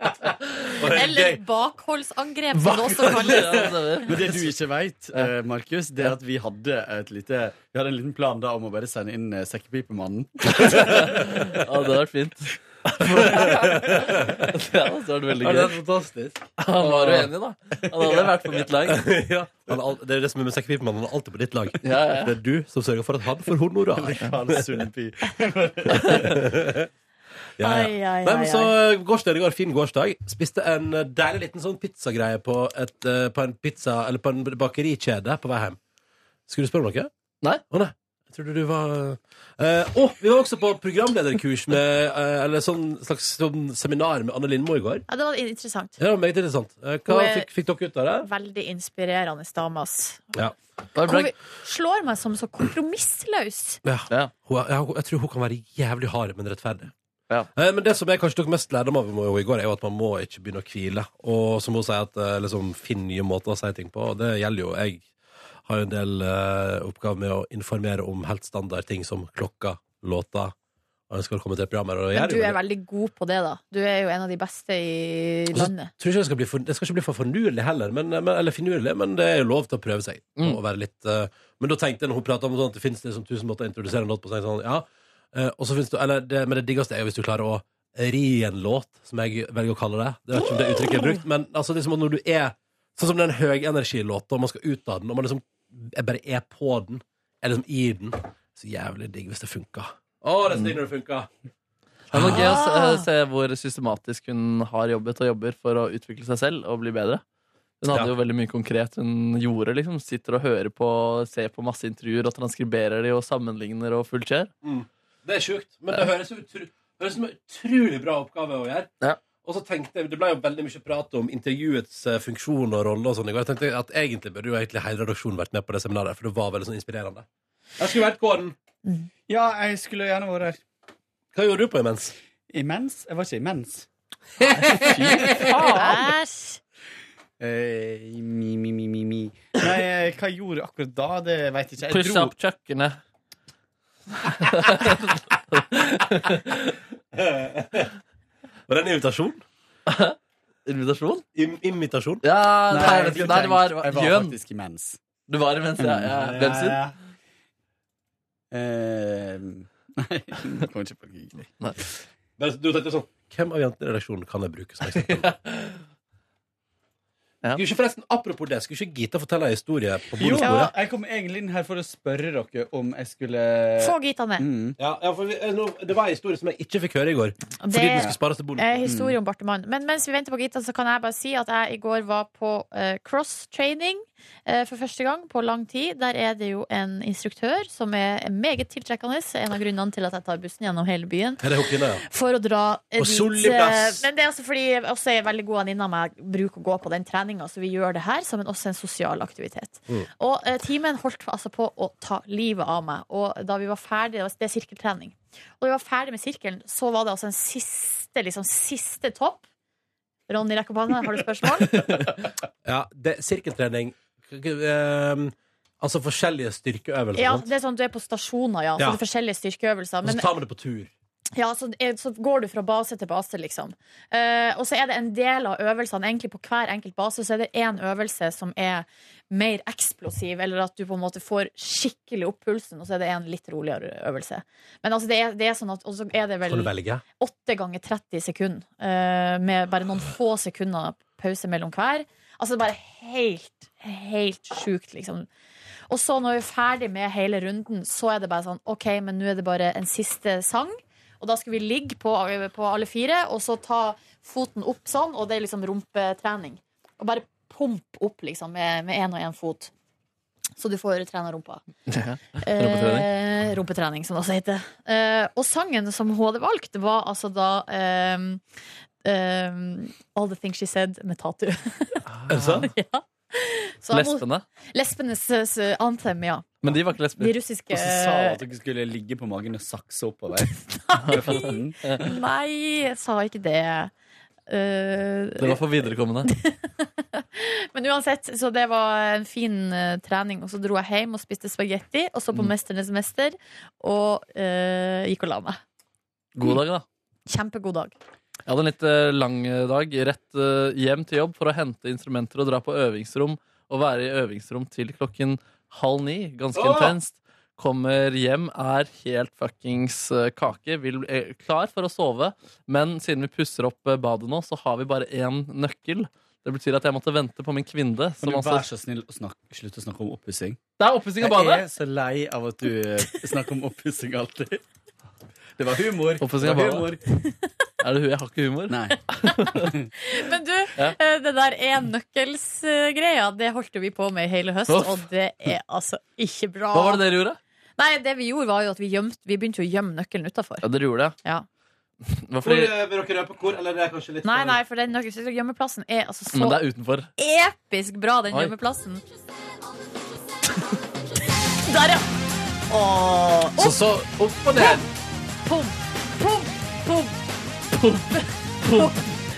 E: Eller bakholdsangrep, som det også kalles.
D: Ja, det stemmer.
K: Men det du ikke veit, eh, Markus, det er at vi hadde et lite Vi hadde en liten plan da om å bare sende inn eh, Sekkepipemannen.
D: Ja, det hadde vært fint. Det hadde også vært veldig gøy.
K: fantastisk?
D: Han var uenig, da. Han hadde vært på mitt lag.
B: ja. Han er al- Det er det som er med sekkepipemannen, han er alltid på ditt lag.
D: Ja, ja.
B: Det er du som sørger for at han får honorar.
K: Sundby.
B: Ja, ja.
E: Ai, ai,
B: Nei,
E: ai,
B: men
E: ai.
B: så gårsdag, det går fin gårsdag Spiste en eh, deilig liten sånn pizzagreie på, et, eh, på en pizza Eller på en bakerikjede på vei hjem Skulle du spørre om noe?
D: Nei.
B: Å nei, jeg trodde du var eh, Å, vi var også på programlederkurs med, eh, Eller sånn slags sånn seminar med Anne Lindmo i går
E: Ja, det var interessant.
B: Ja, det var meget interessant Eh, Hva
E: Hun er-
B: fikk, fikk dere ut av det?
E: Veldig inspirerende dame, ass.
B: Ja,
D: Det var bra.
E: Hun slår meg som så kompromissløs.
B: ja.
D: Ja.
B: Hun, er- ja, hun- jeg tror hun kan være jævlig hard, men rettferdig.
D: Ja.
B: Eh, Men det som jeg kanskje tok mest lærdom av med henne i går, er jo at man må ikke begynne å hvile. Og som hun sier, at eh, liksom, finn nye måter å si ting på. Og det gjelder jo jeg. Har jo en del eh, oppgaver med å informere om helt standard ting som klokka, låta og ønsker å komme til programmer. Og
E: Men
B: jeg
E: du
B: jo
E: er
B: det.
E: veldig god på det, da. Du er jo en av de beste i
B: Og så
E: landet.
B: tror jeg ikke det skal bli for, det skal ikke bli for fornuelig heller, men, men, eller finurlig, men det er jo lov til å prøve seg.
D: Mm.
B: Og være litt, eh, men da tenkte jeg når hun pratet om sånn at det finnes liksom tusen måter å introdusere en låt på, så tenkte jeg sånn, ja. eh, og så finnes det, eller det, men det diggeste er jo hvis du klarer å ri en låt, som jeg velger å kalle det. Det vet ikke om det uttrykket er brukt, men altså liksom at når du er, sånn som den høyenergilåten, og man skal ut av den, og man liksom jeg bare er på den, er liksom i den, så jævlig digg hvis det funker. Å, det er så digg når det funker!
D: Det var gøy å se, eh, se hvor systematisk hun har jobbet og jobber for å utvikle seg selv og bli bedre. Hun hadde
B: Ja.
D: jo veldig mye konkret hun gjorde. liksom Sitter og hører på, ser på masse intervjuer og transkriberer de og sammenligner og fullt skjer.
B: Det er sjukt, men det høres, utru, høres som en utrolig bra oppgave å gjøre.
D: Ja.
B: Og så tenkte jeg, Det ble jo veldig mye prat om intervjuets eh, funksjon og rolle. og sånn i går. Jeg tenkte at Egentlig burde jo egentlig hele redaksjonen vært med på det seminaret, for det var veldig sånn inspirerende. Jeg skulle vært Kåren.
K: Ja, jeg skulle gjerne vært her.
B: Hva gjorde du på imens?
K: Imens? Jeg var ikke imens.
E: Æsj!
K: Eh, mi, mi, mi, mi, mi. Nei, eh, hva jeg gjorde akkurat da, det veit jeg ikke. Jeg
D: Pusse
K: dro,
D: opp kjøkkenet.
B: Var det en invitasjon?
D: Invitasjon?
B: Im imitasjon?
D: Ja, nei,
K: Nei,
D: jeg vet
K: jeg
D: ikke. Nei, det var,
K: jeg var
D: Jøn.
K: faktisk imens.
D: Du var imens, ja. ja. Hvem sin?
K: Eh, Nei, jeg kom ikke på noe hyggelig.
B: Men Du tenkte sånn Hvem av jentene i redaksjonen kan jeg bruke som eksempel?
D: Ja.
B: Skulle ikke forresten, Apropos det, skulle ikke Gita fortelle en historie på
K: Jo,
B: bonusbordet?
K: jeg kom egentlig inn her for å spørre dere om jeg skulle
B: Eh,
E: Få Gita med.
K: Mm.
B: Ja, ja, for vi, eh, nå, det var en historie som jeg ikke fikk høre i går.
E: Det
B: mm, Fordi den skulle spares til bonus.
E: er historie om Bartemann. Men mens vi venter på Gita, så kan jeg bare si at jeg i går var på eh, cross-training eh, for første gang på lang tid. Der er det jo en instruktør som er meget tiltrekkende. En av grunnene til at jeg tar bussen gjennom hele byen.
B: Er det Hokkine, ja?
E: For å dra eh,
B: Og
E: dit.
B: solid plass.
E: eh, Men det er også fordi jeg også er en veldig god venninne av meg bruker å gå på den treninga, så vi gjør det her som en, også en sosial aktivitet.
B: Mm.
E: Og eh, timen holdt altså på å ta livet av meg. Og da vi var ferdig, det er sirkeltrening, og da vi var ferdig med sirkelen, så var det altså en siste, liksom siste topp. Ronny rekker opp hånda, har du spørsmål?
B: Ja, det, sirkeltrening K- k- ehm, Altså forskjellige styrkeøvelser.
E: Ja,
B: sant?
E: det er sånn du er på stasjoner, ja.
B: Ja.
E: Så det er forskjellige styrkeøvelser.
B: Og
E: Men
B: så tar vi det på tur.
E: Ja, så, så går du fra base til base, liksom. Eh, og så er det en del av øvelsene, egentlig på hver enkelt base, så er det én øvelse som er mer eksplosiv, eller at du på en måte får skikkelig opp pulsen, og så er det en litt roligere øvelse. Men altså, det er, det er sånn at Og så er det vel
B: Kan du velge?
E: 8 ganger 30 sekunder, eh, med bare noen få sekunder pause mellom hver. Altså bare helt, helt sjukt, liksom. Og så når vi er ferdig med hele runden, så er det bare sånn OK, men nå er det bare en siste sang. Og da skulle vi ligge på, på alle fire, og så ta foten opp sånn, og det er liksom rumpetrening. Og bare pump opp, liksom, med én og én fot. Så du får trena rumpa. Eh, rumpetrening, som det også heter. Eh, og sangen som hun hadde valgt, var altså da ehm, ehm, All the things she said med Tatu.
B: Er det sant?
E: ja. Så jeg må-
D: Lesbene.
E: Lesbenes eh, anthem, ja.
D: Men de var ikke lesber.
E: De russiske
K: Og så sa hun at dere skulle ligge på magen og sakse oppover. Nei.
E: Nei, jeg sa ikke det. Eh,
D: Det var for viderekommende.
E: men uansett, så det var en fin eh, trening. Og så dro jeg hjem og spiste spagetti, og
D: Mm.
E: så på Mesternes mester, og eh, gikk og la meg.
D: God dag, da.
E: Kjempegod dag.
D: Jeg hadde en litt eh, lang eh, dag. Rett eh, hjem til jobb for å hente instrumenter og dra på øvingsrom. Og være i øvingsrom til klokken halv ni. Ganske intenst. Kommer hjem, er helt fuckings eh, kake. Vil, er klar for å sove. Men siden vi pusser opp eh, badet nå, så har vi bare én nøkkel. Det betyr at jeg måtte vente på min kvinne.
K: Kan
D: Som
K: du
D: altså,
K: være så snill å snakke, slutte å snakke om oppussing?
D: det er oppussing av badet!
K: Jeg er så lei av at du eh, snakker om oppussing alltid. Det var humor.
D: Oppussing av
K: Det var
D: badet. Er det, hu- jeg har ikke humor.
K: Nei.
E: Men du,
D: Ja.
E: eh, det der én-nøkkels-greia, det holdt jo vi på med i hele høst,
D: Uff.
E: og det er altså ikke bra.
D: Hva var det dere gjorde?
E: Nei, det vi gjorde var jo at vi, gjemte, vi begynte jo å gjemme nøkkelen utafor.
D: Ja, dere gjorde det.
E: Ja.
D: Det var
B: Hvor,
D: fordi,
B: eh, vil dere røpe hvor, eller det er kanskje litt
E: Nei, nei, for den nøkkelen- gjemmeplassen er altså så
D: men det er utenfor.
E: episk bra, den
D: Oi.
E: gjemmeplassen. Der, ja. Åh.
B: Så, så opp og ned.
E: Pum, pum, pum.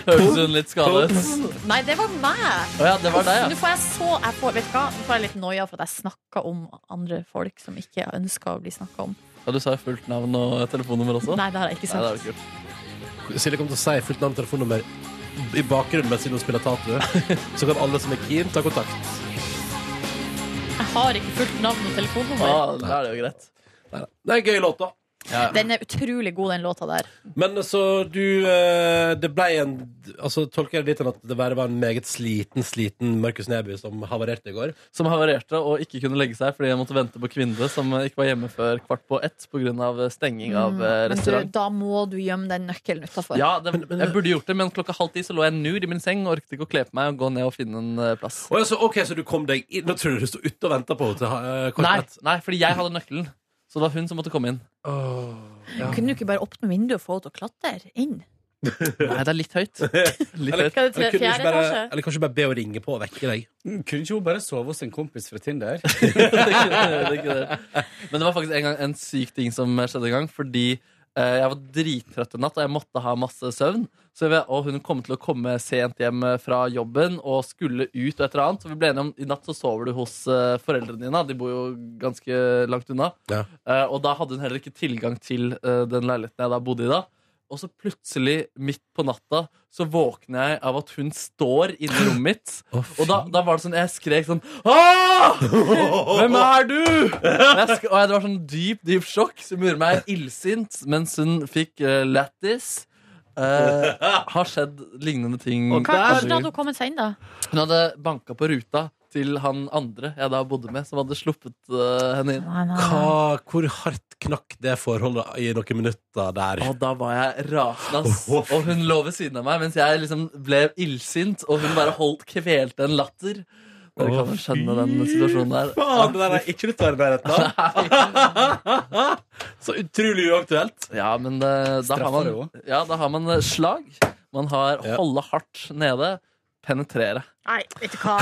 D: Hørtes hun litt skadet ut?
E: Nei, det var meg.
D: Å ja, det var deg,
E: Nå
D: ja.
E: får jeg så jeg får, Vet du hva, nå får jeg litt noia for at jeg snakker om andre folk som ikke ønsker å bli snakka om.
D: ja. Du sa jo fullt navn og telefonnummer også.
E: Nei, det har jeg ikke
D: Nei, det
E: sagt.
D: er jo kult.
B: Silje kommer til å si fullt navn og telefonnummer i bakgrunnen mens hun spiller Tatu. Så kan alle som er keen, ta kontakt.
E: Jeg har ikke fullt navn og telefonnummer.
D: Ah, da er det jo greit.
B: Nei, Det er en gøy låt, da.
E: Den er utrolig god, den låta der.
B: Men så du eh, Det ble en Altså Tolker jeg det dit hen at det bare var en meget sliten, sliten Markus Neby som havarerte i går?
D: Som havarerte og ikke kunne legge seg fordi jeg måtte vente på kvinne som ikke var hjemme før kvart på ett pga. stenging av eh,
E: Men du,
D: restaurant.
E: da må du gjemme den nøkkelen utafor.
D: Ja, det, jeg burde gjort det, men klokka halv ti så lå jeg nude i min seng og orket ikke å kle på meg og gå ned og finne en eh, plass.
B: Å, ja, så, ok, så du kom deg inn Nå tror jeg du sto ute og venta på henne til eh, kvart
D: Nei,
B: på ett.
D: nei, fordi jeg hadde nøkkelen. Så det var hun som måtte komme inn.
B: Åh, ja.
E: Kunne du ikke bare åpne vinduet og få henne til å klatre inn?
D: Nei, det er litt høyt. Litt høyt.
E: Skal det
B: Eller, kunne
E: til
B: du
E: fjerde
B: ikke bare,
E: etasje?
B: eller kanskje bare be å ringe på og vekke deg?
K: Mm, Kunne ikke hun bare sove hos en kompis fra Tinder?
D: det er ikke det, det er ikke det. Men det var faktisk en, gang, en syk ting som skjedde en gang. Fordi eh, jeg var drittrøtt en natt, og jeg måtte ha masse søvn. Så jeg, og hun kom til å komme sent hjem eh, fra jobben og skulle ut og et eller annet. Så vi ble enige om i natt så sover du hos eh, foreldrene dine. De bor jo ganske langt unna.
B: Ja.
D: Eh, og da hadde hun heller ikke tilgang til eh, den leiligheten jeg da bodde i da. Og så plutselig, midt på natta, så våkner jeg av at hun står inni rommet mitt. og da, da var det sånn, jeg skrek sånn Åh! Hvem er du?! Og Jeg sk og jeg- det var sånn dyp, dyp sjokk som gjorde meg illsint mens hun fikk eh, lættis. eh, har skjedd lignende ting.
B: Og
E: Hva,
B: Der-
E: hvordan hadde hun kommet seg inn, da?
D: Hun hadde banka på ruta til han andre jeg da bodde med, som hadde sluppet eh, henne inn.
E: Nei, nei, nei.
B: Hva, hvor hardt knakk det forholdet i noen minutter der?
D: Og da var jeg rasende, ass. Og hun lå ved siden av meg mens jeg liksom ble illsint, og hun bare holdt kvelte en latter. Dere kan jo skjønne den situasjonen der.
B: Faen, det der er ikke nytt arbeid Så utrolig uaktuelt.
D: Ja, men eh, da har,
K: Straffer
D: man, ja, da har man eh, slag. Man har
B: Ja.
D: holde hardt nede. Penetrere.
E: Nei, vet du hva?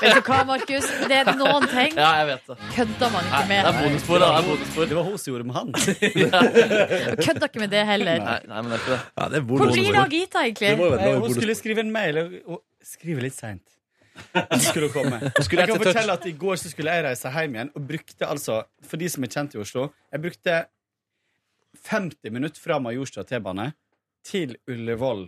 E: Vet du hva, Markus? Det er noen ting
D: Ja, jeg vet det.
E: kødder man ikke
D: Det er
E: med.
D: bonusspor. da, Det er bonusspor.
K: Det var hun som gjorde med han.
E: Kødder ikke med det heller.
D: Nei, nei, men det er ikke det.
B: Ja, det er
E: Hvor
B: bonus.
E: blir det av Gita,
B: Det må
E: egentlig?
B: jo være
K: hun
B: bonus.
K: skulle skrive en mail, og, og skrive litt seint. Skulle hun komme.
B: skulle
K: jeg kan
B: etter touch.
K: fortelle at I går så skulle jeg reise hjem igjen, og brukte altså, for de som er kjent i Oslo, jeg brukte 50 minutter fra Majorstua T-bane til Ullevål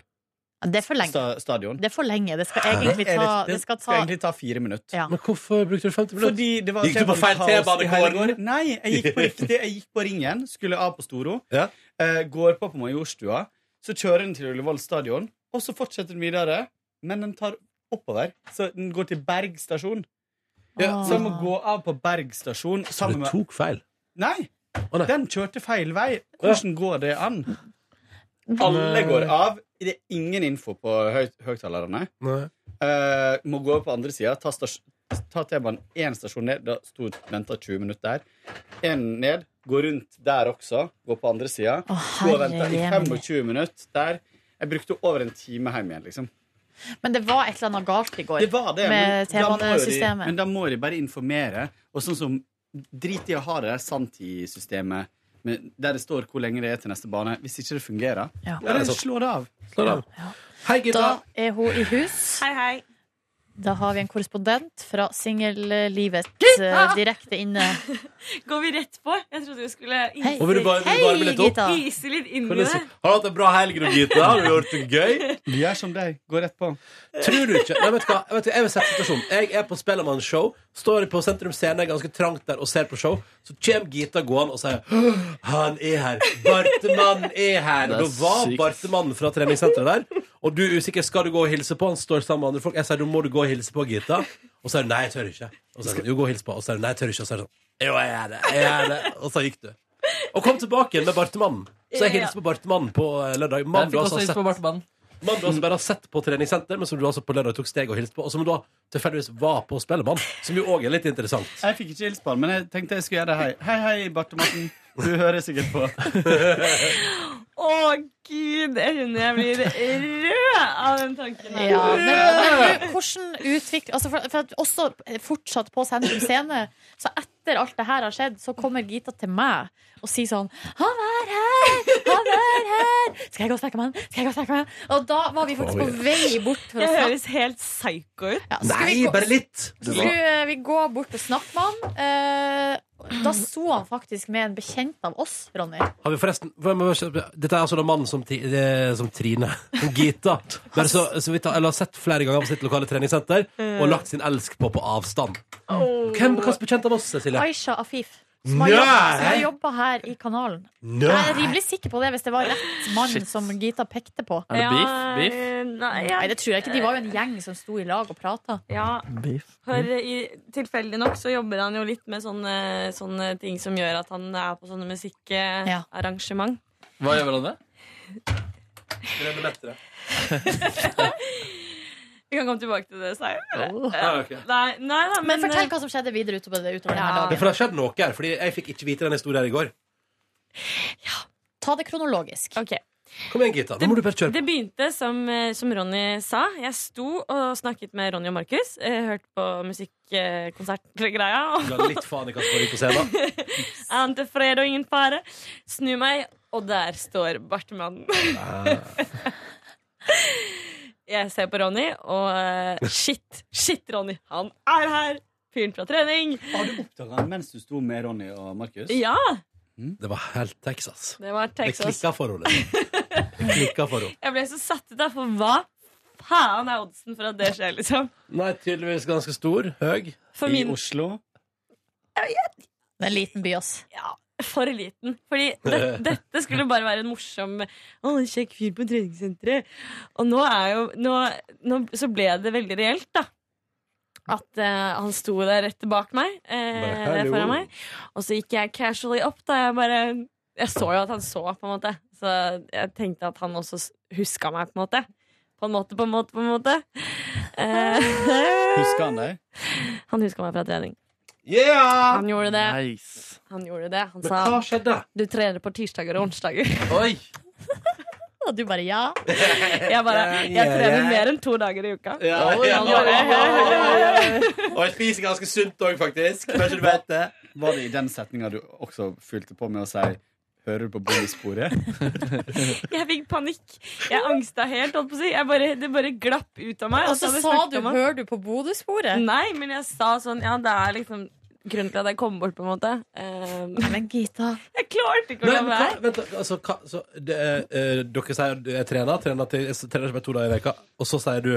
E: Det er for lenge.
K: sta stadion.
E: Det er for lenge. Det skal egentlig ta, det skal ta
K: egentlig ta fire minutter.
E: Ja.
B: Men hvorfor brukte du 50 minutter?
K: Fordi det var
B: Gikk du på feil
K: T-banekaos i
B: T-banekår?
K: helgen. Nei, jeg gikk på riktig. Jeg gikk på ringen, skulle av på Storo.
B: Ja.
K: Eh, går på på Majorstua. Så kjører den til Ullevål stadion, og så fortsetter den videre. Men den tar oppover, så den går til Berg stasjon.
E: Ja.
K: Så jeg må gå av på Berg stasjon
B: Du
K: sammen med
B: tok feil.
K: Nei!
B: Å, nei.
K: Den kjørte feil vei. Hvordan går det an? Alle går av. Det er ingen info på høy høyttalerne. Eh, må gå på andre sida. Ta, stas- ta T-banen én stasjon ned. Da sto venta 20 minutter der. Én ned. Gå rundt der også. Gå på andre sida.
E: Å,
K: Gå og vente i
E: herre min.
K: 25 minutter der. Jeg brukte over en time hjem igjen, liksom.
E: Men det var et eller annet galt i går.
K: Det var det,
E: Med
K: men da må jo de-
E: T-banesystemet.
K: Men da må de bare informere. Og sånn som Drit i å ha det der sanntidssystemet men der det står hvor lenge det er til neste bane. Hvis ikke det fungerer,
E: Ja.
K: bare slå det av.
B: Hei, Gita.
E: Da er hun i hus.
C: Hei, hei.
E: Da har vi en korrespondent fra singellivet eh, direkte inne.
C: Går vi rett på? Jeg trodde vi skulle
E: Hei,
B: Nå vil du bare, vil du varme litt opp.
E: Gita.
C: ise litt inn
B: Kan du si- Har du hatt en bra helg, nå, Gita? Har du gjort det gøy?
K: Vi er som deg. Gå rett på.
B: Tror du ikke? Nei, vet du hva? Jeg, vet, jeg vil sette situasjonen. Jeg er på Spellemann-show, står på Sentrum Scene, ganske trangt der, og ser på show. Så kommer Gita gående og sier «Åh, 'Han er her! Bartemann er her!'
D: Det er
B: Da var
D: sykt.
B: Bartemann fra treningssenteret der. Og du er usikker, skal du gå og hilse på? Han står sammen med andre folk. Jeg sier 'Du må du gå og hilse på Gita'. Og så er du 'Nei, jeg tør ikke'. Og så er du 'Jo, gå og hils på'. Og så er du 'Nei, jeg tør ikke'. Og så er du sånn 'Jo, jeg gjør det'. Jeg gjør det. Og så gikk du. Og kom tilbake igjen med Bartemannen. Så jeg hilste på Bartemannen på eh, lørdag. Mann
D: Jeg
B: du
D: fikk
B: altså
D: også
B: har
D: hils
B: sett
D: på Bartemann.
B: Mann du altså bare har sett på treningssenter, men som du altså på lørdag tok steg og hilste på, og som da tilfeldigvis var på Spellemann, som jo òg er litt interessant.
K: Jeg fikk ikke hilse på han, men jeg tenkte jeg skulle gjøre det. Hei, hei, hei Barte Morten. Du hører sikkert på.
C: Å, gud! Jeg kjenner jeg blir rød av den tanken. her.
E: Ja, men, men, du, hvordan utvikler altså for, for at Også fortsatt på Sentrum Scene. Så etter alt det her har skjedd, så kommer Gita til meg og sier sånn 'Han er her! Han er her! Skal jeg gå og snakke med han? Skal jeg gå Og snakke med han?» Og da var vi faktisk på vei bort for å
C: Jeg
E: snakke.
C: høres helt psycho ut.
E: Ja, skal vi
B: Nei,
E: gå-
B: bare litt!
E: skulle vi gå bort og snakke med han. Eh, da så han faktisk med en bekjent av oss, Ronny.
B: Har vi forresten hvem er- Dette er altså den mannen som, Ti- eh, som Trine, som Gita, bare så, så vidt, eller har sett flere ganger på sitt lokale treningssenter og lagt sin elsk på på avstand. Hvem er bekjent av oss, Cecilie?
E: Aisha Afif. Som har
B: Nei!
E: jobbet- som har jobba her i kanalen.
B: Nei.
E: Jeg er rimelig sikker på det, hvis det var rett mann som Gita pekte på.
D: Er det beef? Beef?
C: eh, Nei, ja.
E: Nei, det tror jeg ikke. De var jo en gjeng som sto i lag og prata.
C: ja.
D: Beef.
C: For i, tilfeldig nok så jobber han jo litt med sånne, sånne ting som gjør at han er på sånne musikkarrangement.
D: Hva gjør hverandre?
C: Vi kan komme tilbake til det senere.
B: Ja, ok.
C: Nei, nei, nei,
E: Men eh,
C: men,
E: fortell hva som skjedde videre utover, det, utover denne
C: Ja.
B: Ja,
E: dagen.
B: for det har skjedd noe her, Fordi jeg fikk ikke vite den historien her i går.
E: Ta det kronologisk.
C: eh, Ok.
B: Kom igjen, Gita. Nå må du bare kjøre.
C: Det begynte som, eh, som Ronny sa. Jeg sto og snakket med Ronny og Markus. eh, Hørte på musikkonsertgreia. og
B: Ga litt faen i hva som foregår på scenen.
C: Ante fred og ingen fare. Snu meg, og der står bartemannen. Jeg ser på Ronny, og eh, shit, shit, Ronny. Han er her! Fyren fra trening.
K: Har du oppdaga han mens du sto med Ronny og Markus?
C: Ja,
B: Det var helt Texas.
C: det var
B: Det
C: Texas.
B: klikka for henne. liksom. Det klikka for henne.
C: Jeg ble så satt ut, da, for hva faen er oddsen for at det skjer, liksom?
B: Nei, tydeligvis ganske stor. Høy.
C: For
K: I
C: min
K: Oslo?
E: Det er en liten by, ass.
C: ja,
L: for liten. Fordi det, dette skulle bare være en morsom Å, en kjekk fyr på treningssenteret. Og nå er jo nå, nå, Så ble det veldig reelt, da. At eh, han sto der rett bak meg, eh,
M: Bare,
L: rett
M: hallo.
L: foran meg. Og så gikk jeg casually opp, da. Jeg bare Jeg så jo at han så, på en måte. Så jeg tenkte at han også huska meg, på en måte. På en måte, på en måte, på en måte. Eh,
K: Husker han deg?
L: han huska meg fra trening. Han gjorde det. Han gjorde det. Han
K: Men
L: sa
K: hva skjedde?
L: du trener på tirsdager og onsdager.
D: Oi.
E: Og du bare ja.
L: Jeg bare Jeg trener mer enn to dager i uka.
K: Ja,
L: Og
K: ja,
L: han
K: ja,
L: bare,
K: Og jeg spiser ganske sunt òg, faktisk. Kanskje du vet det. Var det i den setninga du også fylte på med å si 'hører du på bondesporet'?
L: Jeg fikk panikk. Jeg angsta helt, holdt på å si. Jeg bare, det bare glapp ut av meg.
E: Og så
L: hadde jeg
E: sa
L: snakket
E: du,
L: om han.
E: 'hører du på Bodø-sporet'?
L: Nei, men jeg sa sånn Ja, det er liksom grunnen til at jeg kom bort, på en måte. Eh,
E: men Gita
L: Jeg klarte ikke å
B: Nei,
L: la
B: men hva,
L: være.
B: vent, da, altså, hva, så, det, er, eh, dere sier du er trener, trener, til, jeg trener ikke bare to dager i veka, og så sier du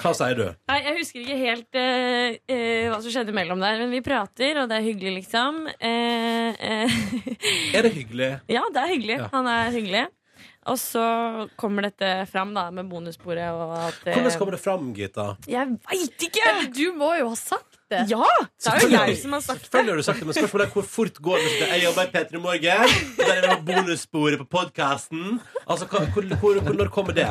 B: Hva sier du?
L: Nei, jeg husker ikke helt eh, eh, hva som skjedde mellom der, men vi prater, og det er hyggelig, liksom. Eh, eh,
B: Er det hyggelig?
L: Ja, det er hyggelig.
B: Ja.
L: Han er hyggelig. Og så kommer dette fram da, med bonussporet og at eh,
B: Hvordan kommer det fram, Gita?
L: Jeg veit ikke!
E: Du må jo ha sagt det.
L: Ja! Det er jo jeg som har sagt det.
B: Selvfølgelig har du sagt det, men spørsmålet er hvor fort går det? hvis det- Jeg jobber i P3 Morgen, og der er vi på bonussporet på podkasten. Altså, hva- hvor, hvor, hvor, når kommer det?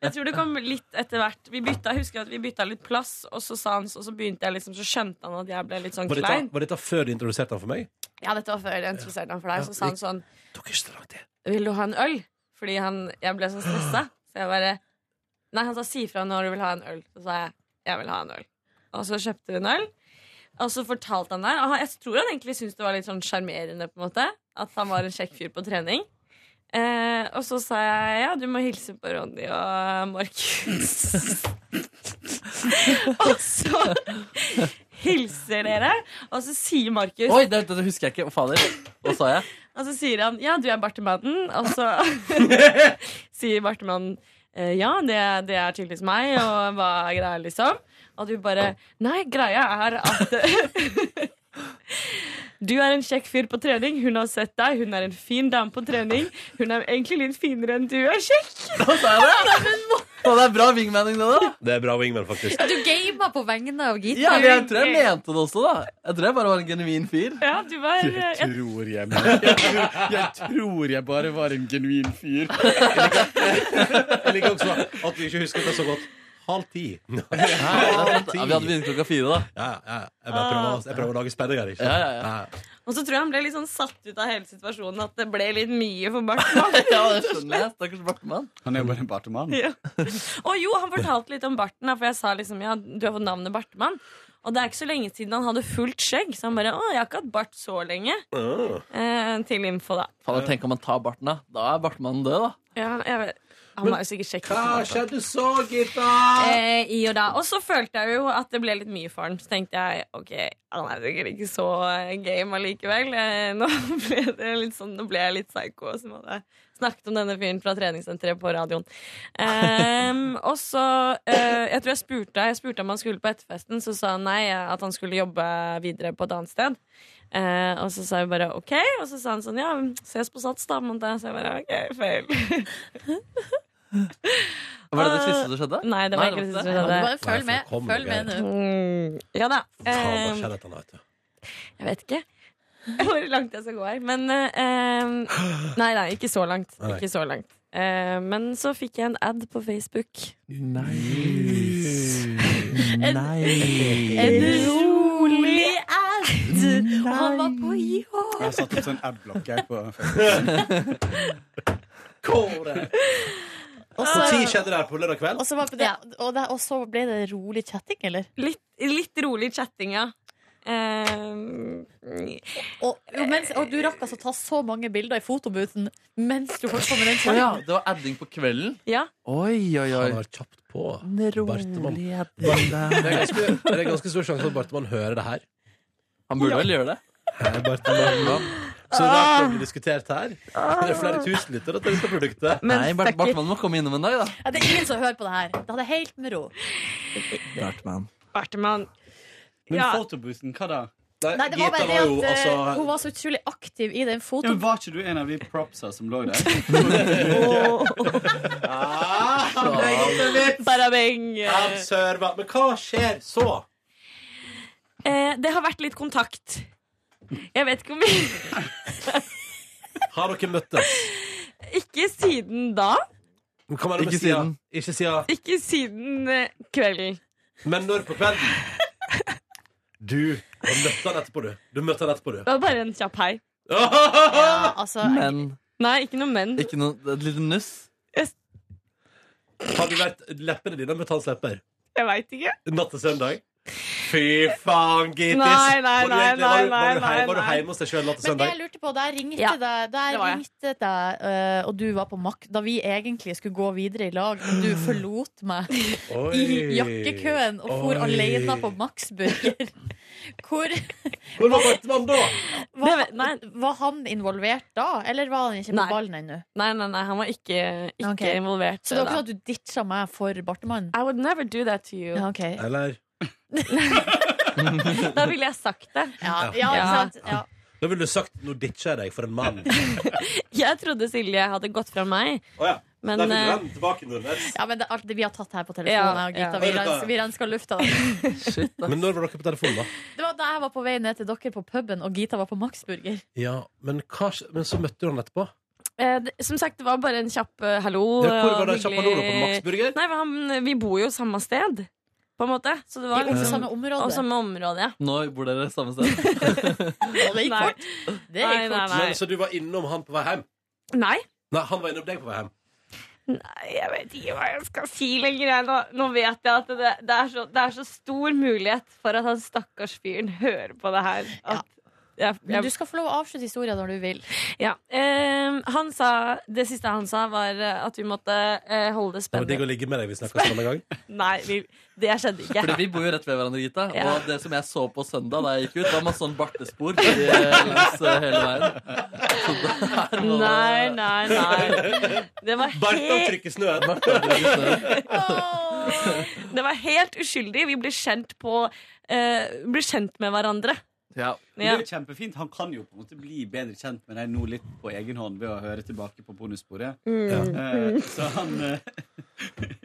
L: Jeg tror det kom litt etter hvert. Vi bytta, jeg husker at vi bytta litt plass, og så sa han Og så begynte jeg liksom, så skjønte han at jeg ble litt sånn
B: Var dette,
L: klein.
B: var dette før du introduserte han for meg?
L: Ja, dette var før jeg introduserte han for deg. Så sa han sånn
B: Dere står langt til.
L: Vil du ha en øl? Fordi han Jeg ble så stressa. Så jeg bare Nei, han sa si fra når du vil ha en øl. Så sa jeg jeg vil ha en øl. Og så kjøpte vi en øl. Og så fortalte han der. Og han- jeg tror han egentlig syntes det var litt sånn sjarmerende, på en måte. At han var en kjekk fyr på trening. Eh, og så sa jeg ja, du må hilse på Ronny og Markus. og så hilser dere, og så sier Markus
D: Oi, det, det husker jeg ikke. Å, Fader. Hva sa jeg?
L: og så sier han ja, du er bartemannen. Og så sier bartemannen «Eh, ja, det, det er tydeligvis meg, og hva er greia, liksom? Og du bare nei, greia er at Du er en kjekk fyr på trening. Hun har sett deg. Hun er en fin dame på trening. Hun er egentlig litt finere enn du er kjekk.
D: Hva sa jeg det? Å, det er bra wingmaning, det, da.
B: Det er bra wingman, faktisk.
E: Du gama på vegne av Gita.
D: Ja, men jeg tror jeg mente det også, da. Jeg tror jeg bare var en genuin fyr.
L: Ja, du var eh, jeg,
K: Tror jeg, jeg, tror, jeg tror jeg bare var en genuin fyr.
B: Jeg liker også at du ikke husker det så godt. Halv ti.
D: Ja, vi hadde begynt klokka fire, da.
B: Ja, ja, ja. Jeg, bare prøver, å- jeg prøver å lage spenning her. Ikke?
D: Ja, ja, ja.
B: ja.
L: Og så tror jeg han ble litt sånn satt ut av hele situasjonen, at det ble litt mye for bartemannen.
D: Ja, det skjønner jeg. Stakkars Bartemann.
K: Han er jo bare en bartemann.
L: Ja. Og jo, han fortalte litt om barten, da, for jeg sa liksom ja, du har fått navnet Bartemann. Og det er ikke så lenge siden han hadde fullt skjegg, så han bare å, jeg har ikke hatt bart så lenge. Eh, til info, da.
D: Fader, tenk om han tar barten, da. Da er bartemannen død, da.
L: Ja, jeg vet. Han var jo sikkert kjekk.
B: Hva skjedde så, Gita?
L: Eh, I og da. Og så følte jeg jo at det ble litt mye for han. Så tenkte jeg OK, han er sikkert ikke så eh, game allikevel. Eh, nå ble det litt sånn, nå ble jeg litt psycho som hadde snakket om denne fyren fra treningssenteret på radioen. Ehm, og så eh, Jeg tror jeg spurte, jeg spurte om han skulle på etterfesten, så sa han nei, eh, at han skulle jobbe videre på et annet sted. Eh, og så sa jeg bare OK, og så sa han sånn ja, ses på Sats, da. måtte jeg. Så jeg bare OK, feil.
D: Var det det siste som skjedde?
L: Nei, det var ikke det siste som skjedde.
E: Bare følg med. Følg med nå.
L: Mm, ja da.
B: Faen, hva
L: Ehm,
B: skjedde etter natt?
L: Jeg vet ikke hvor langt jeg skal gå her. Men eh, Nei, nei, ikke så langt.
B: Nei.
L: Ikke så langt. Eh, men så fikk jeg en ad på Facebook.
E: En rolig ad. Og han var på
K: Jeg har satt opp sånn adblock jeg på
B: Når tid skjedde det her på lørdag kveld?
E: Og så, var det, og, det, og så ble det rolig chatting, eller?
L: Litt, litt rolig chatting, ja. Eh,
E: Og, jo, mens, og du rakk altså ta så mange bilder i fotobooten mens du holdt på med den
D: Å ja,
E: chatten.
D: det var adding på kvelden?
L: ja.
D: Oi, oi, oi.
B: Han har kjapt på. Bartemann.
D: Rolighet.
B: Det er ganske, det er ganske stor sjanse for at Bartemann hører det her.
D: Han burde vel gjøre det.
B: Hei, Bartemann. Så rart det blir diskutert her. Det er flere tusen lyttere til dette produktet.
L: Men
D: Nei, Bart- Bartmann må komme innom en dag, da.
E: Ja, det er ingen som hører på det her. Ta det helt med ro.
D: Bartmann.
L: Bartemann.
K: Men
L: Ja.
K: photoboosen, hva da?
E: Nei, det var bare det at
B: altså,
E: eh, hun var så utrolig aktiv i den
K: Ja, men
E: fotoen.
K: var ikke du en av de propsa som lå der?
L: Barabeng.
B: Observa. Men hva skjer så?
L: Eh, det har vært litt kontakt. Jeg vet ikke om vi
B: Har dere møttes?
L: Ikke siden da.
B: Men Hva var det med
H: Ikke
B: sida?
H: siden.
B: Ikke sida.
L: Ikke siden eh, kvelden.
B: Men når på kvelden? Du har møtt han etterpå, du. Du møtte han etterpå, du.
L: Det var bare en kjapp hei.
E: Ja, altså,
D: Men
L: Nei, ikke noe men.
D: ikke noe, et lite nuss.
B: Har du vært leppene dine møtt hans lepper?
L: Jeg veit ikke.
B: Natt til søndag? Fy faen, Gittis!
L: Nei, nei,
B: Var du
L: nei,
B: egentlig- var du-
L: nei,
B: var du
L: nei,
B: hei- Var du
L: nei.
B: hjemme hos deg sjøl natt til
E: Men det jeg
B: søndag?
E: lurte på, der ringte
L: Ja,
E: deg, der
L: det var jeg.
E: ringte deg eh, og du var på mak da vi egentlig skulle gå videre i lag, men du forlot meg i jakkekøen og for
B: Oi.
E: alene på Max Burger. Hvor
B: Hvor var Bartmann da?
E: var,
L: Det vet- nei.
E: var han involvert da, eller var han ikke på
L: Nei.
E: ballen ennå?
L: Nei, nei, nei, han var ikke, ikke
E: Ok.
L: involvert. eh,
E: Så det var
L: da.
E: ikke sånn at du ditcha meg for Bartemann?
L: I would never do that to you.
E: Ja, ok. ja,
B: Eller
L: Da ville jeg sagt det.
E: ja, ikke
L: Ja.
E: sant? Ja.
B: Da ville du sagt 'nå ditcher jeg deg for en mann'.
L: Jeg trodde Silje hadde gått fra meg,
B: Å ja.
L: men
B: Der fikk du
L: eh,
B: den tilbake, Nordnes.
E: ja, men det, er alt det vi har tatt her på
L: Ja,
E: telefonen, jeg og Gita,
L: ja.
E: vi, rens, vi rensker lufta. Det
B: Men når var dere på telefonen, da?
E: var da jeg var på vei ned til dere på puben, og Gita var på Max Burger.
B: Ja, men, hva, skj- men så møtte du han etterpå.
L: eh, det- som sagt, det var bare en kjapp eh, hallo.
B: Ja, Hvor var
L: og
B: det
L: hyggelig-
B: kjappa Lolo på Max Burger?
L: Nei, han, Vi bor jo samme sted, på en måte. Så det
E: Vi
L: var
E: bor på
L: liksom
E: samme område.
L: Og samme område, ja.
D: Nå bor dere samme sted.
E: Og det gikk
L: Nei.
E: fort. Det gikk
L: Nei, nei,
E: fort.
L: nei.
B: Men, så du var innom han på vei hjem?
L: Nei,
B: Nei, han var innom deg på vei hjem.
L: Nei, jeg vet ikke hva jeg skal si lenger. jeg. Nå, nå vet jeg at det, det, er så, det er så stor mulighet for at han stakkars fyren hører på det her. At jeg,
E: Men
L: jeg,
E: du skal få lov å avslutte historien når du vil.
L: ja. Ehm, han sa, det siste han sa, var eh, at vi måtte eh, holde det
B: Det var digg
L: spennende.
B: å ligge med deg. Vi snakka sånn en gang.
L: Nei, vi, det skjedde ikke.
D: Fordi vi bor jo rett ved hverandre, Gita.
L: Ja.
D: Og det som jeg så på søndag da jeg gikk ut, var masse sånn bartespor eh, langs eh, hele veien. Så der var
L: Nei, nei, nei. Det var,
B: Bartan
L: he
B: trykker snøen.
L: det var helt uskyldig. Vi ble kjent på eh, ble kjent med hverandre.
D: Ja.
K: Men Det
L: Ja.
K: er jo kjempefint. Han kan jo på en måte bli bedre kjent med deg nå litt på egen hånd ved å høre tilbake på bonussporet. Eh, så han eh,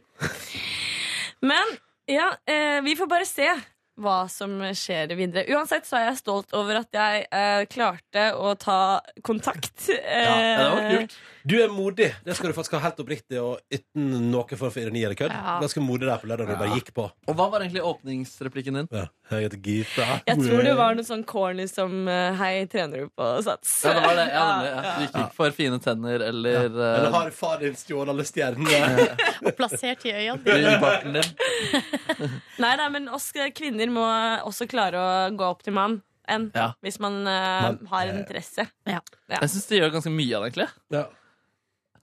L: Men ja, eh, vi får bare se hva som skjer videre. Uansett så er jeg stolt over at jeg eh, klarte å ta kontakt.
B: Ja, det var
L: Eh,
B: kult. Du er modig. Det skal du faktisk ha helt oppriktig og uten noe form for ironi eller kødd.
L: Ja.
B: Ganske modig der på lørdag når du bare gikk på.
D: Og hva var egentlig åpningsreplikken din?
B: Ja. Jeg heter Gita.
L: Jeg tror det var noe sånn corny som eh, Hei, trener du på sats?
D: Ja, det var det. Ja, nemlig. ja. Du gikk ikke for fine tenner eller
B: Eller
D: eh,
B: har far din stjålet alle stjernene?
E: Og plassert i øynene dine.
D: i barten din.
L: Nei, nei, men oss eh, kvinner må også klare å gå opp til mann. En,
D: Ja.
L: Hvis man eh,
B: Men,
L: har en interesse.
D: Jeg syns de gjør ganske mye av det, egentlig.
B: Ja.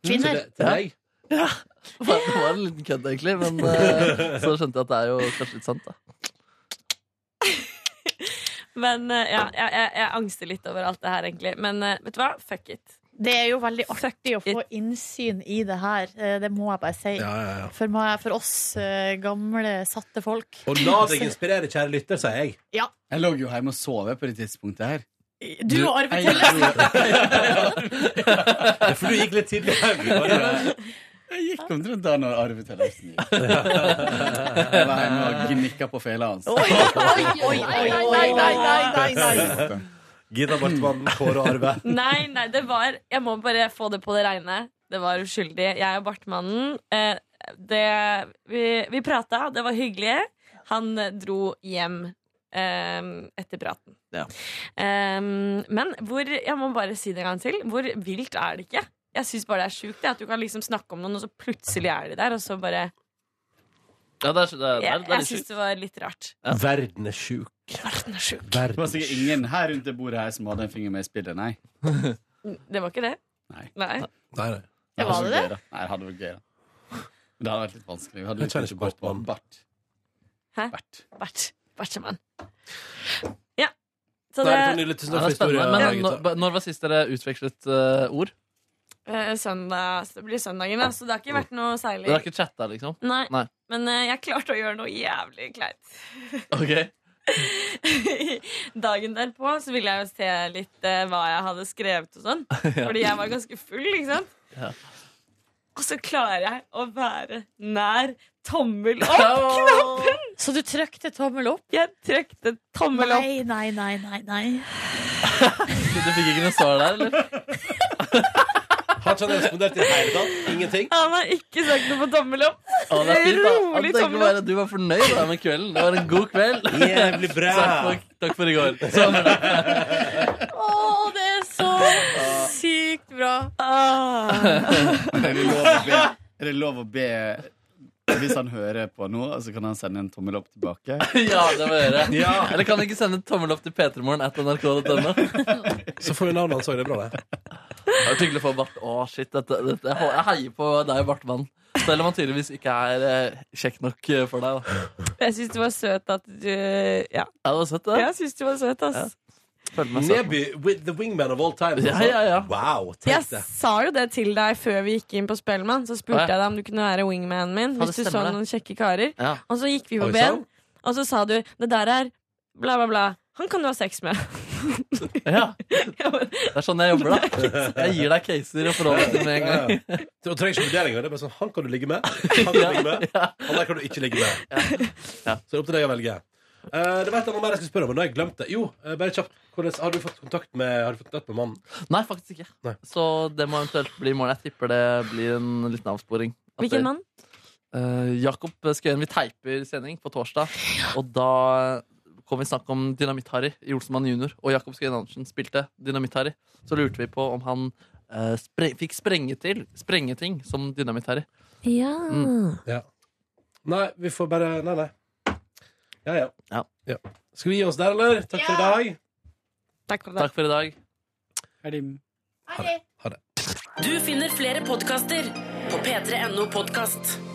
E: Kvinner.
B: Til, til deg?
D: Det var, det var en liten kødd, egentlig, men eh, så skjønte jeg at det er jo kanskje litt sant, da.
L: Men eh, ja, jeg, jeg, jeg angster litt over alt det her, egentlig. Men eh, vet du hva? Fuck it.
E: Det er jo veldig artig å få innsyn i det her. Eh, Det må jeg bare si.
B: Ja, ja, ja.
E: For, meg, for oss eh, gamle, satte folk.
B: Og la deg inspirere, kjære lytter, sier jeg.
K: Jeg lå jo hjemme og sov på det tidspunktet her.
E: Du og Arve
K: Jeg
E: Tellef.
K: gikk,
B: For du gikk litt tidlig hjem. var det det?
K: jeg gikk omtrent da når Arve Tellefsen gikk. Jeg var hjemme og gnikka på fela hans.
E: Oi, oi, oi, oi, nei, nei, nei, nei, nei.
B: Gita Bartmann, Kåre og Arve.
L: Nei, nei, det var Jeg må bare få det på det reine. Det var uskyldig. Jeg og Bartmannen eh, det, Vi, vi prata, det var hyggelig. Han eh, dro hjem eh, etter praten.
D: Ja.
L: Eh, men hvor Jeg må bare si det en gang til. Hvor vilt er det ikke? Jeg syns bare det er sjukt det, at du kan liksom snakke om noen, og så plutselig er de der. Og så bare
D: Ja, det er, det er, det
L: Jeg,
D: er,
L: jeg
D: litt
L: syns
D: sjukt.
L: det var litt rart.
B: Verden er sjuk.
L: Verden er sjuk.
K: Det var sikkert ingen her rundt det bordet her som hadde en finger med i spillet, nei.
L: Mm, Det var ikke det.
K: Nei.
L: Nei.
B: Nei, nei.
E: Ja, var det
K: hadde vært gøy, da. Nei, det hadde vært gøy, da. Men det hadde vært litt vanskelig. Vi hadde
B: Jeg
K: litt
B: kjenner
K: lyst til
B: ikke
K: å gå på
B: Bartmann.
K: Bart.
L: Hæ?
K: Bart.
L: Bart. Bartmann. Ja.
B: Nei,
L: Så
B: det var
L: det
B: nydelig. Tusen
D: Ja,
B: takk for
D: det er spennende.
B: historien.
D: Men
B: Gita.
D: når, når var sist dere utvekslet eh, ord?
L: Eh, søndag, så det blir søndagen, da, så det har ikke vært noe særlig.
D: Dere har ikke chatta, liksom?
L: Nei.
D: Nei.
L: Men eh, jeg klarte å gjøre noe jævlig kleint.
D: Ok
L: Dagen derpå så ville jeg jo se litt eh, hva jeg hadde skrevet og sånn.
D: Ja.
L: Fordi jeg var ganske full, ikke sant?
D: Ja.
L: Og så klarer jeg å være nær tommel opp-knappen!
E: Så du trykte tommel opp?
L: Jeg trykte tommel opp.
E: Nei, nei, nei, nei, nei.
D: Du fikk ikke noe svar der, eller?
B: Har ikke han respondert i det hele tatt? Ingenting?
L: Han har ikke sagt noe på tommel opp.
D: Å, det er fint, da.
L: Rolig
D: Ja, tenk å
L: tommel
D: være, du var fornøyd da, med kvelden. Det var en god kveld.
B: Jævlig bra!
D: Takk for, takk for i går. Sånn.
E: Å, det er så sykt bra.
D: Ah.
K: Er det lov å be, er det lov å be Hvis han hører på nå, så kan han sende en tommel opp tilbake.
D: Ja, det må jeg gjøre. Eller kan du ikke sende tommel opp til p3morgen at nrk.no? Det
B: Så får vi navnet hans òg. Det er bra, det.
D: var hyggelig å få Bart. Å, shit. Dette, dette, jeg hå- jeg heier på deg, Bartmann. Selv om han tydeligvis ikke er eh, kjekk nok eh, for deg. Da.
L: Jeg syns du var søt at du Ja,
D: Ja, det var søtt, det.
L: jeg syns du var søt, ass.
D: Følte meg søt.
B: Neby with the wingman of all time. altså.
D: Ja, ja, ja.
B: Wow,
L: Jeg
B: tenk det.
L: sa jo det til deg før vi gikk inn på Spellemann. Så
D: Å,
L: spurte
D: ja.
L: jeg deg om du kunne være wingmanen min
D: Ja, det
L: hvis du så
D: stemmer det. sånn.
L: noen kjekke karer.
D: Ja.
L: Og så gikk vi på
B: Oi,
L: ben,
B: sann.
L: og så sa du 'det der er bla, bla, bla'. Han kan du ha sex med.
D: Ja.
L: Jeg bare,
D: Det er sånn jeg jobber, da. Jeg gir deg caser og forholder deg til med en gang.
B: Du trenger ikke vurdering. Det er bare sånn, Han kan du ligge med, han kan du ligge med, han der kan du ikke ligge med. Så det er opp til deg å velge. Eh, det var et eller annet mer jeg skulle spørre om, men nå har jeg glemt det. Jo, eh, bare kjapt. Hvordan, har du fått kontakt med, har du fått kontakt med mannen?
D: Nei, faktisk ikke.
B: Nei.
D: Så det må eventuelt bli i morgen. Jeg tipper det blir en liten avsporing. At
L: Hvilken
D: det-
L: mann?
D: Eh, Jakob Skøyen, vi teiper sending på torsdag, og da kom vi snakk om Dynamitt-Harry i Olsenmann jr. Og Jakob Skøyen Andersen spilte Dynamitt-Harry. Så lurte vi på om han eh, spre fikk sprenge til sprenge ting som Dynamitt-Harry.
L: Ja.
B: Nei, vi får bare Nei, nei. Ja, ja.
D: Ja.
B: Skal vi gi oss der, eller? Takk for i dag.
L: Takk for det.
D: Takk for i dag.
B: Ha det.
A: Du finner flere podkaster på p3.no podkast.